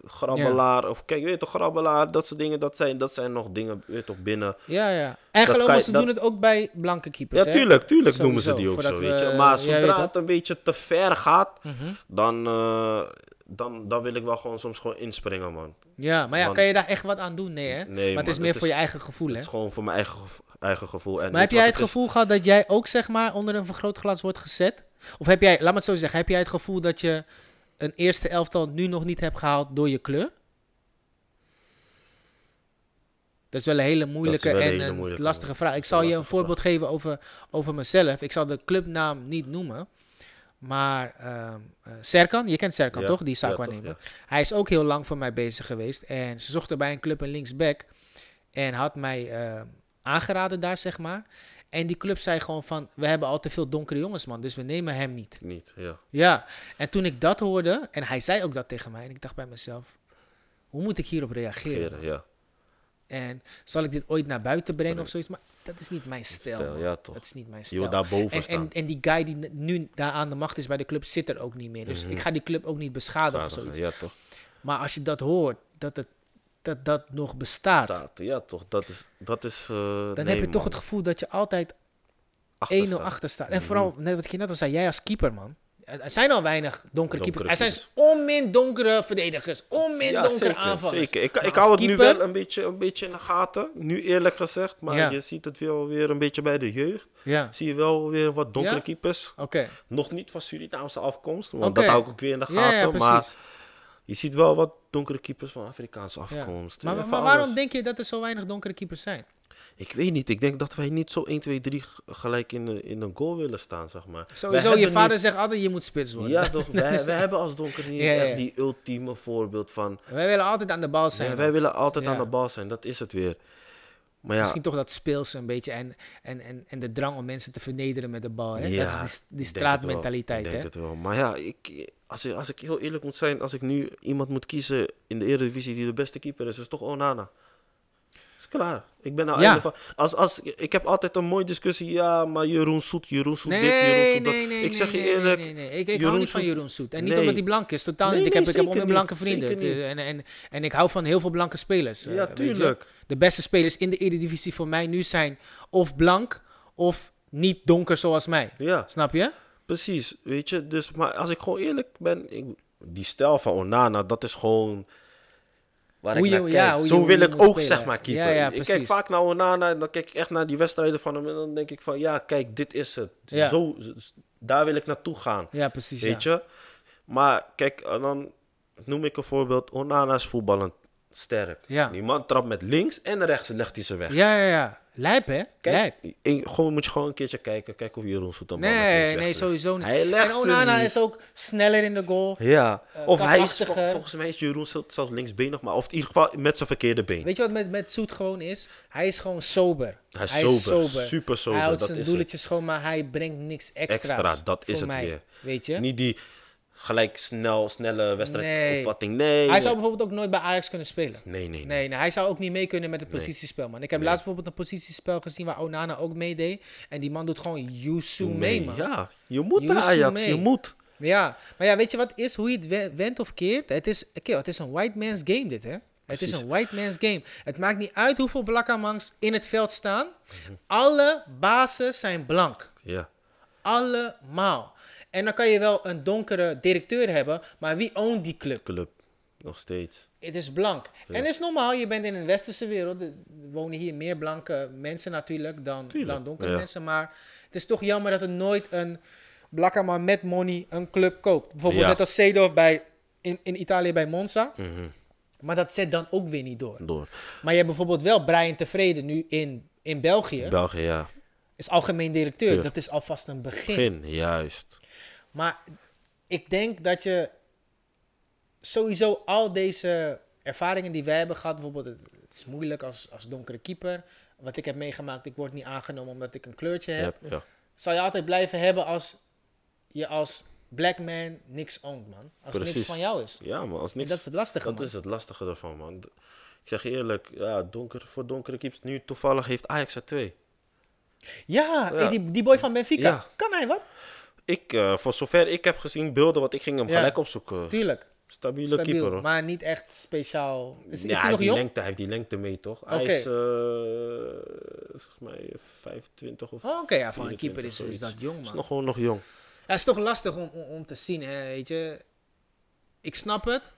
[SPEAKER 3] grabbelaar of kijk, je weet toch, grabbelaar, dat soort dingen, dat zijn, dat zijn nog dingen, je weet toch, binnen.
[SPEAKER 2] Ja, ja. En
[SPEAKER 3] Dat
[SPEAKER 2] geloof
[SPEAKER 3] kan
[SPEAKER 2] me,
[SPEAKER 3] je-
[SPEAKER 2] ze
[SPEAKER 3] dat-
[SPEAKER 2] doen het ook bij blanke keepers.
[SPEAKER 3] Ja,
[SPEAKER 2] hè?
[SPEAKER 3] tuurlijk, tuurlijk noemen ze
[SPEAKER 2] Sowieso,
[SPEAKER 3] die ook
[SPEAKER 2] voordat
[SPEAKER 3] zo,
[SPEAKER 2] we-
[SPEAKER 3] weet je. Maar
[SPEAKER 2] ja, je weet Mhm.
[SPEAKER 3] zodra
[SPEAKER 2] toch?
[SPEAKER 3] het een beetje te ver gaat, dan, eh, dan, dan wil ik wel gewoon soms gewoon inspringen, man.
[SPEAKER 2] Ja, maar ja,
[SPEAKER 3] Want-
[SPEAKER 2] kan je daar echt wat aan doen? Nee, hè?
[SPEAKER 3] Nee,
[SPEAKER 2] maar
[SPEAKER 3] man,
[SPEAKER 2] het is
[SPEAKER 3] dat
[SPEAKER 2] meer
[SPEAKER 3] is-
[SPEAKER 2] voor je eigen gevoel,
[SPEAKER 3] Het
[SPEAKER 2] hè?
[SPEAKER 3] is gewoon voor mijn eigen, gevo- eigen gevoel. En
[SPEAKER 2] Maar heb
[SPEAKER 3] weet je
[SPEAKER 2] jij het
[SPEAKER 3] eh, wat is?
[SPEAKER 2] gevoel gehad dat jij ook zeg maar onder een vergrootglas wordt gezet? Of heb jij, laat me het zo zeggen, heb jij het gevoel dat je een eerste elftal nu nog niet hebt gehaald door je kleur? Dat is wel een hele moeilijke
[SPEAKER 3] wel een
[SPEAKER 2] en
[SPEAKER 3] hele
[SPEAKER 2] een
[SPEAKER 3] moeilijke,
[SPEAKER 2] lastige
[SPEAKER 3] hoor.
[SPEAKER 2] vraag. Ik
[SPEAKER 3] Dat is een
[SPEAKER 2] zal je een
[SPEAKER 3] lastige
[SPEAKER 2] voorbeeld geven over, over mezelf. Ik zal de clubnaam niet noemen. Maar ehm, eh, Serkan, je kent Serkan
[SPEAKER 3] Ja,
[SPEAKER 2] toch? Die zaak
[SPEAKER 3] ja, toch,
[SPEAKER 2] waarnemen.
[SPEAKER 3] ja.
[SPEAKER 2] Hij is ook heel lang voor mij bezig geweest. En ze zochten bij een club een linksback. En had mij eh, aangeraden daar, zeg maar. En die club zei gewoon van... We hebben al te veel donkere jongens, man. Dus we nemen hem niet.
[SPEAKER 3] Niet, ja.
[SPEAKER 2] Ja. En toen ik dat hoorde... En hij zei ook dat tegen mij. En ik dacht bij mezelf... Hoe moet ik hierop reageren?
[SPEAKER 3] Geren, ja.
[SPEAKER 2] En zal ik dit ooit naar buiten brengen of zoiets? Maar dat is niet mijn stijl.
[SPEAKER 3] Stijl,
[SPEAKER 2] man.
[SPEAKER 3] ja toch.
[SPEAKER 2] Dat is niet mijn
[SPEAKER 3] Je
[SPEAKER 2] stijl.
[SPEAKER 3] wil daar boven
[SPEAKER 2] en, en,
[SPEAKER 3] staan.
[SPEAKER 2] en die guy die nu daar aan de macht is bij de club zit er ook niet meer. Dus
[SPEAKER 3] Mhm.
[SPEAKER 2] ik ga die club ook niet beschadigen of zoiets.
[SPEAKER 3] ja toch.
[SPEAKER 2] Maar als je dat hoort, dat het, dat, dat nog bestaat,
[SPEAKER 3] Staat, ja toch. Dat is, dat is eh, nee,
[SPEAKER 2] dan heb je toch
[SPEAKER 3] man. Mhm.
[SPEAKER 2] het gevoel dat je altijd 1-0
[SPEAKER 3] Achter staan.
[SPEAKER 2] achter staat. En vooral, net wat ik je net al zei, jij als keeper, man. Er er zijn al weinig donkere, keepers. Er zijn onmin donkere verdedigers, onmin
[SPEAKER 3] Ja,
[SPEAKER 2] donkere
[SPEAKER 3] zeker,
[SPEAKER 2] aanvallers.
[SPEAKER 3] Zeker. Ik,
[SPEAKER 2] Maar
[SPEAKER 3] ik
[SPEAKER 2] als
[SPEAKER 3] hou het nu
[SPEAKER 2] keeper-
[SPEAKER 3] wel een beetje, een beetje in de gaten. Nu eerlijk gezegd. Maar
[SPEAKER 2] Ja.
[SPEAKER 3] je ziet het wel weer een beetje bij de jeugd.
[SPEAKER 2] Ja,
[SPEAKER 3] Zie je wel weer wat donkere
[SPEAKER 2] Ja?
[SPEAKER 3] keepers.
[SPEAKER 2] oké.
[SPEAKER 3] Nog niet van Surinaamse afkomst. Want
[SPEAKER 2] Oké.
[SPEAKER 3] dat hou ik ook weer in de
[SPEAKER 2] Ja,
[SPEAKER 3] gaten.
[SPEAKER 2] ja,
[SPEAKER 3] maar
[SPEAKER 2] precies.
[SPEAKER 3] je ziet wel wat donkere keepers van Afrikaanse
[SPEAKER 2] Ja.
[SPEAKER 3] afkomst.
[SPEAKER 2] Maar,
[SPEAKER 3] Ja,
[SPEAKER 2] maar,
[SPEAKER 3] eh, van
[SPEAKER 2] waarom
[SPEAKER 3] alles.
[SPEAKER 2] denk je dat er zo weinig donkere keepers zijn?
[SPEAKER 3] Ik weet niet. Ik denk dat wij niet zo 1, 2, 3 g- gelijk in, de- in een goal willen staan, zeg maar. Wij
[SPEAKER 2] Sowieso, je
[SPEAKER 3] hebben
[SPEAKER 2] vader
[SPEAKER 3] niet-
[SPEAKER 2] zegt altijd je moet spits worden.
[SPEAKER 3] Ja, toch. Wij, wij hebben als donker niet
[SPEAKER 2] Ja, ja, ja.
[SPEAKER 3] echt die ultieme voorbeeld van...
[SPEAKER 2] Wij willen altijd aan de bal zijn.
[SPEAKER 3] Ja, wij willen altijd
[SPEAKER 2] Ja.
[SPEAKER 3] aan de bal zijn. Dat is het weer. Maar ja,
[SPEAKER 2] Misschien toch dat speels een beetje en, en, en, en de drang om mensen te vernederen met de bal. Hè?
[SPEAKER 3] Ja,
[SPEAKER 2] dat is die, s-
[SPEAKER 3] ik
[SPEAKER 2] die
[SPEAKER 3] denk
[SPEAKER 2] straatmentaliteit.
[SPEAKER 3] het wel.
[SPEAKER 2] Hè?
[SPEAKER 3] Ik denk het wel. Maar ja, ik, als, ik- als ik heel eerlijk moet zijn, als ik nu iemand moet kiezen in de Eredivisie die de beste keeper is, is toch Onana. Is klaar. Ik ben nou
[SPEAKER 2] Ja.
[SPEAKER 3] einde van. Als, als, ik heb altijd een mooie discussie. Ja, maar Jeroen Soet, Jeroen Soet dit, Jeroen
[SPEAKER 2] Nee,
[SPEAKER 3] Soet dat.
[SPEAKER 2] nee, nee.
[SPEAKER 3] ik zeg
[SPEAKER 2] nee,
[SPEAKER 3] je
[SPEAKER 2] nee,
[SPEAKER 3] eerlijk.
[SPEAKER 2] nee, nee, nee. Ik, ik hou
[SPEAKER 3] Jeroen
[SPEAKER 2] niet van
[SPEAKER 3] Soet-
[SPEAKER 2] Jeroen Soet. En niet
[SPEAKER 3] Nee.
[SPEAKER 2] omdat hij blank is. Totaal
[SPEAKER 3] Nee,
[SPEAKER 2] niet. Ik
[SPEAKER 3] nee,
[SPEAKER 2] heb, ik heb
[SPEAKER 3] zeker
[SPEAKER 2] allemaal blanke
[SPEAKER 3] niet,
[SPEAKER 2] vrienden.
[SPEAKER 3] zeker niet.
[SPEAKER 2] En, en, en ik hou van heel veel blanke spelers. eh,
[SPEAKER 3] Ja,
[SPEAKER 2] weet je.
[SPEAKER 3] tuurlijk.
[SPEAKER 2] De beste spelers in de Eredivisie voor mij nu zijn of blank of niet donker zoals mij.
[SPEAKER 3] Ja.
[SPEAKER 2] Snap je?
[SPEAKER 3] Precies, weet je. Dus, maar als ik gewoon eerlijk ben, ik, die stijl van Onana, dat is gewoon waar
[SPEAKER 2] Hoe
[SPEAKER 3] ik
[SPEAKER 2] je-
[SPEAKER 3] naar
[SPEAKER 2] ja,
[SPEAKER 3] kijk.
[SPEAKER 2] hoe je-
[SPEAKER 3] Zo
[SPEAKER 2] hoe
[SPEAKER 3] wil
[SPEAKER 2] je
[SPEAKER 3] ik
[SPEAKER 2] moet
[SPEAKER 3] ook,
[SPEAKER 2] spelen.
[SPEAKER 3] zeg maar, keeper.
[SPEAKER 2] Ja, ja,
[SPEAKER 3] ik
[SPEAKER 2] precies.
[SPEAKER 3] kijk vaak naar Onana en dan kijk ik echt naar die wedstrijden van hem en dan denk ik van, ja, kijk, dit is het.
[SPEAKER 2] Ja.
[SPEAKER 3] Zo, z- daar wil ik naartoe gaan,
[SPEAKER 2] Ja, precies.
[SPEAKER 3] weet
[SPEAKER 2] ja.
[SPEAKER 3] je. Maar kijk, en dan noem ik een voorbeeld. Onana is voetballend sterk.
[SPEAKER 2] Ja.
[SPEAKER 3] Die man trapt met links en rechts legt hij ze weg.
[SPEAKER 2] Ja, ja, ja. Lijp, hè? Lijp.
[SPEAKER 3] Kijk, ik- gewoon, moet je gewoon een keertje kijken. Kijk of Jeroen Soet hem
[SPEAKER 2] Nee, nee, sowieso niet.
[SPEAKER 3] Hij legt
[SPEAKER 2] en
[SPEAKER 3] ze
[SPEAKER 2] Onana
[SPEAKER 3] niet.
[SPEAKER 2] is ook sneller in de goal.
[SPEAKER 3] Ja,
[SPEAKER 2] Eh,
[SPEAKER 3] of hij is,
[SPEAKER 2] katachtiger.
[SPEAKER 3] vol- volgens mij is Jeroen Sil- zelfs linksbenig, maar of in ieder geval met zijn verkeerde been.
[SPEAKER 2] Weet je wat met, met Soet gewoon is? Hij is gewoon sober.
[SPEAKER 3] Hij is sober, super sober,
[SPEAKER 2] Hij houdt
[SPEAKER 3] dat
[SPEAKER 2] zijn
[SPEAKER 3] is
[SPEAKER 2] doelletjes schoon, maar hij brengt niks extra's.
[SPEAKER 3] Extra, dat is
[SPEAKER 2] voor
[SPEAKER 3] het
[SPEAKER 2] mij,
[SPEAKER 3] weer.
[SPEAKER 2] Weet je?
[SPEAKER 3] Niet die gelijk snel, snelle wedstrijdopvatting. Nee.
[SPEAKER 2] Hij zou bijvoorbeeld ook nooit bij Ajax kunnen spelen.
[SPEAKER 3] nee, nee, nee.
[SPEAKER 2] Nee, nee, hij zou ook niet mee kunnen met het positiespel, man. Ik heb laatst bijvoorbeeld een positiespel gezien waar Onana ook meedeed. En die man doet gewoon Yusu mee, man.
[SPEAKER 3] Ja, je moet bij
[SPEAKER 2] Yusu
[SPEAKER 3] Ajax,
[SPEAKER 2] mee.
[SPEAKER 3] je moet.
[SPEAKER 2] Ja, maar ja, weet je wat is, hoe je het we- wendt of keert? Het is, oké, het is een white man's game dit, hè? Het is een white man's game. Het maakt niet uit hoeveel blakkamangs in het veld staan. Alle bazen zijn blank.
[SPEAKER 3] Ja,
[SPEAKER 2] Allemaal. En dan kan je wel een donkere directeur hebben, maar wie oont die club?
[SPEAKER 3] club, nog steeds.
[SPEAKER 2] Het is blank. En het is normaal, je bent in een westerse wereld. Er wonen hier meer blanke mensen natuurlijk dan,
[SPEAKER 3] Tuurlijk,
[SPEAKER 2] dan donkere
[SPEAKER 3] ja.
[SPEAKER 2] mensen. Maar het is toch jammer dat er nooit een blakke man met money een club koopt. Bijvoorbeeld
[SPEAKER 3] Ja. Mhm.
[SPEAKER 2] net als Seedorf bij, in, in Italië bij Monza. Maar dat zet dan ook weer niet door.
[SPEAKER 3] Door.
[SPEAKER 2] Maar je hebt bijvoorbeeld wel Brian Tevreden nu in, in België.
[SPEAKER 3] België, ja.
[SPEAKER 2] is algemeen directeur.
[SPEAKER 3] Tuur.
[SPEAKER 2] Dat is alvast een begin.
[SPEAKER 3] Begin, juist.
[SPEAKER 2] Maar ik denk dat je sowieso al deze ervaringen die wij hebben gehad, bijvoorbeeld het het is moeilijk als, als donkere keeper. Wat ik heb meegemaakt, ik word niet aangenomen omdat ik een kleurtje heb.
[SPEAKER 3] Ja, ja.
[SPEAKER 2] Zal je altijd blijven hebben als je als black man niks oont, man. Als niks
[SPEAKER 3] Precies.
[SPEAKER 2] van jou is.
[SPEAKER 3] Ja, maar als
[SPEAKER 2] En
[SPEAKER 3] niks...
[SPEAKER 2] dat is het lastige,
[SPEAKER 3] Dat
[SPEAKER 2] man.
[SPEAKER 3] is het lastige ervan, man. D- Ik zeg je eerlijk, ja, donker, voor donkere keeps. Nu toevallig heeft Ajax er twee.
[SPEAKER 2] Ja, hey,
[SPEAKER 3] Ja.
[SPEAKER 2] die, die boy van Benfica.
[SPEAKER 3] Ja.
[SPEAKER 2] Kan hij wat?
[SPEAKER 3] Ik, eh, voor zover ik heb gezien beelden, want ik ging hem
[SPEAKER 2] Ja.
[SPEAKER 3] gelijk opzoeken.
[SPEAKER 2] Tuurlijk.
[SPEAKER 3] Stabiele
[SPEAKER 2] Stabiel,
[SPEAKER 3] keeper, hoor.
[SPEAKER 2] maar niet echt speciaal. Is, is
[SPEAKER 3] Ja,
[SPEAKER 2] hij
[SPEAKER 3] hij, heeft
[SPEAKER 2] nog
[SPEAKER 3] die
[SPEAKER 2] jong?
[SPEAKER 3] lengte, hij heeft die lengte mee, toch? Hij
[SPEAKER 2] Oké.
[SPEAKER 3] is, eh, volgens mij, 25 of...
[SPEAKER 2] Oh, Oké, ja, van een
[SPEAKER 3] 24
[SPEAKER 2] keeper is, is
[SPEAKER 3] zoiets.
[SPEAKER 2] dat jong, man.
[SPEAKER 3] Is nog gewoon nog jong.
[SPEAKER 2] Ja, het is toch lastig om, om, om te zien, hè, weet je. Ik snap het.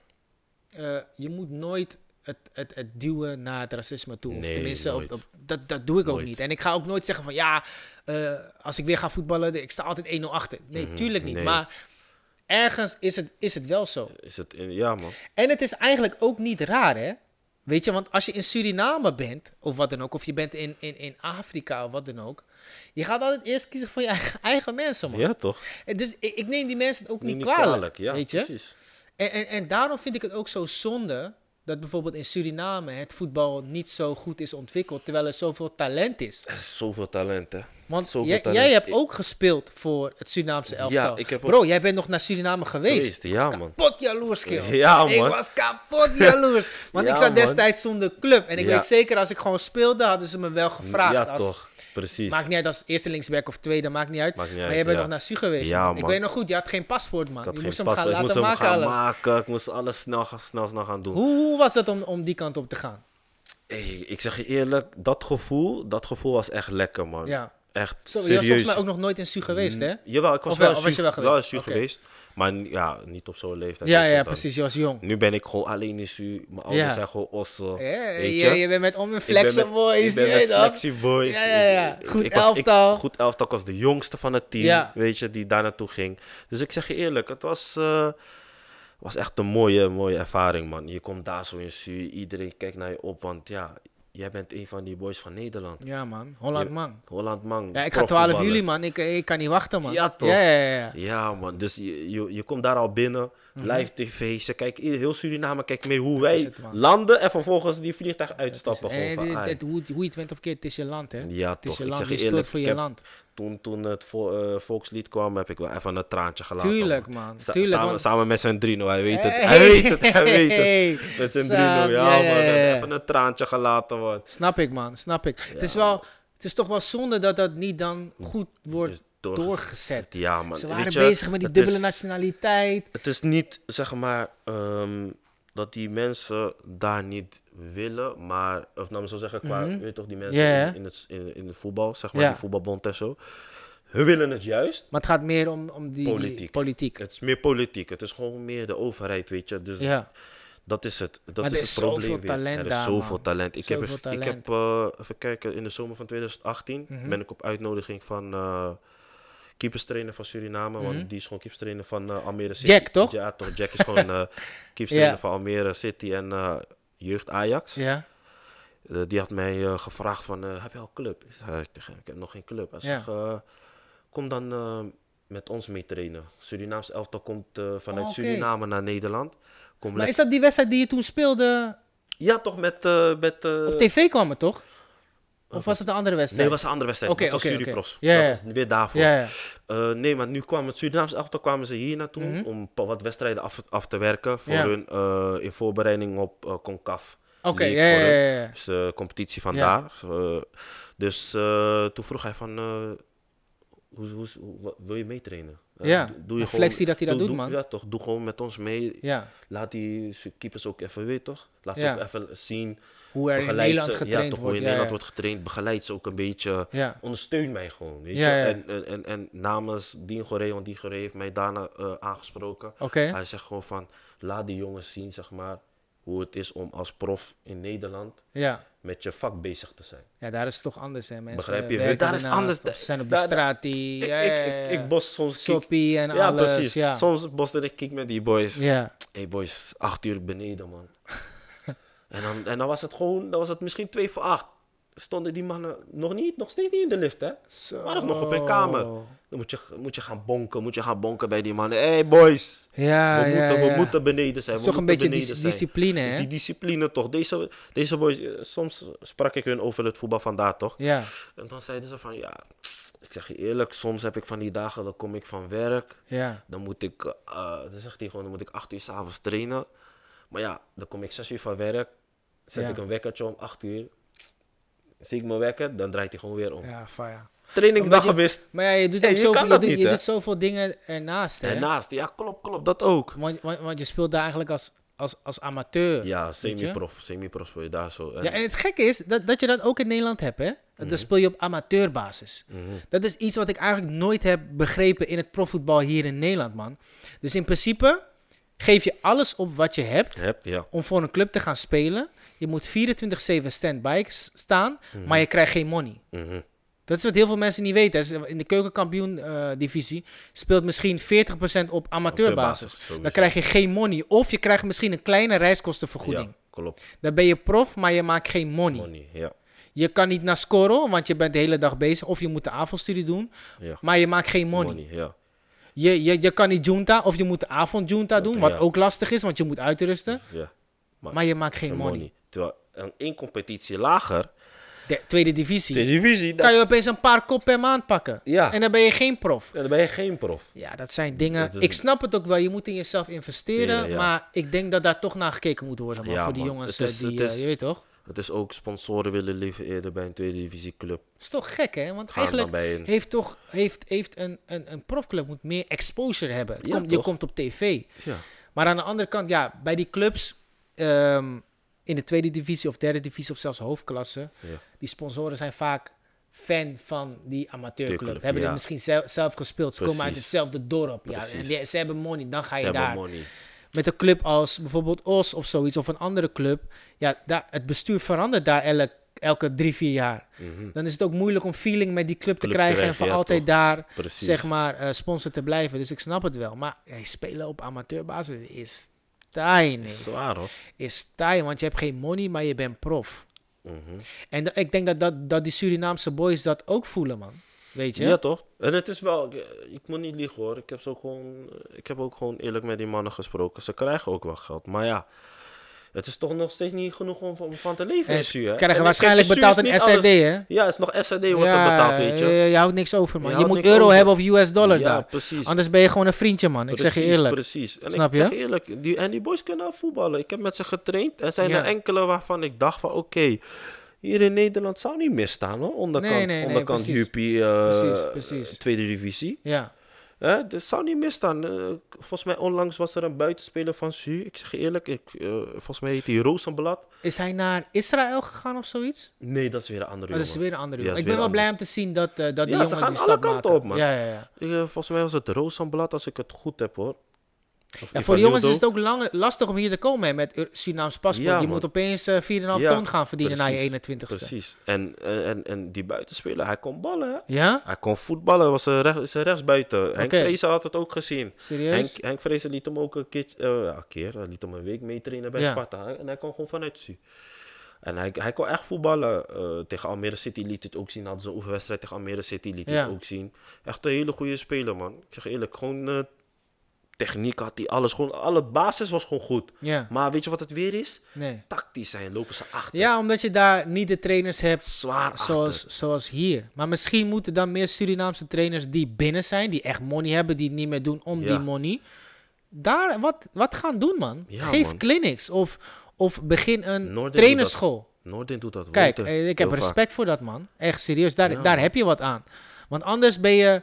[SPEAKER 2] Eh, je moet nooit het, het, het duwen naar het racisme toe. of
[SPEAKER 3] Nee,
[SPEAKER 2] tenminste, op-
[SPEAKER 3] nooit.
[SPEAKER 2] op- dat, dat doe ik ook
[SPEAKER 3] Nooit.
[SPEAKER 2] niet. En ik ga ook nooit zeggen van, ja, eh, als ik weer ga voetballen, ik sta altijd 1-0 achter. Nee, tuurlijk niet.
[SPEAKER 3] Mhm, nee.
[SPEAKER 2] Maar ergens is het, is het wel zo.
[SPEAKER 3] Is het in, ja, man.
[SPEAKER 2] En het is eigenlijk ook niet raar, hè? Weet je, want als je in Suriname bent, of wat dan ook, of je bent in, in, in Afrika of wat dan ook, je gaat altijd eerst kiezen voor je eigen, eigen mensen, man.
[SPEAKER 3] Ja, toch?
[SPEAKER 2] En Dus ik, ik neem die mensen het ook niet,
[SPEAKER 3] Niet
[SPEAKER 2] kwalijk,
[SPEAKER 3] ja,
[SPEAKER 2] weet je?
[SPEAKER 3] precies.
[SPEAKER 2] En, en, en daarom vind ik het ook zo zonde dat bijvoorbeeld in Suriname het voetbal niet zo goed is ontwikkeld, terwijl er zoveel talent is.
[SPEAKER 3] Er is Zoveel talent, hè.
[SPEAKER 2] Want
[SPEAKER 3] Zoveel
[SPEAKER 2] jij,
[SPEAKER 3] talent.
[SPEAKER 2] jij hebt
[SPEAKER 3] Ik-
[SPEAKER 2] ook gespeeld voor het Surinaamse elftal.
[SPEAKER 3] ik heb ook-
[SPEAKER 2] Bro, jij bent nog naar Suriname geweest.
[SPEAKER 3] Geweest,
[SPEAKER 2] Ik
[SPEAKER 3] ja,
[SPEAKER 2] was
[SPEAKER 3] man.
[SPEAKER 2] kapot jaloers, kerel.
[SPEAKER 3] Ja,
[SPEAKER 2] Ik
[SPEAKER 3] man.
[SPEAKER 2] was kapot jaloers. Want
[SPEAKER 3] Ja,
[SPEAKER 2] ik zat
[SPEAKER 3] man.
[SPEAKER 2] destijds zonder club. En ik
[SPEAKER 3] Ja.
[SPEAKER 2] weet zeker, als ik gewoon speelde, hadden ze me wel gevraagd.
[SPEAKER 3] Ja,
[SPEAKER 2] als,
[SPEAKER 3] toch? Precies.
[SPEAKER 2] Maakt niet uit als eerste linksback of tweede, maakt niet uit.
[SPEAKER 3] Maakt niet
[SPEAKER 2] maar
[SPEAKER 3] uit,
[SPEAKER 2] jij bent
[SPEAKER 3] ja.
[SPEAKER 2] nog naar Su geweest.
[SPEAKER 3] Ja,
[SPEAKER 2] man. Ik
[SPEAKER 3] man.
[SPEAKER 2] weet nog goed, je had geen paspoort, man.
[SPEAKER 3] ik had
[SPEAKER 2] je
[SPEAKER 3] geen
[SPEAKER 2] moest hem
[SPEAKER 3] paspoort.
[SPEAKER 2] gaan
[SPEAKER 3] Ik
[SPEAKER 2] laten
[SPEAKER 3] moest hem
[SPEAKER 2] maken.
[SPEAKER 3] gaan
[SPEAKER 2] alle-
[SPEAKER 3] maken. Ik moest alles snel, gaan- snel, snel gaan doen.
[SPEAKER 2] Hoe, hoe was dat om, om die kant op te gaan?
[SPEAKER 3] Hey, ik zeg je eerlijk, dat gevoel, dat gevoel was echt lekker, man.
[SPEAKER 2] Ja.
[SPEAKER 3] Echt
[SPEAKER 2] Zo, je was
[SPEAKER 3] serieus. Mm.
[SPEAKER 2] volgens mij ook nog nooit in Su geweest, hè?
[SPEAKER 3] Jawel, ik was
[SPEAKER 2] Of wel,
[SPEAKER 3] wel,
[SPEAKER 2] of was je wel geweest?
[SPEAKER 3] wel zuur
[SPEAKER 2] Oké.
[SPEAKER 3] geweest. Maar n- ja, niet op zo'n leeftijd.
[SPEAKER 2] Ja,
[SPEAKER 3] weet je,
[SPEAKER 2] ja,
[SPEAKER 3] dan-
[SPEAKER 2] precies. Je was jong.
[SPEAKER 3] Nu ben ik gewoon alleen in zuur. Mijn ouders
[SPEAKER 2] Ja.
[SPEAKER 3] zijn gewoon ossen.
[SPEAKER 2] Ja,
[SPEAKER 3] weet
[SPEAKER 2] je, je bent met om een flexen boys.
[SPEAKER 3] Ik ben
[SPEAKER 2] je
[SPEAKER 3] met
[SPEAKER 2] weet dat.
[SPEAKER 3] Flexie Boys.
[SPEAKER 2] Ja, ja, ja.
[SPEAKER 3] Ik- ik-
[SPEAKER 2] Goed
[SPEAKER 3] ik was- ik-
[SPEAKER 2] elftal.
[SPEAKER 3] goed elftal. Ik was de jongste van het team,
[SPEAKER 2] Ja.
[SPEAKER 3] weet je, die daar naartoe ging. Dus ik zeg je eerlijk, het was, eh, was echt een mooie, mooie ervaring, man. Je komt daar zo in Su, iedereen kijkt naar je op, want ja, jij bent een van die boys van Nederland.
[SPEAKER 2] Ja, man. Holland,
[SPEAKER 3] Je-
[SPEAKER 2] man.
[SPEAKER 3] Holland, man.
[SPEAKER 2] Ja, ik ga 12
[SPEAKER 3] profvoetballers.
[SPEAKER 2] juli, man. Ik, ik kan niet wachten, man.
[SPEAKER 3] Ja, toch?
[SPEAKER 2] Ja, ja, ja.
[SPEAKER 3] Ja, man. Dus je, je, je komt daar al binnen. Live tv. Ze kijken, ieder- heel Suriname kijkt mee hoe wij
[SPEAKER 2] Mhm. is het, man.
[SPEAKER 3] landen en vervolgens die vliegtuig uitstappen.
[SPEAKER 2] En
[SPEAKER 3] gewoon van,
[SPEAKER 2] Eh, dit-
[SPEAKER 3] ai.
[SPEAKER 2] dit- hoe, hoe je het went of keert, het is je land, hè?
[SPEAKER 3] Ja,
[SPEAKER 2] het is
[SPEAKER 3] toch.
[SPEAKER 2] je
[SPEAKER 3] Ik
[SPEAKER 2] land.
[SPEAKER 3] zeg
[SPEAKER 2] Je
[SPEAKER 3] je
[SPEAKER 2] speelt
[SPEAKER 3] eerlijk,
[SPEAKER 2] voor
[SPEAKER 3] ik
[SPEAKER 2] je
[SPEAKER 3] heb-
[SPEAKER 2] land.
[SPEAKER 3] toen, toen het vo- eh, volkslied kwam, heb ik wel even een traantje gelaten.
[SPEAKER 2] Tuurlijk, man. Tuurlijk,
[SPEAKER 3] samen,
[SPEAKER 2] want-
[SPEAKER 3] samen met zijn Drino, hij weet het.
[SPEAKER 2] Hey.
[SPEAKER 3] Hij weet het, hij weet
[SPEAKER 2] Hey.
[SPEAKER 3] het. Met zijn
[SPEAKER 2] Samen,
[SPEAKER 3] Drino, ja,
[SPEAKER 2] ja,
[SPEAKER 3] man.
[SPEAKER 2] ja,
[SPEAKER 3] we hebben
[SPEAKER 2] ja.
[SPEAKER 3] Even een traantje gelaten, man.
[SPEAKER 2] Snap ik, man. Snap ik. Het, is wel, het is toch wel zonde dat dat niet dan goed wordt
[SPEAKER 3] Is doorgezet.
[SPEAKER 2] doorgezet.
[SPEAKER 3] Ja, man.
[SPEAKER 2] Ze waren
[SPEAKER 3] Weet je,
[SPEAKER 2] bezig met die
[SPEAKER 3] het is-
[SPEAKER 2] dubbele nationaliteit.
[SPEAKER 3] Het is niet, zeg maar, ehm, dat die mensen daar niet willen, maar, of nou, zo zeggen, qua, weet je toch, die mensen
[SPEAKER 2] Mhm. Ja, ja.
[SPEAKER 3] in, in het, in, in het voetbal, zeg maar,
[SPEAKER 2] Ja.
[SPEAKER 3] die voetbalbond en zo. Hun willen het juist.
[SPEAKER 2] Maar het gaat meer om, om die die
[SPEAKER 3] Politiek.
[SPEAKER 2] politiek.
[SPEAKER 3] Het is meer politiek. Het is gewoon meer de overheid, weet je. Dus
[SPEAKER 2] Ja.
[SPEAKER 3] dat is het. Dat
[SPEAKER 2] Maar er
[SPEAKER 3] is
[SPEAKER 2] is
[SPEAKER 3] het probleem.
[SPEAKER 2] zoveel
[SPEAKER 3] weer.
[SPEAKER 2] talent
[SPEAKER 3] er is
[SPEAKER 2] daar,
[SPEAKER 3] zoveel
[SPEAKER 2] man.
[SPEAKER 3] talent. Ik heb,
[SPEAKER 2] Zoveel
[SPEAKER 3] ik
[SPEAKER 2] talent. Mhm.
[SPEAKER 3] heb eh, even kijken, in de zomer van 2018 ben ik op uitnodiging van eh keeperstrainer van Suriname. Want die is gewoon keeperstrainer van eh, Almere City.
[SPEAKER 2] Mhm. Jack, toch?
[SPEAKER 3] Ja, toch. Jack is gewoon eh keeperstrainer
[SPEAKER 2] Ja.
[SPEAKER 3] van Almere City en eh, jeugd Ajax.
[SPEAKER 2] Ja.
[SPEAKER 3] Eh, die had mij eh, gevraagd van, eh, heb je al een club? Ik zei tegen hem, ik heb nog geen club. Hij
[SPEAKER 2] Ja.
[SPEAKER 3] zegt, eh, kom dan eh, met ons mee trainen. Surinaams elftal komt eh, vanuit
[SPEAKER 2] Oh, oké.
[SPEAKER 3] Suriname naar Nederland. Kom
[SPEAKER 2] Maar is
[SPEAKER 3] lekker.
[SPEAKER 2] dat die wedstrijd die je toen speelde?
[SPEAKER 3] Ja, toch met... eh, met eh,
[SPEAKER 2] Op tv kwam het toch? Of was het een andere wedstrijd?
[SPEAKER 3] Nee, was een andere wedstrijd.
[SPEAKER 2] Oké,
[SPEAKER 3] dat was
[SPEAKER 2] oké, oké.
[SPEAKER 3] Suripros.
[SPEAKER 2] Ja, ja.
[SPEAKER 3] Dat was weer daarvoor.
[SPEAKER 2] Ja, ja.
[SPEAKER 3] Eh, nee, maar nu kwam het Surinaams elftal kwamen ze hier naartoe om een paar wat wedstrijden af, af te werken voor
[SPEAKER 2] Mhm. Ja.
[SPEAKER 3] hun eh, in voorbereiding op eh, CONCAF.
[SPEAKER 2] Oké,
[SPEAKER 3] League
[SPEAKER 2] ja,
[SPEAKER 3] voor
[SPEAKER 2] ja,
[SPEAKER 3] hun.
[SPEAKER 2] ja, ja.
[SPEAKER 3] Dus eh, competitie van
[SPEAKER 2] Ja.
[SPEAKER 3] daar. Eh, dus eh, toen vroeg hij van, eh, hoe, hoe, hoe- wat- wil je meetrainen? Eh,
[SPEAKER 2] Ja,
[SPEAKER 3] doe je
[SPEAKER 2] een
[SPEAKER 3] gewoon-
[SPEAKER 2] flexie dat hij dat
[SPEAKER 3] doe-
[SPEAKER 2] doet,
[SPEAKER 3] doe-
[SPEAKER 2] man.
[SPEAKER 3] Ja toch, doe gewoon met ons mee.
[SPEAKER 2] Ja.
[SPEAKER 3] Laat die su- keepers ook even weten, toch? Laat
[SPEAKER 2] Ja.
[SPEAKER 3] ze ook even zien.
[SPEAKER 2] Hoe er in
[SPEAKER 3] Begeleid
[SPEAKER 2] Nederland
[SPEAKER 3] ze,
[SPEAKER 2] getraind
[SPEAKER 3] ja, toch,
[SPEAKER 2] wordt.
[SPEAKER 3] Hoe
[SPEAKER 2] ja,
[SPEAKER 3] in Nederland
[SPEAKER 2] ja.
[SPEAKER 3] wordt getraind. Begeleid ze ook een beetje.
[SPEAKER 2] Ja.
[SPEAKER 3] Ondersteun mij gewoon, weet
[SPEAKER 2] Ja,
[SPEAKER 3] je.
[SPEAKER 2] ja.
[SPEAKER 3] En, en, en, en namens Dingore, want Dingore heeft mij daarna eh, aangesproken.
[SPEAKER 2] Oké.
[SPEAKER 3] Hij zegt gewoon van, laat die jongens zien, zeg maar, hoe het is om als prof in Nederland
[SPEAKER 2] Ja.
[SPEAKER 3] met je vak bezig te zijn.
[SPEAKER 2] ja, daar is het toch anders, hè, mensen.
[SPEAKER 3] Begrijp je?
[SPEAKER 2] werken
[SPEAKER 3] Daar is
[SPEAKER 2] ernaast
[SPEAKER 3] anders.
[SPEAKER 2] of Ze zijn op de
[SPEAKER 3] Daar-
[SPEAKER 2] straat die...
[SPEAKER 3] Ik,
[SPEAKER 2] Ja,
[SPEAKER 3] ik,
[SPEAKER 2] ja, ja,
[SPEAKER 3] ik,
[SPEAKER 2] ja.
[SPEAKER 3] ik bos soms kick.
[SPEAKER 2] Soppie en
[SPEAKER 3] Ja,
[SPEAKER 2] alles.
[SPEAKER 3] precies.
[SPEAKER 2] Ja.
[SPEAKER 3] Soms boste ik kick met die boys.
[SPEAKER 2] Ja.
[SPEAKER 3] hey boys, acht uur beneden, man. en, dan, en dan was het gewoon, dan was het misschien twee voor acht. Stonden die mannen nog niet, nog steeds niet in de lift, hè?
[SPEAKER 2] Zo.
[SPEAKER 3] Maar nog op hun kamer. Dan moet je, moet je gaan bonken, moet je gaan bonken bij die mannen. hey boys,
[SPEAKER 2] Ja,
[SPEAKER 3] we,
[SPEAKER 2] Ah, ja,
[SPEAKER 3] moeten, we
[SPEAKER 2] ja.
[SPEAKER 3] moeten beneden zijn.
[SPEAKER 2] is
[SPEAKER 3] we
[SPEAKER 2] toch een
[SPEAKER 3] moeten
[SPEAKER 2] beetje dis-
[SPEAKER 3] beneden zijn.
[SPEAKER 2] discipline,
[SPEAKER 3] Dus
[SPEAKER 2] hè?
[SPEAKER 3] die discipline toch. Deze, deze boys, eh, soms sprak ik hun over het voetbal vandaag, toch?
[SPEAKER 2] Ja.
[SPEAKER 3] En dan zeiden ze van, ja, ik zeg je eerlijk, soms heb ik van die dagen, dan kom ik van werk.
[SPEAKER 2] Ja.
[SPEAKER 3] Dan moet ik, eh, dan zegt hij gewoon, dan moet ik acht uur s'avonds trainen. Maar ja, dan kom ik zes uur van werk. Zet
[SPEAKER 2] Ja.
[SPEAKER 3] ik een wekkertje om acht uur. Zie ik mijn wekker, dan draait hij gewoon weer om.
[SPEAKER 2] Ja, fire.
[SPEAKER 3] Trainingsdag gemist.
[SPEAKER 2] Maar ja, je doet,
[SPEAKER 3] Hey,
[SPEAKER 2] ook
[SPEAKER 3] je
[SPEAKER 2] zoveel,
[SPEAKER 3] kan
[SPEAKER 2] je
[SPEAKER 3] dat
[SPEAKER 2] doet-
[SPEAKER 3] niet,
[SPEAKER 2] je
[SPEAKER 3] hè?
[SPEAKER 2] doet zoveel dingen ernaast, hè?
[SPEAKER 3] Daarnaast, ja, klopt, klopt, dat ook.
[SPEAKER 2] Want, want, want je speelt daar eigenlijk als, als, als amateur.
[SPEAKER 3] Ja,
[SPEAKER 2] weet je?
[SPEAKER 3] semi-prof, semi-prof speel je daar zo. eh, En,
[SPEAKER 2] Ja, en het gekke is dat, dat je dat ook in Nederland hebt, hè?
[SPEAKER 3] Mhm.
[SPEAKER 2] Dan speel je op amateurbasis. Dat is iets wat ik eigenlijk nooit heb begrepen in het profvoetbal hier in Nederland, man. Dus in principe geef je alles op wat je hebt
[SPEAKER 3] Heb, ja.
[SPEAKER 2] om voor een club te gaan
[SPEAKER 3] Mhm.
[SPEAKER 2] spelen. Je moet 24-7 stand-by s- staan, maar je krijgt geen money. Dat is wat heel veel mensen niet weten. hè. In de keukenkampioen-divisie speelt misschien 40% op amateurbasis.
[SPEAKER 3] sowieso.
[SPEAKER 2] Dan krijg je geen money. Of je krijgt misschien een kleine reiskostenvergoeding.
[SPEAKER 3] Ja, klopt.
[SPEAKER 2] Dan ben je prof, maar je maakt geen money.
[SPEAKER 3] Money, ja.
[SPEAKER 2] Je kan niet naar scoren, want je bent de hele dag bezig. Of je moet de avondstudie doen,
[SPEAKER 3] Ja.
[SPEAKER 2] maar je maakt geen money.
[SPEAKER 3] Money, ja.
[SPEAKER 2] Je, je, je kan niet junta, of je moet de avondjunta doen, wat
[SPEAKER 3] ja.
[SPEAKER 2] ook lastig is, want je moet uitrusten.
[SPEAKER 3] ja.
[SPEAKER 2] Maar je maakt geen money.
[SPEAKER 3] Terwijl een één competitie lager,
[SPEAKER 2] De tweede divisie.
[SPEAKER 3] televisie,
[SPEAKER 2] Kan je opeens een paar kop per maand pakken.
[SPEAKER 3] Ja.
[SPEAKER 2] En dan ben je geen prof.
[SPEAKER 3] dan ben je geen prof.
[SPEAKER 2] Ja, dat zijn dingen.
[SPEAKER 3] Dat is-
[SPEAKER 2] Ik snap het ook wel. Je moet in jezelf investeren.
[SPEAKER 3] Ja, ja.
[SPEAKER 2] Maar ik denk dat daar toch naar gekeken moet worden. Man,
[SPEAKER 3] Ja,
[SPEAKER 2] voor die
[SPEAKER 3] man.
[SPEAKER 2] jongens
[SPEAKER 3] Het is-
[SPEAKER 2] eh, die,
[SPEAKER 3] het
[SPEAKER 2] eh,
[SPEAKER 3] is-
[SPEAKER 2] je weet toch?
[SPEAKER 3] Het is ook sponsoren willen liever eerder bij een tweede divisie club.
[SPEAKER 2] is toch gek, hè? Want
[SPEAKER 3] Gaan
[SPEAKER 2] eigenlijk
[SPEAKER 3] dan bij een-
[SPEAKER 2] heeft toch heeft, heeft een, een, een profclub moet meer exposure hebben. Het
[SPEAKER 3] Ja,
[SPEAKER 2] komt- je
[SPEAKER 3] toch?
[SPEAKER 2] komt op tv.
[SPEAKER 3] Ja.
[SPEAKER 2] Maar aan de andere kant, ja, bij die clubs ehm, in de tweede divisie of derde divisie of zelfs hoofdklasse,
[SPEAKER 3] Ja.
[SPEAKER 2] die sponsoren zijn vaak fan van die amateurclub.
[SPEAKER 3] Tuurlijk,
[SPEAKER 2] Hebben er
[SPEAKER 3] ja.
[SPEAKER 2] misschien zelf, zelf gespeeld. Ze komen uit
[SPEAKER 3] Precies.
[SPEAKER 2] hetzelfde dorp. Ja, en
[SPEAKER 3] Precies.
[SPEAKER 2] die- ze hebben money, dan ga je
[SPEAKER 3] Ze hebben
[SPEAKER 2] daar.
[SPEAKER 3] money.
[SPEAKER 2] Met een club als bijvoorbeeld Os of zoiets, of een andere club. Ja, daar, het bestuur verandert daar elk, elke drie, vier jaar. Dan is het ook moeilijk om feeling met die club,
[SPEAKER 3] Mhm. Club
[SPEAKER 2] te
[SPEAKER 3] te
[SPEAKER 2] krijgen en
[SPEAKER 3] krijgen,
[SPEAKER 2] voor
[SPEAKER 3] ja,
[SPEAKER 2] altijd
[SPEAKER 3] toch.
[SPEAKER 2] daar
[SPEAKER 3] Precies.
[SPEAKER 2] zeg maar, eh, sponsor te blijven. Dus ik snap het wel. Maar hey, spelen op amateurbasis is tiny.
[SPEAKER 3] Zwaar hoor.
[SPEAKER 2] Is tiny, want je hebt geen money, maar je bent prof.
[SPEAKER 3] Mhm.
[SPEAKER 2] En da- ik denk dat, dat, dat die Surinaamse boys dat ook voelen, man. Weet je?
[SPEAKER 3] Ja. toch? En het is wel, ik, eh, ik moet niet liegen hoor. Ik heb, ze ook gewoon, eh, ik heb ook gewoon eerlijk met die mannen gesproken. Ze krijgen ook wel geld. Maar ja, het is toch nog steeds niet genoeg om, om van te leven.
[SPEAKER 2] En
[SPEAKER 3] in
[SPEAKER 2] Eh, ze
[SPEAKER 3] Su, hè? En
[SPEAKER 2] krijgen
[SPEAKER 3] ik-
[SPEAKER 2] waarschijnlijk
[SPEAKER 3] kijk, in Su
[SPEAKER 2] betaald
[SPEAKER 3] is
[SPEAKER 2] een
[SPEAKER 3] niet
[SPEAKER 2] SRD,
[SPEAKER 3] alles-
[SPEAKER 2] hè?
[SPEAKER 3] Ja, het is nog SRD wordt er betaald, weet je.
[SPEAKER 2] je, je houdt niks over,
[SPEAKER 3] Je
[SPEAKER 2] man. Je,
[SPEAKER 3] houdt
[SPEAKER 2] moet
[SPEAKER 3] niks
[SPEAKER 2] euro
[SPEAKER 3] over.
[SPEAKER 2] hebben of US eh, dollar
[SPEAKER 3] Ja,
[SPEAKER 2] daar.
[SPEAKER 3] precies.
[SPEAKER 2] Anders ben je gewoon een vriendje, man. Ik zeg je
[SPEAKER 3] Precies,
[SPEAKER 2] eerlijk.
[SPEAKER 3] Precies. En
[SPEAKER 2] Snap
[SPEAKER 3] ik zeg
[SPEAKER 2] je?
[SPEAKER 3] je eerlijk, die, en die boys kunnen voetballen. Ik heb met ze getraind. Er zijn
[SPEAKER 2] Ja.
[SPEAKER 3] er enkele waarvan ik dacht van oké, hier in Nederland zou niet misstaan hoor. Onderkant,
[SPEAKER 2] Nee, nee, nee,
[SPEAKER 3] onderkant
[SPEAKER 2] precies.
[SPEAKER 3] Huppie, eh,
[SPEAKER 2] Precies, precies.
[SPEAKER 3] tweede divisie.
[SPEAKER 2] Ja.
[SPEAKER 3] Hè, dat zou niet misstaan. Eh, volgens mij onlangs was er een buitenspeler van Su. Ik zeg je eerlijk, ik, eh, volgens mij heet hij Rozenblad.
[SPEAKER 2] Is hij naar Israël gegaan of zoiets?
[SPEAKER 3] Nee, dat is weer een andere
[SPEAKER 2] Oh, dat is
[SPEAKER 3] jongen.
[SPEAKER 2] weer een andere
[SPEAKER 3] Ja,
[SPEAKER 2] jongen. Ik
[SPEAKER 3] dat is
[SPEAKER 2] ben wel
[SPEAKER 3] weer een
[SPEAKER 2] blij om te zien dat, eh, dat die
[SPEAKER 3] Ja, ze
[SPEAKER 2] jongens
[SPEAKER 3] gaan
[SPEAKER 2] die
[SPEAKER 3] alle
[SPEAKER 2] stap
[SPEAKER 3] kanten
[SPEAKER 2] maken.
[SPEAKER 3] op, man.
[SPEAKER 2] Ja, ja, ja.
[SPEAKER 3] Eh, volgens mij was het Rozenblad, als ik het goed heb hoor. Of
[SPEAKER 2] ja voor
[SPEAKER 3] Ivan
[SPEAKER 2] de jongens is
[SPEAKER 3] Ildo.
[SPEAKER 2] het ook lang, lastig om hier te komen hè, met Ur- Surinaams paspoort.
[SPEAKER 3] Ja,
[SPEAKER 2] je
[SPEAKER 3] man.
[SPEAKER 2] moet opeens eh, 4,5
[SPEAKER 3] Ja,
[SPEAKER 2] ton gaan verdienen
[SPEAKER 3] precies,
[SPEAKER 2] na je 21ste.
[SPEAKER 3] Precies. En, en, en- en die buitenspeler, hij kon ballen. Hè?
[SPEAKER 2] Ja?
[SPEAKER 3] Hij kon voetballen, was een recht, is een rechtsbuiten. Henk
[SPEAKER 2] Oké.
[SPEAKER 3] Vrezen had het ook gezien. Henk,
[SPEAKER 2] Serieus?
[SPEAKER 3] Henk Vrezen liet hem ook een keer, eh, ja, een keer, hij liet hem een week meetrainen bij
[SPEAKER 2] Ja.
[SPEAKER 3] Sparta. En hij kon gewoon vanuit Su. En hij, hij kon echt voetballen. Eh, tegen Almere City liet het ook zien. Hadden ze een oefenwedstrijd tegen Almere City, liet
[SPEAKER 2] Ja.
[SPEAKER 3] het ook zien. Echt een hele goede speler, man. Ik zeg eerlijk, gewoon eh, techniek had hij, alles. Gewoon, alle basis was gewoon goed.
[SPEAKER 2] Ja.
[SPEAKER 3] Maar weet je wat het weer is?
[SPEAKER 2] Nee.
[SPEAKER 3] Tactisch zijn, lopen ze achter.
[SPEAKER 2] Ja, omdat je daar niet de trainers hebt
[SPEAKER 3] Zwaar achter.
[SPEAKER 2] zoals, zoals hier. Maar misschien moeten dan meer Surinaamse trainers die binnen zijn, die echt money hebben, die het niet meer doen om
[SPEAKER 3] Ja.
[SPEAKER 2] die money, daar wat, wat gaan doen, man.
[SPEAKER 3] Ja,
[SPEAKER 2] Geef
[SPEAKER 3] man.
[SPEAKER 2] clinics of, of begin een
[SPEAKER 3] Noorden doet dat.
[SPEAKER 2] trainerschool.
[SPEAKER 3] Noordin doet dat.
[SPEAKER 2] Kijk,
[SPEAKER 3] Wouter,
[SPEAKER 2] eh, ik
[SPEAKER 3] heel
[SPEAKER 2] heb
[SPEAKER 3] vaak.
[SPEAKER 2] respect voor dat, man. Echt serieus, daar,
[SPEAKER 3] Ja,
[SPEAKER 2] daar
[SPEAKER 3] man.
[SPEAKER 2] heb je wat aan. Want anders ben je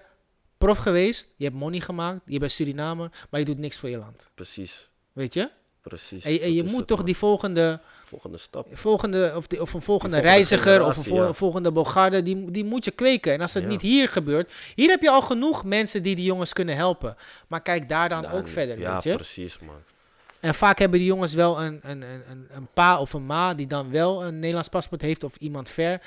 [SPEAKER 2] prof geweest, je hebt money gemaakt, je bent Surinamer, maar je doet niks voor je land.
[SPEAKER 3] Precies,
[SPEAKER 2] Weet je?
[SPEAKER 3] precies.
[SPEAKER 2] En, je- en
[SPEAKER 3] Dat
[SPEAKER 2] je
[SPEAKER 3] is
[SPEAKER 2] moet
[SPEAKER 3] het,
[SPEAKER 2] toch
[SPEAKER 3] man.
[SPEAKER 2] die volgende
[SPEAKER 3] Volgende stap.
[SPEAKER 2] volgende, of, die- of een volgende,
[SPEAKER 3] volgende
[SPEAKER 2] reiziger of een
[SPEAKER 3] generatie,
[SPEAKER 2] vol-
[SPEAKER 3] ja.
[SPEAKER 2] volgende Bogarde, die, die moet je kweken. En als het
[SPEAKER 3] Ja.
[SPEAKER 2] niet hier gebeurt, hier heb je al genoeg mensen die die jongens kunnen helpen. Maar kijk daar dan ook
[SPEAKER 3] Dan-
[SPEAKER 2] verder,
[SPEAKER 3] Nou, Ja,
[SPEAKER 2] weet je.
[SPEAKER 3] precies, man.
[SPEAKER 2] En vaak hebben die jongens wel een, een, een, een, een pa of een ma die dan wel een Nederlands paspoort heeft of iemand ver.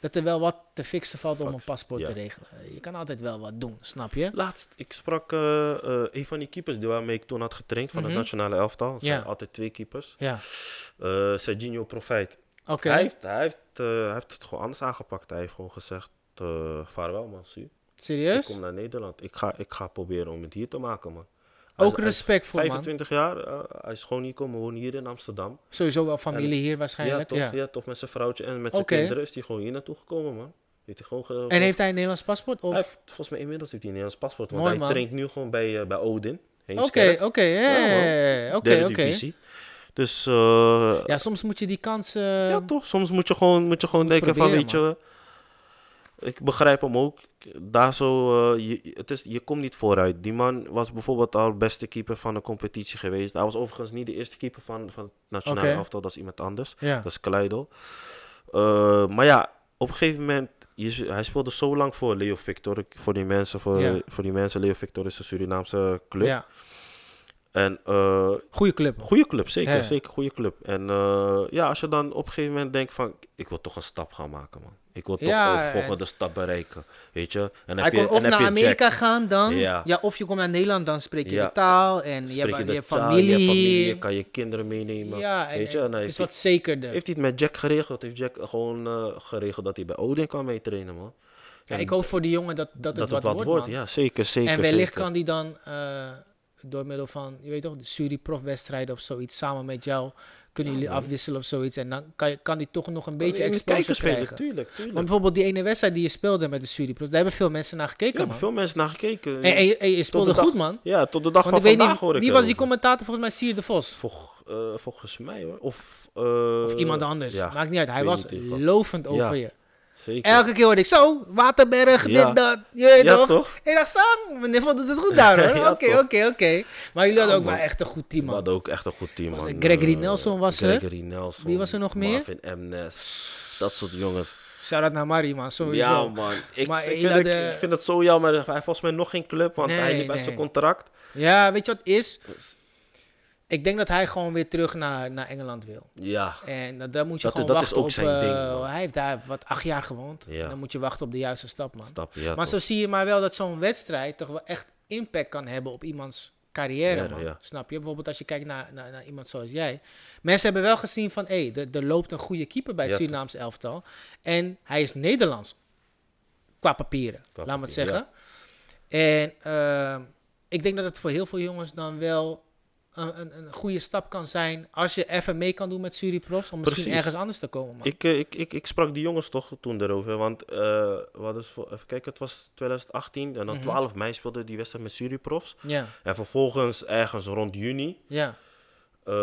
[SPEAKER 2] Dat er wel wat te fixen valt om
[SPEAKER 3] Fax,
[SPEAKER 2] een paspoort
[SPEAKER 3] ja.
[SPEAKER 2] te regelen. Je kan altijd wel wat doen, snap je?
[SPEAKER 3] Laatst, ik sprak eh, eh, een van die keepers die waarmee ik toen had getraind van
[SPEAKER 2] Mhm.
[SPEAKER 3] het nationale elftal. Er
[SPEAKER 2] Ja.
[SPEAKER 3] zijn altijd twee keepers.
[SPEAKER 2] Ja,
[SPEAKER 3] Eh Serginho Profijt.
[SPEAKER 2] oké.
[SPEAKER 3] Hij, heeft, hij, heeft, eh, hij heeft het gewoon anders aangepakt. Hij heeft gewoon gezegd, eh vaarwel man, Su. Ik
[SPEAKER 2] Serieus?
[SPEAKER 3] kom naar Nederland. Ik ga, ik ga proberen om het hier te maken, man. Hij is-
[SPEAKER 2] Ook
[SPEAKER 3] hij is
[SPEAKER 2] respect voor man.
[SPEAKER 3] 25 jaar, eh, hij is gewoon hier komen wonen, hier in Amsterdam.
[SPEAKER 2] Sowieso wel familie hier
[SPEAKER 3] Ja
[SPEAKER 2] waarschijnlijk.
[SPEAKER 3] toch,
[SPEAKER 2] Ja,
[SPEAKER 3] ja. toch, met zijn vrouwtje en met zijn
[SPEAKER 2] Oké.
[SPEAKER 3] kinderen is hij gewoon hier naartoe gekomen, man. Heeft hij gewoon ge-
[SPEAKER 2] En heeft hij een Nederlands paspoort?
[SPEAKER 3] Hij
[SPEAKER 2] Of...
[SPEAKER 3] heeft- volgens mij inmiddels heeft hij een Nederlands paspoort, want
[SPEAKER 2] Mooi,
[SPEAKER 3] hij
[SPEAKER 2] man.
[SPEAKER 3] traint nu gewoon bij, eh, bij Odin.
[SPEAKER 2] Oké,
[SPEAKER 3] Heemskerk,
[SPEAKER 2] oké, ja, ja, ja, ja, ja. oké,
[SPEAKER 3] derde
[SPEAKER 2] oké.
[SPEAKER 3] divisie. Dus eh, ja,
[SPEAKER 2] Ja, soms moet je die kans. eh,
[SPEAKER 3] toch, soms moet je gewoon, moet je gewoon denken van,
[SPEAKER 2] proberen,
[SPEAKER 3] weet je, ik begrijp hem ook. Daar zo, eh, je, het is, je komt niet vooruit. Die man was bijvoorbeeld al beste keeper van de competitie geweest. Hij was overigens niet de eerste keeper van, van het nationale
[SPEAKER 2] Oké.
[SPEAKER 3] elftal, dat is iemand anders.
[SPEAKER 2] ja.
[SPEAKER 3] Dat is Kaleido. Eh, maar ja, op een gegeven moment. Je, hij speelde zo lang voor Leo Victor. Ik- Voor die mensen, voor,
[SPEAKER 2] Ja.
[SPEAKER 3] voor die mensen Leo Victor is een Surinaamse club.
[SPEAKER 2] ja.
[SPEAKER 3] En eh,
[SPEAKER 2] Goeie club.
[SPEAKER 3] goede club, zeker.
[SPEAKER 2] Ja.
[SPEAKER 3] Zeker goede club. En eh, ja, als je dan op een gegeven moment denkt van... Ik wil toch een stap gaan maken, man. Ik wil toch
[SPEAKER 2] Ja,
[SPEAKER 3] een
[SPEAKER 2] en-
[SPEAKER 3] volgende stap bereiken. Weet je? En dan
[SPEAKER 2] Hij kon
[SPEAKER 3] en
[SPEAKER 2] of
[SPEAKER 3] dan
[SPEAKER 2] naar
[SPEAKER 3] heb je Jack.
[SPEAKER 2] Amerika gaan dan, ja.
[SPEAKER 3] Ja.
[SPEAKER 2] of je komt naar Nederland, dan spreek je
[SPEAKER 3] Ja.
[SPEAKER 2] de taal en je
[SPEAKER 3] Spreek
[SPEAKER 2] hebt, je
[SPEAKER 3] de
[SPEAKER 2] hebt
[SPEAKER 3] taal,
[SPEAKER 2] familie.
[SPEAKER 3] Je hebt familie, je kan je kinderen meenemen.
[SPEAKER 2] ja, en,
[SPEAKER 3] weet je? En
[SPEAKER 2] en
[SPEAKER 3] dan
[SPEAKER 2] het
[SPEAKER 3] heeft
[SPEAKER 2] is
[SPEAKER 3] hij,
[SPEAKER 2] wat zekerder.
[SPEAKER 3] heeft hij het met Jack geregeld. Heeft Jack gewoon eh, geregeld dat hij bij Odin kan meetrainen, man.
[SPEAKER 2] Ja,
[SPEAKER 3] En
[SPEAKER 2] ik hoop voor die jongen dat, dat,
[SPEAKER 3] dat het wat wordt,
[SPEAKER 2] man.
[SPEAKER 3] ja. Zeker, zeker.
[SPEAKER 2] en wellicht
[SPEAKER 3] zeker.
[SPEAKER 2] kan die dan eh, door middel van, je weet toch, de Suriprof-wedstrijden of zoiets, samen met jou kunnen jullie afwisselen of zoiets. En dan kan, je- kan die toch nog een beetje
[SPEAKER 3] In de
[SPEAKER 2] exposure
[SPEAKER 3] kijkers spelen,
[SPEAKER 2] krijgen.
[SPEAKER 3] Tuurlijk,
[SPEAKER 2] Want
[SPEAKER 3] tuurlijk.
[SPEAKER 2] bijvoorbeeld die ene wedstrijd die je speelde met de Suriprof, daar hebben veel mensen naar
[SPEAKER 3] Ik
[SPEAKER 2] gekeken,
[SPEAKER 3] heb
[SPEAKER 2] man.
[SPEAKER 3] veel mensen naar gekeken.
[SPEAKER 2] En, en- en je
[SPEAKER 3] Tot de
[SPEAKER 2] speelde
[SPEAKER 3] dag-
[SPEAKER 2] goed, man.
[SPEAKER 3] Ja, tot de dag
[SPEAKER 2] Want ik
[SPEAKER 3] van
[SPEAKER 2] weet
[SPEAKER 3] vandaag
[SPEAKER 2] niet,
[SPEAKER 3] hoor ik
[SPEAKER 2] wie was die
[SPEAKER 3] erover.
[SPEAKER 2] commentator? Volgens mij Sier de Vos.
[SPEAKER 3] Volg- eh, volgens mij hoor. Of, eh,
[SPEAKER 2] Of iemand anders.
[SPEAKER 3] ja,
[SPEAKER 2] Maakt niet uit. Hij
[SPEAKER 3] weet
[SPEAKER 2] was
[SPEAKER 3] niet in ieder geval.
[SPEAKER 2] lovend
[SPEAKER 3] Ja,
[SPEAKER 2] over je.
[SPEAKER 3] Zeker.
[SPEAKER 2] Elke keer hoorde ik zo, Waterberg,
[SPEAKER 3] Ja.
[SPEAKER 2] dit, dat. Je weet
[SPEAKER 3] Ja,
[SPEAKER 2] toch?
[SPEAKER 3] toch?
[SPEAKER 2] Ik dacht, Sam, meneer Vos doet het goed daar hoor.
[SPEAKER 3] Ja,
[SPEAKER 2] Oké,
[SPEAKER 3] toch?
[SPEAKER 2] oké, oké. Maar jullie hadden ook
[SPEAKER 3] man.
[SPEAKER 2] wel echt een goed team,
[SPEAKER 3] We
[SPEAKER 2] man.
[SPEAKER 3] hadden ook echt een goed team,
[SPEAKER 2] Was
[SPEAKER 3] man.
[SPEAKER 2] het Gregory
[SPEAKER 3] Eh,
[SPEAKER 2] Nelson was er?
[SPEAKER 3] Gregory Nelson.
[SPEAKER 2] Wie was er nog meer?
[SPEAKER 3] Marvin Emnes. Dat soort jongens.
[SPEAKER 2] Shout-out naar Mari, man. Sowieso.
[SPEAKER 3] Ja, man. Ik,
[SPEAKER 2] Maar
[SPEAKER 3] ik
[SPEAKER 2] jullie
[SPEAKER 3] vind het,
[SPEAKER 2] hadden-
[SPEAKER 3] ik vind het zo jammer. Hij heeft volgens mij nog geen club, want hij
[SPEAKER 2] Nee,
[SPEAKER 3] liep bij
[SPEAKER 2] nee.
[SPEAKER 3] zijn contract.
[SPEAKER 2] Ja, weet je wat het is? Ik denk dat hij gewoon weer terug naar, naar Engeland wil.
[SPEAKER 3] Ja.
[SPEAKER 2] En dat, daar moet je
[SPEAKER 3] Dat-
[SPEAKER 2] gewoon
[SPEAKER 3] dat is
[SPEAKER 2] wachten
[SPEAKER 3] ook
[SPEAKER 2] op...
[SPEAKER 3] zijn
[SPEAKER 2] eh,
[SPEAKER 3] ding, man.
[SPEAKER 2] hij heeft daar wat acht jaar gewoond.
[SPEAKER 3] Ja.
[SPEAKER 2] Dan moet je wachten op de juiste stap, man.
[SPEAKER 3] Stap, ja,
[SPEAKER 2] maar
[SPEAKER 3] toch.
[SPEAKER 2] zo zie je maar wel dat zo'n wedstrijd toch wel echt impact kan hebben op iemands carrière,
[SPEAKER 3] Ja,
[SPEAKER 2] man.
[SPEAKER 3] ja.
[SPEAKER 2] Snap je? Bijvoorbeeld als je kijkt naar, naar, naar iemand zoals jij. Mensen hebben wel gezien van, hé, er- er loopt een goede keeper bij het
[SPEAKER 3] Ja, toch.
[SPEAKER 2] Surinaams elftal. En hij is Nederlands. Qua papieren,
[SPEAKER 3] Qua
[SPEAKER 2] laat maar het
[SPEAKER 3] papieren,
[SPEAKER 2] zeggen. En ehm, ik denk dat het voor heel veel jongens dan wel een, een, een goede stap kan zijn... als je even mee kan doen met Suriprofs... om misschien
[SPEAKER 3] Precies.
[SPEAKER 2] ergens anders te komen, man.
[SPEAKER 3] Ik, eh, ik, ik, ik sprak die jongens toch toen daarover. Want eh we hadden voor, even kijken, het was 2018. En dan
[SPEAKER 2] Mhm.
[SPEAKER 3] 12 mei speelde die wedstrijd met Suriprofs.
[SPEAKER 2] Ja,
[SPEAKER 3] En vervolgens ergens rond juni.
[SPEAKER 2] ja,
[SPEAKER 3] eh,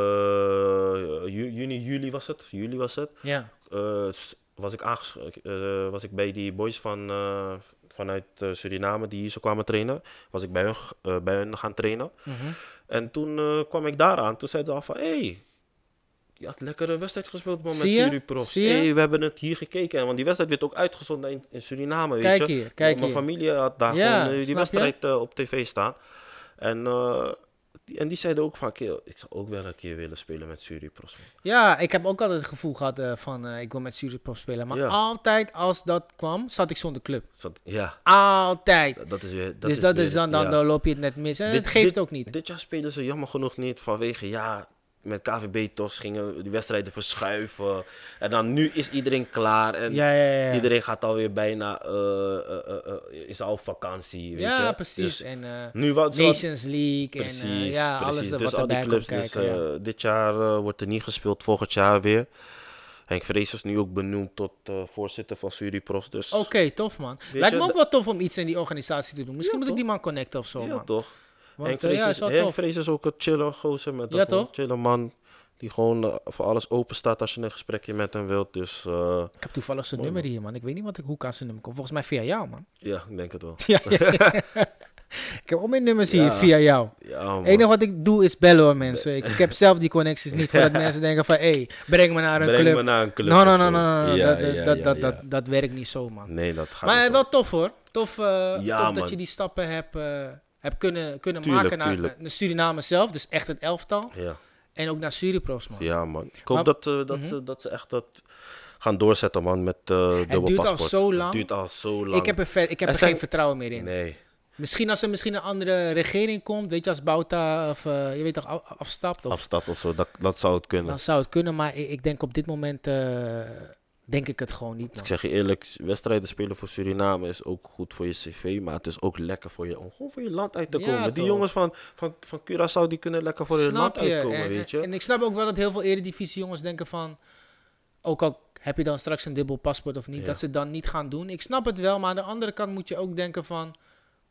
[SPEAKER 3] ju- juni, juli was het. Juli was het.
[SPEAKER 2] ja.
[SPEAKER 3] eh, s- was, ik aanges- eh, was ik bij die boys van, eh, vanuit eh, Suriname die hier zo kwamen trainen. Was ik bij hun, g- eh, bij hun gaan trainen.
[SPEAKER 2] Mhm.
[SPEAKER 3] En toen eh, kwam ik daar aan. Toen zeiden ze al van, hé, hey, je had lekkere wedstrijd gespeeld man, met
[SPEAKER 2] Zie je?
[SPEAKER 3] Suriprofs.
[SPEAKER 2] Zie je?
[SPEAKER 3] hey, we hebben het hier gekeken. Want die wedstrijd werd ook uitgezonden in, in Suriname, weet
[SPEAKER 2] Kijk
[SPEAKER 3] je.
[SPEAKER 2] hier, kijk
[SPEAKER 3] Mijn
[SPEAKER 2] hier.
[SPEAKER 3] familie had daar
[SPEAKER 2] Ja,
[SPEAKER 3] gewoon eh,
[SPEAKER 2] snap je?
[SPEAKER 3] die wedstrijd eh, op tv staan. En... eh, die- en die zeiden ook van, "Kerel, ik zou ook wel een keer willen spelen met Suriprofs. man."
[SPEAKER 2] Ja, ik heb ook altijd het gevoel gehad eh, van eh, ik wil met Suriprof spelen. Maar
[SPEAKER 3] Ja.
[SPEAKER 2] altijd als dat kwam, zat ik zonder club.
[SPEAKER 3] Dus dat- Ja,
[SPEAKER 2] Altijd.
[SPEAKER 3] dat is weer...
[SPEAKER 2] dus dat
[SPEAKER 3] weer-
[SPEAKER 2] is dan, dan,
[SPEAKER 3] ja.
[SPEAKER 2] dan loop je het net mis. En
[SPEAKER 3] Eh, Dit-
[SPEAKER 2] het geeft
[SPEAKER 3] dit-
[SPEAKER 2] ook niet.
[SPEAKER 3] Dit jaar spelen ze jammer genoeg niet vanwege ja. Met KVB toch gingen die wedstrijden verschuiven. En dan nu is iedereen klaar. En
[SPEAKER 2] Ja, ja, ja.
[SPEAKER 3] iedereen gaat alweer bijna. eh eh, eh, eh, is al op vakantie. Weet
[SPEAKER 2] ja,
[SPEAKER 3] je?
[SPEAKER 2] precies.
[SPEAKER 3] Dus
[SPEAKER 2] en eh,
[SPEAKER 3] nu wat. zo-
[SPEAKER 2] Nations League
[SPEAKER 3] Precies.
[SPEAKER 2] en eh, ja,
[SPEAKER 3] precies.
[SPEAKER 2] alles er
[SPEAKER 3] dus
[SPEAKER 2] wat
[SPEAKER 3] al die
[SPEAKER 2] erbij
[SPEAKER 3] clubs.
[SPEAKER 2] komt kijken.
[SPEAKER 3] dus,
[SPEAKER 2] ja.
[SPEAKER 3] eh, Dit jaar eh, wordt er niet gespeeld. Volgend jaar weer. Henk Vrees is nu ook benoemd tot eh, voorzitter van Suripros. Dus
[SPEAKER 2] Oké, tof man. Lijkt
[SPEAKER 3] je,
[SPEAKER 2] me ook
[SPEAKER 3] dat-
[SPEAKER 2] wel tof om iets in die organisatie te doen. Misschien moet ik die man connecten of zo,
[SPEAKER 3] ja,
[SPEAKER 2] man.
[SPEAKER 3] toch.
[SPEAKER 2] Want,
[SPEAKER 3] Henk
[SPEAKER 2] eh,
[SPEAKER 3] Vrees
[SPEAKER 2] ja,
[SPEAKER 3] is,
[SPEAKER 2] is wel
[SPEAKER 3] Henk
[SPEAKER 2] tof.
[SPEAKER 3] Vrees is ook een chille gozer met
[SPEAKER 2] Ja,
[SPEAKER 3] dat
[SPEAKER 2] toch?
[SPEAKER 3] chille man. Die gewoon eh, voor alles open staat als je een gesprekje met hem wilt. Dus eh,
[SPEAKER 2] Ik heb toevallig zijn nummer hier, man. Ik weet niet wat ik, hoe ik aan zijn nummer kom. Volgens mij via jou, man.
[SPEAKER 3] ja, ik denk het wel.
[SPEAKER 2] Ja, ja, ja. ik heb al mijn nummers hier via jou.
[SPEAKER 3] Ja, man.
[SPEAKER 2] Het enige wat ik doe is bellen hoor mensen. Ik, ik heb zelf die connecties niet. Voordat mensen denken van, hé, hey, breng me naar een
[SPEAKER 3] Breng
[SPEAKER 2] club.
[SPEAKER 3] me naar een club.
[SPEAKER 2] No, no,
[SPEAKER 3] of
[SPEAKER 2] no,
[SPEAKER 3] zo.
[SPEAKER 2] no, no, no.
[SPEAKER 3] Ja,
[SPEAKER 2] dat, dat,
[SPEAKER 3] ja,
[SPEAKER 2] dat,
[SPEAKER 3] ja,
[SPEAKER 2] dat,
[SPEAKER 3] ja.
[SPEAKER 2] Dat, dat werkt niet zo, man.
[SPEAKER 3] Nee, dat gaat
[SPEAKER 2] maar
[SPEAKER 3] niet.
[SPEAKER 2] wel tof hoor. Tof, eh,
[SPEAKER 3] Ja,
[SPEAKER 2] tof dat
[SPEAKER 3] man.
[SPEAKER 2] je die stappen hebt eh, hebt kunnen, kunnen
[SPEAKER 3] Tuurlijk,
[SPEAKER 2] maken naar,
[SPEAKER 3] tuurlijk.
[SPEAKER 2] naar Suriname zelf. Dus echt het elftal.
[SPEAKER 3] Ja,
[SPEAKER 2] En ook naar Suripro's, man.
[SPEAKER 3] ja, man. Ik
[SPEAKER 2] Maar-
[SPEAKER 3] hoop
[SPEAKER 2] Mhm.
[SPEAKER 3] dat, eh, dat, ze, dat ze echt dat gaan doorzetten, man, met eh dubbel paspoort.
[SPEAKER 2] duurt al zo lang.
[SPEAKER 3] Het duurt al zo lang.
[SPEAKER 2] ik heb er, ver- ik heb
[SPEAKER 3] Er
[SPEAKER 2] er
[SPEAKER 3] zijn-
[SPEAKER 2] geen vertrouwen meer in.
[SPEAKER 3] Nee.
[SPEAKER 2] Misschien als er misschien een andere regering komt, weet je, als Bouta of eh, je weet toch, af- afstapt. Of,
[SPEAKER 3] Afstap of zo, dat, dat zou het kunnen.
[SPEAKER 2] dan zou het kunnen, maar ik, ik denk op dit moment eh, denk ik het gewoon niet. man.
[SPEAKER 3] Ik zeg je eerlijk, wedstrijden spelen voor Suriname is ook goed voor je cv, maar het is ook lekker voor je, om gewoon voor je land uit te
[SPEAKER 2] Ja,
[SPEAKER 3] komen. die
[SPEAKER 2] toch.
[SPEAKER 3] jongens van, van, van Curaçao, die kunnen lekker voor hun land
[SPEAKER 2] Snap je?
[SPEAKER 3] uitkomen,
[SPEAKER 2] en,
[SPEAKER 3] weet je.
[SPEAKER 2] en ik snap ook wel dat heel veel eredivisie jongens denken van... Ook al heb je dan straks een dubbel paspoort of niet,
[SPEAKER 3] Ja.
[SPEAKER 2] dat ze het dan niet gaan doen. Ik snap het wel, maar aan de andere kant moet je ook denken van...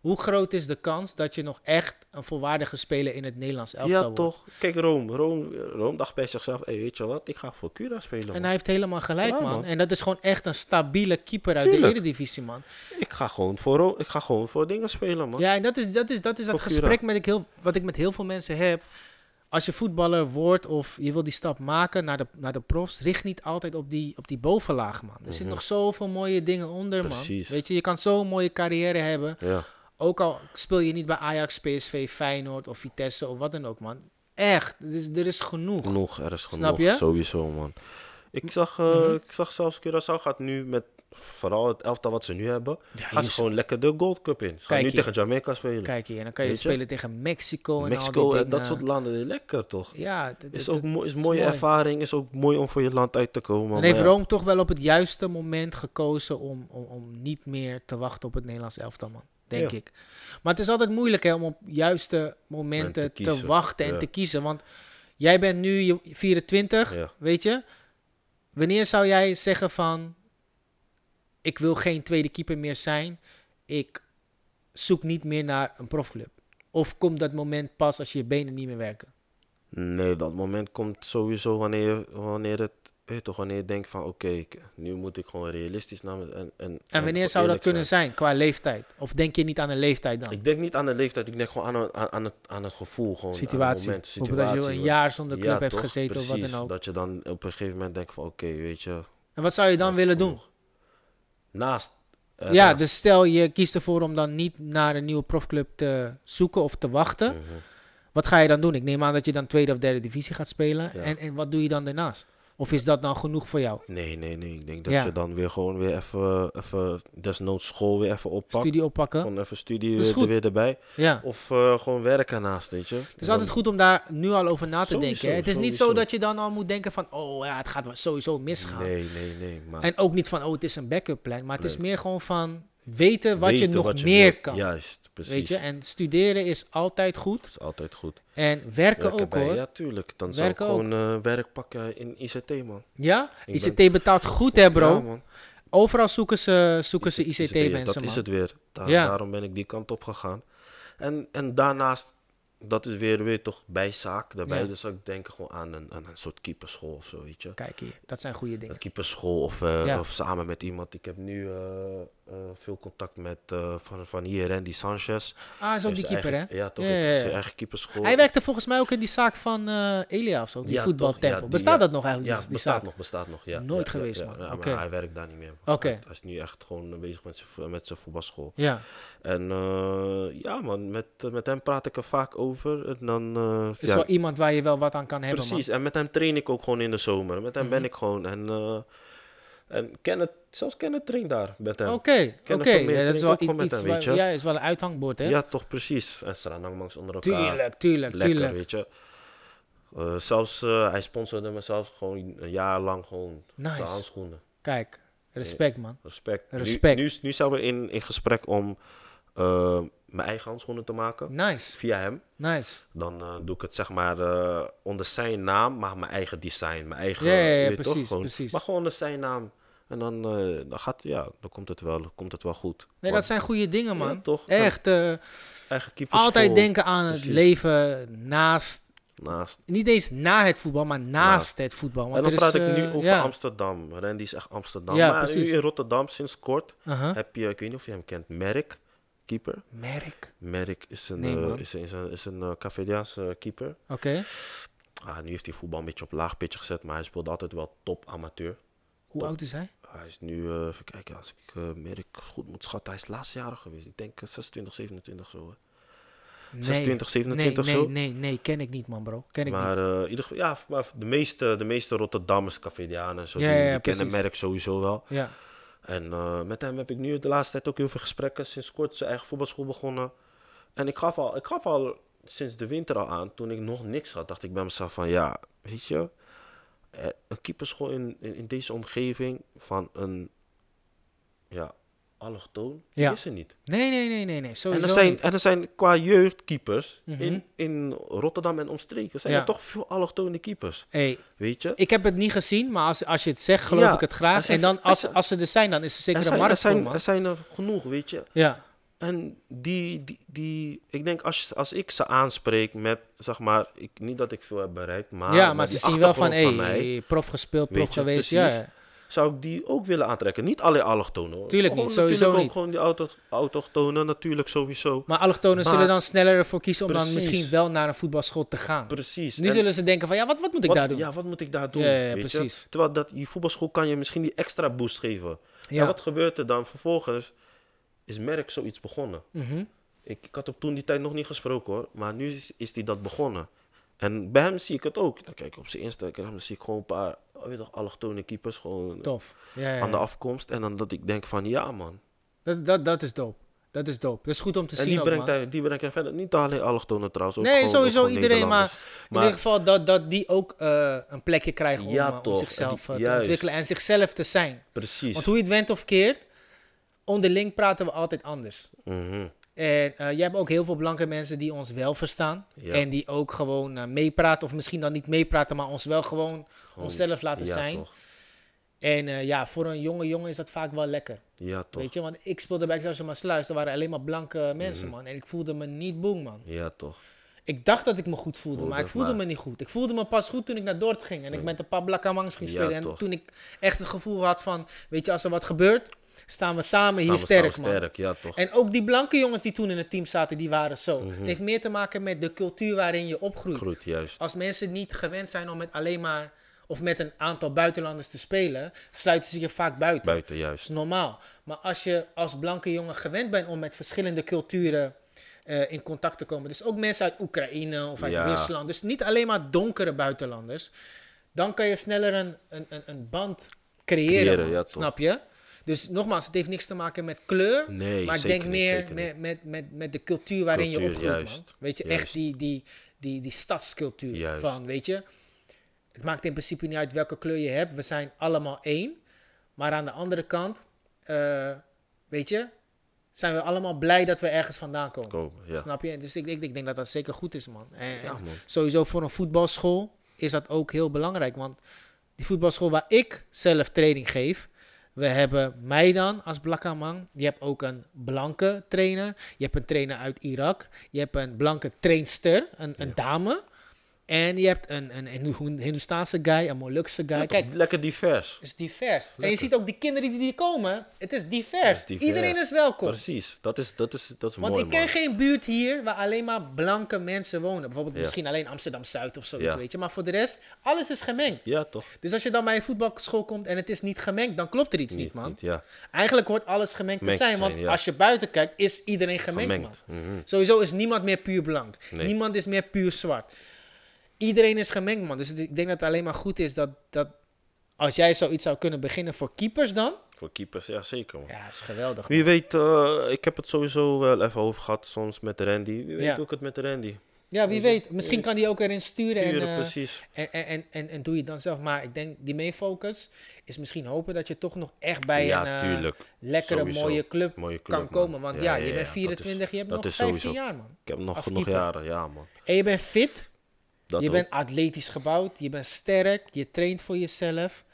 [SPEAKER 2] Hoe groot is de kans dat je nog echt een volwaardige speler in het Nederlands elftal
[SPEAKER 3] ja,
[SPEAKER 2] wordt?
[SPEAKER 3] toch. Kijk, Rome. Rome, Rome dacht bij zichzelf, hey, weet je wat, ik ga voor Cura spelen.
[SPEAKER 2] En
[SPEAKER 3] man.
[SPEAKER 2] hij heeft helemaal gelijk,
[SPEAKER 3] Ja,
[SPEAKER 2] man.
[SPEAKER 3] man.
[SPEAKER 2] En dat is gewoon echt een stabiele keeper uit de
[SPEAKER 3] Tuurlijk.
[SPEAKER 2] eredivisie, man.
[SPEAKER 3] Ik, ga gewoon voor Rome, ik ga gewoon voor dingen spelen, man.
[SPEAKER 2] Ja, en dat is dat, is, dat, is dat
[SPEAKER 3] Voor Cura.
[SPEAKER 2] gesprek met ik heel, wat ik met heel veel mensen heb. Als je voetballer wordt of je wil die stap maken naar de, naar de profs, richt niet altijd op die, op die bovenlaag, man. Er zitten nog zoveel mooie dingen onder, man.
[SPEAKER 3] Mhm. Precies.
[SPEAKER 2] Weet je, je kan zo'n mooie carrière hebben.
[SPEAKER 3] Ja.
[SPEAKER 2] Ook al speel je niet bij Ajax, PSV, Feyenoord of Vitesse of wat dan ook, man. Echt, er is, er is genoeg.
[SPEAKER 3] Genoeg, er is genoeg.
[SPEAKER 2] Snap je? Mhm.
[SPEAKER 3] Sowieso, man. Ik zag, eh, ik zag zelfs Curaçao gaat nu met vooral het elftal wat ze nu hebben. gaan ze
[SPEAKER 2] jezus.
[SPEAKER 3] gewoon lekker de Gold Cup in. Ze gaan
[SPEAKER 2] Kijk
[SPEAKER 3] nu
[SPEAKER 2] hier.
[SPEAKER 3] tegen Jamaica spelen.
[SPEAKER 2] Kijk hier, en dan kan je
[SPEAKER 3] Weet je?
[SPEAKER 2] spelen tegen Mexico en al
[SPEAKER 3] Mexico,
[SPEAKER 2] die
[SPEAKER 3] eh, dat
[SPEAKER 2] dingen.
[SPEAKER 3] soort landen, lekker toch?
[SPEAKER 2] Ja, dat- dat-
[SPEAKER 3] Is ook
[SPEAKER 2] dat
[SPEAKER 3] mooi, is mooie ervaring, is ook mooi om voor je land uit te komen.
[SPEAKER 2] Dan
[SPEAKER 3] maar
[SPEAKER 2] heeft
[SPEAKER 3] ja.
[SPEAKER 2] Rome toch wel op het juiste moment gekozen om, om, om niet meer te wachten op het Nederlands elftal, man. Denk
[SPEAKER 3] Ja.
[SPEAKER 2] ik. Maar het is altijd moeilijk hè, om op juiste momenten
[SPEAKER 3] Moment te
[SPEAKER 2] te,
[SPEAKER 3] kiezen,
[SPEAKER 2] wachten en
[SPEAKER 3] ja.
[SPEAKER 2] te kiezen. Want jij bent nu je- 24,
[SPEAKER 3] Ja.
[SPEAKER 2] weet je. Wanneer zou jij zeggen van... Ik wil geen tweede keeper meer zijn. Ik zoek niet meer naar een profclub. Of komt dat moment pas als je benen niet meer werken?
[SPEAKER 3] Nee, dat moment komt sowieso wanneer, wanneer, het, weet je toch, wanneer je denkt van oké, ik- nu moet ik gewoon realistisch naar me- en, en,
[SPEAKER 2] En wanneer zou dat
[SPEAKER 3] eerlijk
[SPEAKER 2] kunnen zijn qua leeftijd? Of denk je niet aan een leeftijd dan?
[SPEAKER 3] Ik denk niet aan de leeftijd, ik denk gewoon aan, een- aan, aan, het, aan het gevoel. Gewoon, Aan het
[SPEAKER 2] situatie.
[SPEAKER 3] moment,
[SPEAKER 2] Bijvoorbeeld als je
[SPEAKER 3] situatie,
[SPEAKER 2] een
[SPEAKER 3] man.
[SPEAKER 2] jaar zonder club
[SPEAKER 3] Ja,
[SPEAKER 2] hebt
[SPEAKER 3] toch?
[SPEAKER 2] gezeten of wat
[SPEAKER 3] Precies,
[SPEAKER 2] dan ook.
[SPEAKER 3] Dat je dan op een gegeven moment denkt van oké, weet je,
[SPEAKER 2] En wat zou je dan willen doen?
[SPEAKER 3] naast. eh,
[SPEAKER 2] Ja,
[SPEAKER 3] naast-
[SPEAKER 2] dus stel je kiest ervoor om dan niet naar een nieuwe profclub te zoeken of te wachten.
[SPEAKER 3] Mhm.
[SPEAKER 2] Wat ga je dan doen? Ik neem aan dat je dan tweede of derde divisie gaat spelen. En, en wat doe je dan daarnaast? Of is dat nou genoeg voor jou?
[SPEAKER 3] Nee, nee, nee. Ik denk dat
[SPEAKER 2] Ja.
[SPEAKER 3] je dan weer gewoon weer even, even desnoods school weer even oppakt.
[SPEAKER 2] Studie oppakken?
[SPEAKER 3] Gewoon even studie
[SPEAKER 2] Is
[SPEAKER 3] weer-
[SPEAKER 2] goed.
[SPEAKER 3] er weer erbij.
[SPEAKER 2] Ja.
[SPEAKER 3] Of eh, gewoon werken naast, weet je.
[SPEAKER 2] Het is altijd goed om daar nu al over na te
[SPEAKER 3] Sowieso,
[SPEAKER 2] denken. Hè? Het is niet zo
[SPEAKER 3] sowieso.
[SPEAKER 2] dat je dan al moet denken van... oh ja, het gaat wel sowieso misgaan.
[SPEAKER 3] Nee, nee, nee. Maar
[SPEAKER 2] En ook niet van, oh, het is een backup plan. Maar het is meer gewoon van weten wat je
[SPEAKER 3] weten
[SPEAKER 2] nog
[SPEAKER 3] wat je
[SPEAKER 2] meer
[SPEAKER 3] wil.
[SPEAKER 2] kan.
[SPEAKER 3] Juist, precies.
[SPEAKER 2] Weet je, en studeren is altijd goed.
[SPEAKER 3] Dat is altijd goed.
[SPEAKER 2] En werken
[SPEAKER 3] Werken
[SPEAKER 2] ook
[SPEAKER 3] bij-
[SPEAKER 2] hoor.
[SPEAKER 3] Ja,
[SPEAKER 2] Ja?
[SPEAKER 3] tuurlijk. Dan zou ik
[SPEAKER 2] Werken ook.
[SPEAKER 3] gewoon eh, werk pakken in ICT, man. Ik
[SPEAKER 2] ICT betaalt goed hè bro.
[SPEAKER 3] Ja, man.
[SPEAKER 2] Overal zoeken ze, zoeken ze
[SPEAKER 3] ICT, ja,
[SPEAKER 2] ICT-mensen
[SPEAKER 3] Dat
[SPEAKER 2] man.
[SPEAKER 3] is het weer. Da-
[SPEAKER 2] Ja.
[SPEAKER 3] Daarom ben ik die kant op gegaan. En, en daarnaast, dat is weer, weer toch bijzaak. Daarbij
[SPEAKER 2] Ja.
[SPEAKER 3] dus ik denk gewoon aan een, aan een soort keeperschool of zo, weet je.
[SPEAKER 2] Kijk hier, dat zijn goede dingen.
[SPEAKER 3] Een keeperschool of, eh,
[SPEAKER 2] Ja.
[SPEAKER 3] of samen met iemand. Ik heb nu eh, eh, veel contact met eh, van, van hier Randy Sanchez.
[SPEAKER 2] Ah, is ook
[SPEAKER 3] Heeft
[SPEAKER 2] die
[SPEAKER 3] zijn
[SPEAKER 2] keeper
[SPEAKER 3] eigen-
[SPEAKER 2] hè?
[SPEAKER 3] Ja, toch.
[SPEAKER 2] Ja,
[SPEAKER 3] heeft
[SPEAKER 2] ja, ja.
[SPEAKER 3] Zijn eigen keeperschool.
[SPEAKER 2] Hij werkte volgens mij ook in die zaak van eh Elia of zo. Die
[SPEAKER 3] Ja,
[SPEAKER 2] voetbaltempel.
[SPEAKER 3] toch, ja, die-
[SPEAKER 2] Bestaat
[SPEAKER 3] ja.
[SPEAKER 2] dat nog eigenlijk,
[SPEAKER 3] Ja,
[SPEAKER 2] die, die
[SPEAKER 3] bestaat
[SPEAKER 2] zaak?
[SPEAKER 3] nog, bestaat nog. Ja,
[SPEAKER 2] Nooit
[SPEAKER 3] Ja, ja,
[SPEAKER 2] geweest,
[SPEAKER 3] ja,
[SPEAKER 2] man.
[SPEAKER 3] ja, maar
[SPEAKER 2] Oké.
[SPEAKER 3] hij werkt daar niet meer.
[SPEAKER 2] Oké.
[SPEAKER 3] Hij, hij is nu echt gewoon bezig met zijn, vo- met zijn voetbalschool.
[SPEAKER 2] Ja.
[SPEAKER 3] En eh, ja, man, met, eh, met hem praat ik er vaak over. En dan, eh,
[SPEAKER 2] Is
[SPEAKER 3] ja,
[SPEAKER 2] wel iemand waar je wel wat aan kan hebben Mhm.
[SPEAKER 3] precies. En met hem train ik ook gewoon in de zomer. Met hem ben ik gewoon. En, eh en Kenneth, zelfs Kenneth traint daar met hem.
[SPEAKER 2] man. Oké,
[SPEAKER 3] Ken
[SPEAKER 2] oké.
[SPEAKER 3] er veel meer,
[SPEAKER 2] Ja, Dat is
[SPEAKER 3] drink ook
[SPEAKER 2] wel
[SPEAKER 3] gewoon
[SPEAKER 2] i-
[SPEAKER 3] met
[SPEAKER 2] iets
[SPEAKER 3] hem, weet
[SPEAKER 2] waar-
[SPEAKER 3] je.
[SPEAKER 2] ja, is wel een uithangbord hè?
[SPEAKER 3] Ja, toch precies. En ze staan langs onder elkaar.
[SPEAKER 2] Tuurlijk, tuurlijk,
[SPEAKER 3] Lekker,
[SPEAKER 2] tuurlijk.
[SPEAKER 3] weet je. Eh, zelfs, eh, hij sponsorde mezelf gewoon een jaar lang gewoon
[SPEAKER 2] Nice.
[SPEAKER 3] de handschoenen.
[SPEAKER 2] Kijk, respect man.
[SPEAKER 3] Respect. Nu-
[SPEAKER 2] Respect.
[SPEAKER 3] Nu, nu, zijn we in, in gesprek om eh, mijn eigen handschoenen te maken.
[SPEAKER 2] Nice,
[SPEAKER 3] Via hem.
[SPEAKER 2] nice.
[SPEAKER 3] Dan eh, doe ik het zeg maar eh, onder zijn naam, maar mijn eigen design. Mijn eigen,
[SPEAKER 2] Ja, ja, ja,
[SPEAKER 3] weet je
[SPEAKER 2] precies,
[SPEAKER 3] gewoon,
[SPEAKER 2] precies.
[SPEAKER 3] Maar gewoon onder zijn naam. En dan, eh, dan, gaat, ja, dan komt, het wel, komt het wel goed.
[SPEAKER 2] Nee,
[SPEAKER 3] Want
[SPEAKER 2] dat zijn goede dingen man.
[SPEAKER 3] toch?
[SPEAKER 2] Echt, eh,
[SPEAKER 3] eigen keeperschool,
[SPEAKER 2] altijd denken aan het
[SPEAKER 3] Precies.
[SPEAKER 2] leven naast,
[SPEAKER 3] Naast.
[SPEAKER 2] niet eens na het voetbal, maar naast, het voetbal. Want
[SPEAKER 3] en dan
[SPEAKER 2] er
[SPEAKER 3] praat
[SPEAKER 2] is,
[SPEAKER 3] ik nu
[SPEAKER 2] eh,
[SPEAKER 3] over
[SPEAKER 2] ja.
[SPEAKER 3] Amsterdam. Randy is echt Amsterdam.
[SPEAKER 2] Ja,
[SPEAKER 3] maar
[SPEAKER 2] precies.
[SPEAKER 3] nu in Rotterdam, sinds kort,
[SPEAKER 2] Aha.
[SPEAKER 3] heb je, ik weet niet of je hem kent, Merk, keeper.
[SPEAKER 2] Merk.
[SPEAKER 3] Merk is een,
[SPEAKER 2] Nee,
[SPEAKER 3] eh,
[SPEAKER 2] man.
[SPEAKER 3] is, een- is een, is een eh, Cafediaanse keeper.
[SPEAKER 2] Oké.
[SPEAKER 3] Ah, nu heeft hij voetbal een beetje op laag pitje gezet, maar hij speelde altijd wel top amateur.
[SPEAKER 2] Hoe oud is hij?
[SPEAKER 3] Hij is nu, eh, even kijken, als ik eh, Merk goed moet schatten, hij is laatst jarig geweest. Ik denk eh, 26, 27 zo. hè.
[SPEAKER 2] Nee.
[SPEAKER 3] 26, 27
[SPEAKER 2] nee,
[SPEAKER 3] zo.
[SPEAKER 2] nee, nee, nee, ken ik niet man bro. Ken ik niet.
[SPEAKER 3] Maar, eh, in ieder geval, ja, maar de meeste, de meeste Rotterdammers, Cafedianen, en zo,
[SPEAKER 2] Ja,
[SPEAKER 3] die,
[SPEAKER 2] ja,
[SPEAKER 3] die
[SPEAKER 2] ja,
[SPEAKER 3] kennen
[SPEAKER 2] precies.
[SPEAKER 3] Merk sowieso wel.
[SPEAKER 2] Ja.
[SPEAKER 3] En eh, met hem heb ik nu de laatste tijd ook heel veel gesprekken. Sinds kort zijn eigen voetbalschool begonnen. En ik gaf, al, ik gaf al sinds de winter al aan, toen ik nog niks had, dacht ik bij mezelf van ja, weet je, eh, een keeperschool in, in, in deze omgeving van een ja, allochtoon die
[SPEAKER 2] Ja.
[SPEAKER 3] is er niet.
[SPEAKER 2] Nee, nee, nee, nee, nee. Sowieso
[SPEAKER 3] En er, zijn,
[SPEAKER 2] niet.
[SPEAKER 3] en er zijn qua jeugdkeepers in, in Rotterdam en omstreken zijn
[SPEAKER 2] Mhm. Ja.
[SPEAKER 3] er toch veel allochtone keepers,
[SPEAKER 2] Hey,
[SPEAKER 3] weet je.
[SPEAKER 2] ik heb het niet gezien, maar als, als je het zegt, geloof
[SPEAKER 3] Ja,
[SPEAKER 2] ik het
[SPEAKER 3] er
[SPEAKER 2] graag.
[SPEAKER 3] zijn-
[SPEAKER 2] En dan,
[SPEAKER 3] er
[SPEAKER 2] als,
[SPEAKER 3] zijn-
[SPEAKER 2] als ze er zijn, dan is er
[SPEAKER 3] Er
[SPEAKER 2] zeker een
[SPEAKER 3] zijn, er,
[SPEAKER 2] markt voor
[SPEAKER 3] zijn,
[SPEAKER 2] man.
[SPEAKER 3] er zijn er genoeg, weet je.
[SPEAKER 2] Ja,
[SPEAKER 3] En die, die, die ik denk als, als ik ze aanspreek met, zeg maar, ik, niet dat ik veel heb bereikt, Ah, maar.
[SPEAKER 2] ja maar
[SPEAKER 3] met
[SPEAKER 2] ze
[SPEAKER 3] die
[SPEAKER 2] zien wel van,
[SPEAKER 3] achtergrond
[SPEAKER 2] hey,
[SPEAKER 3] mij,
[SPEAKER 2] hey, prof gespeeld, prof
[SPEAKER 3] weet je,
[SPEAKER 2] geweest. Ja,
[SPEAKER 3] precies,
[SPEAKER 2] ja.
[SPEAKER 3] Zou ik die ook willen aantrekken? Niet alleen allochtonen hoor.
[SPEAKER 2] Tuurlijk niet,
[SPEAKER 3] Gewoon
[SPEAKER 2] sowieso
[SPEAKER 3] natuurlijk
[SPEAKER 2] niet.
[SPEAKER 3] ook Gewoon die auto, autochtonen natuurlijk sowieso.
[SPEAKER 2] Maar allochtonen
[SPEAKER 3] Maar-
[SPEAKER 2] zullen dan sneller ervoor kiezen om dan
[SPEAKER 3] Precies.
[SPEAKER 2] misschien wel naar een voetbalschool te gaan.
[SPEAKER 3] Precies.
[SPEAKER 2] Nu
[SPEAKER 3] En
[SPEAKER 2] zullen ze denken van, ja, wat, wat moet ik
[SPEAKER 3] wat,
[SPEAKER 2] daar doen?
[SPEAKER 3] Ja, wat moet ik daar doen?
[SPEAKER 2] Ja, ja, ja,
[SPEAKER 3] weet je?
[SPEAKER 2] precies.
[SPEAKER 3] Terwijl dat, die voetbalschool kan je misschien die extra boost geven.
[SPEAKER 2] Ja. Mhm.
[SPEAKER 3] En wat gebeurt er dan? Vervolgens is Merck zoiets begonnen. Ik, ik had hem toen die tijd nog niet gesproken hoor, maar nu is, is die dat begonnen. En bij hem zie ik het ook. Dan kijk ik op zijn Instagram, dan zie ik gewoon een paar, oh, weet je toch, allochtone keepers gewoon eh,
[SPEAKER 2] Tof. Ja, ja, ja.
[SPEAKER 3] aan de afkomst. En dan dat ik denk van, ja man.
[SPEAKER 2] Dat, dat, dat is dope. Dat is dope. Dat is goed om te
[SPEAKER 3] En
[SPEAKER 2] zien
[SPEAKER 3] die
[SPEAKER 2] ook,
[SPEAKER 3] brengt,
[SPEAKER 2] man.
[SPEAKER 3] hij, die brengt hij verder. Niet alleen allochtonen trouwens. Ook
[SPEAKER 2] Nee,
[SPEAKER 3] gewoon- ook
[SPEAKER 2] sowieso
[SPEAKER 3] gewoon
[SPEAKER 2] iedereen, maar
[SPEAKER 3] Nederlanders.
[SPEAKER 2] in ieder geval dat, dat die ook eh, een plekje krijgen om,
[SPEAKER 3] Ja,
[SPEAKER 2] eh, om
[SPEAKER 3] toch. En
[SPEAKER 2] zichzelf eh,
[SPEAKER 3] die-
[SPEAKER 2] te
[SPEAKER 3] juist.
[SPEAKER 2] ontwikkelen en zichzelf te zijn.
[SPEAKER 3] Precies.
[SPEAKER 2] Want hoe je het went of keert, onderling praten we altijd anders.
[SPEAKER 3] Mhm.
[SPEAKER 2] En eh, jij hebt ook heel veel blanke mensen die ons wel verstaan.
[SPEAKER 3] Ja.
[SPEAKER 2] En die ook gewoon eh, meepraten, of misschien dan niet meepraten, maar ons wel gewoon, onszelf laten
[SPEAKER 3] ja,
[SPEAKER 2] zijn.
[SPEAKER 3] Toch.
[SPEAKER 2] En eh, ja, voor een jonge jongen is dat vaak wel lekker.
[SPEAKER 3] Ja, toch. Mhm.
[SPEAKER 2] Weet je, want ik speelde bij Excelsior Maasluis, er waren alleen maar blanke mensen, man. En ik voelde me niet boem, man.
[SPEAKER 3] Ja, toch.
[SPEAKER 2] Ik dacht dat ik me goed voelde,
[SPEAKER 3] Voelde
[SPEAKER 2] maar ik
[SPEAKER 3] het
[SPEAKER 2] voelde
[SPEAKER 3] maar.
[SPEAKER 2] me niet goed. Ik voelde me pas goed toen ik naar Dordt ging en ik met een paar blakkamangs ging
[SPEAKER 3] Ja,
[SPEAKER 2] spelen. en
[SPEAKER 3] toch.
[SPEAKER 2] toen ik echt het gevoel had van, weet je, als er wat gebeurt, staan we samen
[SPEAKER 3] Staan
[SPEAKER 2] hier
[SPEAKER 3] we-
[SPEAKER 2] sterk,
[SPEAKER 3] staan
[SPEAKER 2] man.
[SPEAKER 3] we sterk, ja, toch. Mhm.
[SPEAKER 2] En ook die blanke jongens die toen in het team zaten, die waren zo. Het heeft meer te maken met de cultuur waarin je opgroeit.
[SPEAKER 3] Groet, juist.
[SPEAKER 2] Als mensen niet gewend zijn om met alleen maar of met een aantal buitenlanders te spelen, sluiten ze je vaak buiten.
[SPEAKER 3] Buiten,
[SPEAKER 2] Dat
[SPEAKER 3] juist.
[SPEAKER 2] is normaal. Maar als je als blanke jongen gewend bent om met verschillende culturen eh, in contact te komen, dus ook mensen uit Oekraïne of uit
[SPEAKER 3] Ja.
[SPEAKER 2] Rusland, dus niet alleen maar donkere buitenlanders, dan kan je sneller een, een, een, een band creëren.
[SPEAKER 3] Creëren,
[SPEAKER 2] man.
[SPEAKER 3] ja, toch.
[SPEAKER 2] snap je? Dus nogmaals, het heeft niks te maken met kleur,
[SPEAKER 3] Nee,
[SPEAKER 2] maar ik
[SPEAKER 3] zeker
[SPEAKER 2] denk
[SPEAKER 3] niet,
[SPEAKER 2] meer
[SPEAKER 3] zeker
[SPEAKER 2] met, met, met, met de cultuur waarin je
[SPEAKER 3] Cultuur,
[SPEAKER 2] opgroeit, man.
[SPEAKER 3] juist,
[SPEAKER 2] Weet je, echt
[SPEAKER 3] juist.
[SPEAKER 2] die, die, die, die stadscultuur
[SPEAKER 3] Juist.
[SPEAKER 2] van, weet je, het maakt in principe niet uit welke kleur je hebt. We zijn allemaal één. Maar aan de andere kant, eh, weet je, zijn we allemaal blij dat we ergens vandaan komen.
[SPEAKER 3] Komen, ja.
[SPEAKER 2] Snap je? Dus ik, ik, ik denk dat dat zeker goed is, man. En, en
[SPEAKER 3] man.
[SPEAKER 2] sowieso voor een voetbalschool is dat ook heel belangrijk. Want die voetbalschool waar ik zelf training geef, we hebben mij dan als Blakkaman. Je hebt ook een blanke trainer. Je hebt een trainer uit Irak. Je hebt een blanke trainster, een, een dame. En je hebt een, een Hindoe- Hindoestaanse guy, een Molukse guy. eh, Kijk,
[SPEAKER 3] Lekker divers.
[SPEAKER 2] het is divers. En je ziet ook die kinderen die hier komen. Het is divers.
[SPEAKER 3] Het is divers.
[SPEAKER 2] Iedereen is welkom.
[SPEAKER 3] Precies. Dat is, dat is, dat is
[SPEAKER 2] Want
[SPEAKER 3] mooi,
[SPEAKER 2] ik ken
[SPEAKER 3] man.
[SPEAKER 2] geen buurt hier waar alleen maar blanke mensen wonen. Bijvoorbeeld
[SPEAKER 3] Ja.
[SPEAKER 2] misschien alleen Amsterdam-Zuid of zoiets,
[SPEAKER 3] Ja.
[SPEAKER 2] weet je. Maar voor de rest, alles is gemengd.
[SPEAKER 3] Ja, toch.
[SPEAKER 2] Dus als je dan bij een voetbalschool komt en het is niet gemengd, dan klopt er iets niet,
[SPEAKER 3] Niet-
[SPEAKER 2] man.
[SPEAKER 3] niet, ja.
[SPEAKER 2] Eigenlijk hoort alles gemengd te
[SPEAKER 3] Gemengd
[SPEAKER 2] zijn,
[SPEAKER 3] te
[SPEAKER 2] want
[SPEAKER 3] zijn, ja.
[SPEAKER 2] als je buiten kijkt, is iedereen gemengd,
[SPEAKER 3] Gemengd, Mhm.
[SPEAKER 2] man. Sowieso is niemand meer puur blank.
[SPEAKER 3] Nee.
[SPEAKER 2] Niemand is meer puur zwart. Iedereen is gemengd, man. Dus het- ik denk dat het alleen maar goed is dat, dat als jij zoiets zou kunnen beginnen voor keepers dan...
[SPEAKER 3] Voor keepers, ja, zeker, man.
[SPEAKER 2] Ja, is geweldig, man.
[SPEAKER 3] Wie weet, eh, ik heb het sowieso wel even over gehad soms met Randy. Wie weet
[SPEAKER 2] Ja.
[SPEAKER 3] ook het met Randy.
[SPEAKER 2] Ja, wie weet. Misschien kan die ook erin sturen. en,
[SPEAKER 3] Tuurlijk,
[SPEAKER 2] eh,
[SPEAKER 3] eh, precies.
[SPEAKER 2] En, en, en, en, en doe je het dan zelf. Maar ik denk, die main focus is misschien hopen dat je toch nog echt bij
[SPEAKER 3] Ja,
[SPEAKER 2] een eh,
[SPEAKER 3] tuurlijk.
[SPEAKER 2] lekkere,
[SPEAKER 3] Sowieso.
[SPEAKER 2] mooie, club
[SPEAKER 3] Mooie club,
[SPEAKER 2] kan
[SPEAKER 3] man.
[SPEAKER 2] komen. Want ja,
[SPEAKER 3] Ja, ja,
[SPEAKER 2] je
[SPEAKER 3] ja,
[SPEAKER 2] bent
[SPEAKER 3] dat
[SPEAKER 2] 24, je hebt
[SPEAKER 3] is-
[SPEAKER 2] nog
[SPEAKER 3] dat is
[SPEAKER 2] 15
[SPEAKER 3] sowieso.
[SPEAKER 2] jaar, man.
[SPEAKER 3] Ik heb nog
[SPEAKER 2] Als
[SPEAKER 3] genoeg
[SPEAKER 2] keeper.
[SPEAKER 3] jaren, ja, man.
[SPEAKER 2] En je bent fit,
[SPEAKER 3] Dat
[SPEAKER 2] je
[SPEAKER 3] ook.
[SPEAKER 2] bent atletisch gebouwd, je bent sterk, je traint voor jezelf.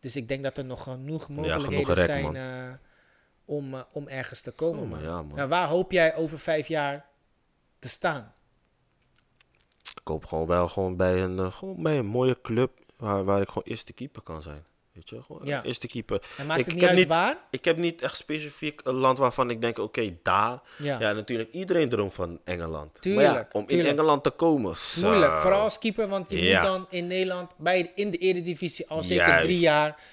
[SPEAKER 2] Dus ik denk dat er nog genoeg mogelijkheden
[SPEAKER 3] rek,
[SPEAKER 2] zijn
[SPEAKER 3] man.
[SPEAKER 2] eh, om, eh, om ergens te komen,
[SPEAKER 3] Oh,
[SPEAKER 2] man.
[SPEAKER 3] ja, man.
[SPEAKER 2] Nou, waar hoop jij over vijf jaar te staan?
[SPEAKER 3] Ik hoop gewoon wel gewoon bij een, eh, gewoon bij een mooie club waar, waar ik gewoon eerste keeper kan zijn. Weet je, gewoon
[SPEAKER 2] Ja.
[SPEAKER 3] eerste keeper.
[SPEAKER 2] En maakt
[SPEAKER 3] ik,
[SPEAKER 2] het
[SPEAKER 3] ik
[SPEAKER 2] niet
[SPEAKER 3] heb
[SPEAKER 2] uit waar?
[SPEAKER 3] Ik heb niet echt specifiek een land waarvan ik denk, oké, daar.
[SPEAKER 2] Ja.
[SPEAKER 3] Ja. natuurlijk, iedereen droomt van Engeland. maar ja,
[SPEAKER 2] Tuurlijk,
[SPEAKER 3] om
[SPEAKER 2] tuurlijk.
[SPEAKER 3] in Engeland te komen. zo.
[SPEAKER 2] Moeilijk, vooral als keeper, want je
[SPEAKER 3] eh, Ja.
[SPEAKER 2] moet dan in Nederland bij, in de Eredivisie al zeker
[SPEAKER 3] Juist.
[SPEAKER 2] drie jaar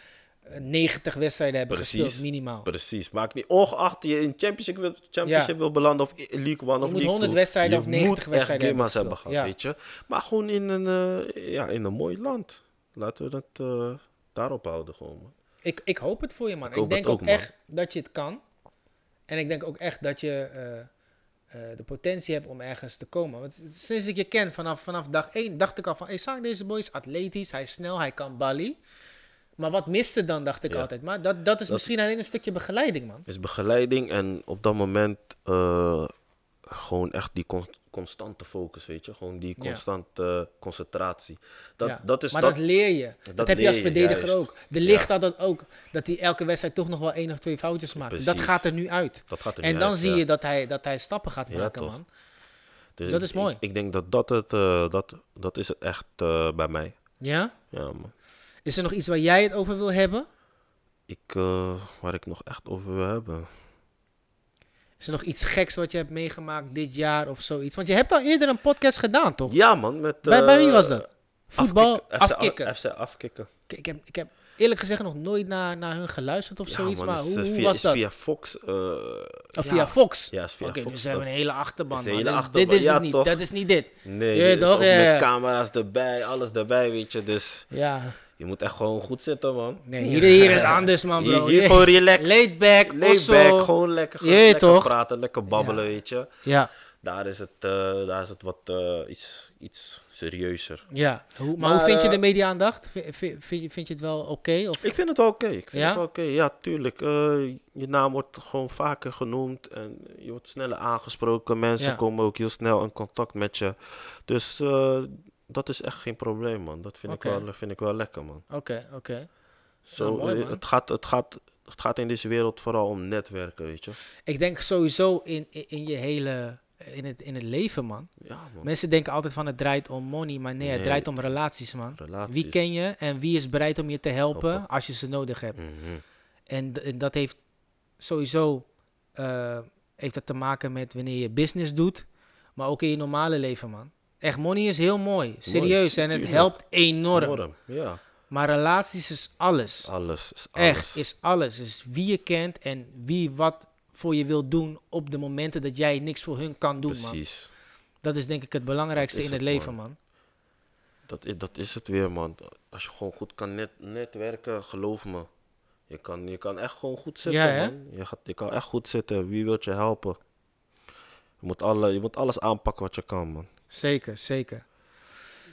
[SPEAKER 2] eh, 90 wedstrijden hebben
[SPEAKER 3] Precies.
[SPEAKER 2] gespeeld, minimaal.
[SPEAKER 3] Precies. Maakt niet. Ongeacht je in Championship wil, championship
[SPEAKER 2] Ja.
[SPEAKER 3] wil belanden of i- League One of
[SPEAKER 2] moet
[SPEAKER 3] League
[SPEAKER 2] 100
[SPEAKER 3] Two,
[SPEAKER 2] wedstrijden
[SPEAKER 3] je
[SPEAKER 2] of 90
[SPEAKER 3] moet echt
[SPEAKER 2] wedstrijden hebben
[SPEAKER 3] gamma's hebben
[SPEAKER 2] gespeeld.
[SPEAKER 3] gehad, weet je. Maar gewoon in een, eh, ja, in een mooi land. Laten we dat eh, daarop houden gewoon. man.
[SPEAKER 2] Ik, ik hoop het voor je, man. Ik,
[SPEAKER 3] hoop
[SPEAKER 2] denk
[SPEAKER 3] het
[SPEAKER 2] ook,
[SPEAKER 3] ook, man.
[SPEAKER 2] echt dat je het kan. En ik denk ook echt dat je eh, eh, de potentie hebt om ergens te komen. Want sinds ik je ken, vanaf, vanaf dag 1, dacht ik al van... Hey, Saak, deze boy is atletisch, hij is snel, hij kan balie. Maar wat miste dan, dacht ik
[SPEAKER 3] Ja.
[SPEAKER 2] altijd. Maar dat, dat is misschien alleen een stukje begeleiding, man.
[SPEAKER 3] is begeleiding en op dat moment eh, gewoon echt die con- constante focus, weet je. Gewoon die
[SPEAKER 2] Ja.
[SPEAKER 3] constante eh, concentratie. Dat,
[SPEAKER 2] Ja,
[SPEAKER 3] dat is
[SPEAKER 2] maar
[SPEAKER 3] dat,
[SPEAKER 2] dat leer je. Dat,
[SPEAKER 3] dat
[SPEAKER 2] heb je als
[SPEAKER 3] leer je,
[SPEAKER 2] verdediger
[SPEAKER 3] juist.
[SPEAKER 2] ook. De
[SPEAKER 3] Ja.
[SPEAKER 2] licht had dat ook. Dat hij elke wedstrijd toch nog wel één of twee foutjes maakt. Dat
[SPEAKER 3] Precies.
[SPEAKER 2] gaat er nu uit.
[SPEAKER 3] Dat gaat er
[SPEAKER 2] en
[SPEAKER 3] nu
[SPEAKER 2] dan
[SPEAKER 3] uit,
[SPEAKER 2] zie
[SPEAKER 3] ja.
[SPEAKER 2] je dat hij, dat hij stappen gaat
[SPEAKER 3] Ja,
[SPEAKER 2] maken,
[SPEAKER 3] toch.
[SPEAKER 2] man.
[SPEAKER 3] dus
[SPEAKER 2] dat
[SPEAKER 3] ik-
[SPEAKER 2] is mooi.
[SPEAKER 3] Ik, ik denk dat dat het, eh, dat, dat is het echt eh, bij mij.
[SPEAKER 2] Ja?
[SPEAKER 3] Ja, man.
[SPEAKER 2] Is er nog iets waar jij het over wil hebben?
[SPEAKER 3] Ik, eh, waar ik nog echt over wil hebben.
[SPEAKER 2] Is er nog iets geks wat je hebt meegemaakt dit jaar of zoiets? Want je hebt al eerder een podcast gedaan, toch?
[SPEAKER 3] Ja, man, met...
[SPEAKER 2] bij, bij wie
[SPEAKER 3] eh,
[SPEAKER 2] was dat? Voetbal
[SPEAKER 3] afkikken.
[SPEAKER 2] afkikken.
[SPEAKER 3] FC, afkikken.
[SPEAKER 2] Ik, ik heb, ik heb eerlijk gezegd nog nooit naar, naar hun geluisterd of zoiets.
[SPEAKER 3] man,
[SPEAKER 2] maar
[SPEAKER 3] is-
[SPEAKER 2] hoe,
[SPEAKER 3] is
[SPEAKER 2] hoe
[SPEAKER 3] via,
[SPEAKER 2] was
[SPEAKER 3] is
[SPEAKER 2] dat?
[SPEAKER 3] via Fox. eh,
[SPEAKER 2] Of via Fox?
[SPEAKER 3] Ja, is via
[SPEAKER 2] Oké,
[SPEAKER 3] Fox,
[SPEAKER 2] dus ze hebben een hele achterban.
[SPEAKER 3] Is een
[SPEAKER 2] man.
[SPEAKER 3] hele
[SPEAKER 2] Dus
[SPEAKER 3] achterban,
[SPEAKER 2] Dit is
[SPEAKER 3] ja,
[SPEAKER 2] het niet.
[SPEAKER 3] toch?
[SPEAKER 2] Dat is niet dit.
[SPEAKER 3] Nee,
[SPEAKER 2] Je
[SPEAKER 3] dit is
[SPEAKER 2] toch?
[SPEAKER 3] ook
[SPEAKER 2] Ja, ja.
[SPEAKER 3] met camera's erbij, alles erbij, weet je. Dus
[SPEAKER 2] Ja.
[SPEAKER 3] je moet echt gewoon goed zitten, man.
[SPEAKER 2] Nee, hier, hier is anders, man,
[SPEAKER 3] Hier,
[SPEAKER 2] bro.
[SPEAKER 3] hier is gewoon relaxed.
[SPEAKER 2] Laid back,
[SPEAKER 3] Laid
[SPEAKER 2] osso.
[SPEAKER 3] back, gewoon lekker, gewoon
[SPEAKER 2] Jee,
[SPEAKER 3] lekker
[SPEAKER 2] toch?
[SPEAKER 3] praten, lekker babbelen, weet je.
[SPEAKER 2] Ja,
[SPEAKER 3] Daar is het, eh, daar is het wat eh, iets, iets serieuzer.
[SPEAKER 2] ja. Hoe, maar,
[SPEAKER 3] Maar,
[SPEAKER 2] hoe vind je
[SPEAKER 3] eh,
[SPEAKER 2] de media-aandacht? Vi- vi- Vind, je- vind je het wel oké? of...
[SPEAKER 3] Ik vind het wel oké. Ik vind
[SPEAKER 2] Ja?
[SPEAKER 3] het wel oké. Ja, tuurlijk. eh, je naam wordt gewoon vaker genoemd en je wordt sneller aangesproken. Mensen
[SPEAKER 2] Ja.
[SPEAKER 3] komen ook heel snel in contact met je. Dus eh, dat is echt geen probleem, man. Dat vind,
[SPEAKER 2] Oké.
[SPEAKER 3] ik, wel, vind ik wel lekker, man.
[SPEAKER 2] Oké, oké.
[SPEAKER 3] Zo,
[SPEAKER 2] mooi,
[SPEAKER 3] eh,
[SPEAKER 2] man.
[SPEAKER 3] het, gaat, het, gaat, het gaat in deze wereld vooral om netwerken, weet je.
[SPEAKER 2] Ik denk sowieso in, in, in je hele... In het, in het leven, man.
[SPEAKER 3] Ja, man.
[SPEAKER 2] Mensen denken altijd van het draait om money, maar nee, het
[SPEAKER 3] Nee.
[SPEAKER 2] draait om relaties, man.
[SPEAKER 3] Relaties.
[SPEAKER 2] Wie ken je en wie is bereid om je te helpen
[SPEAKER 3] Helpen.
[SPEAKER 2] als je ze nodig hebt?
[SPEAKER 3] Mhm.
[SPEAKER 2] En, d- en dat heeft sowieso eh, heeft dat te maken met wanneer je business doet, maar ook in je normale leven, man. Echt, money is heel mooi, serieus, en het
[SPEAKER 3] tuurlijk.
[SPEAKER 2] helpt enorm.
[SPEAKER 3] Norm, Ja,
[SPEAKER 2] Maar relaties is alles.
[SPEAKER 3] alles. Is alles.
[SPEAKER 2] Echt, is alles. Is wie je kent en wie wat voor je wil doen op de momenten dat jij niks voor hun kan doen, man.
[SPEAKER 3] Precies.
[SPEAKER 2] Dat is denk ik het belangrijkste
[SPEAKER 3] Dat
[SPEAKER 2] in
[SPEAKER 3] is
[SPEAKER 2] het
[SPEAKER 3] het,
[SPEAKER 2] leven, man.
[SPEAKER 3] Dat is, dat is het weer, man. Als je gewoon goed kan net, netwerken, geloof me. Je kan, je kan echt gewoon goed zitten,
[SPEAKER 2] Ja, hè?
[SPEAKER 3] man. Je, gaat, je kan echt goed zitten. Wie wil je helpen? Je moet, alle, je moet alles aanpakken wat je kan, man.
[SPEAKER 2] Zeker, zeker.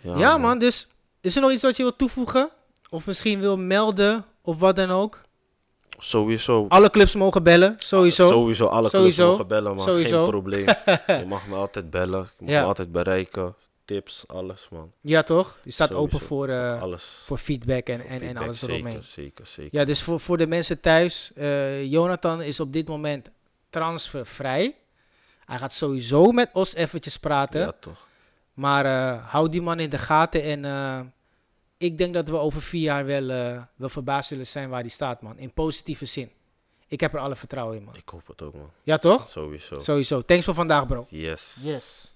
[SPEAKER 2] Ja, man, dus is er nog iets wat je wilt toevoegen? Of misschien wil melden of wat dan ook?
[SPEAKER 3] Sowieso.
[SPEAKER 2] Alle clubs mogen bellen, Ah, sowieso.
[SPEAKER 3] Sowieso alle
[SPEAKER 2] Sowieso.
[SPEAKER 3] clubs mogen bellen, man.
[SPEAKER 2] Sowieso.
[SPEAKER 3] Geen probleem. je mag me altijd bellen. Je mag
[SPEAKER 2] Ja.
[SPEAKER 3] me altijd bereiken. Tips, alles, man.
[SPEAKER 2] Ja, toch? Die staat
[SPEAKER 3] Sowieso.
[SPEAKER 2] open voor, eh,
[SPEAKER 3] alles.
[SPEAKER 2] voor feedback en, en, en
[SPEAKER 3] Feedback,
[SPEAKER 2] alles eromheen.
[SPEAKER 3] Zeker, zeker, zeker.
[SPEAKER 2] Ja, dus voor, voor de mensen thuis, eh, Jonathan is op dit moment transfervrij. Hij gaat sowieso met ons eventjes praten.
[SPEAKER 3] ja toch.
[SPEAKER 2] Maar eh, hou die man in de gaten. En eh, ik denk dat we over vier jaar wel, eh, wel verbaasd zullen zijn waar die staat, man. In positieve zin. Ik heb er alle vertrouwen in, man.
[SPEAKER 3] Ik hoop het ook, man.
[SPEAKER 2] Ja, toch?
[SPEAKER 3] Sowieso.
[SPEAKER 2] Sowieso. Thanks voor vandaag, bro.
[SPEAKER 3] Yes.
[SPEAKER 2] Yes.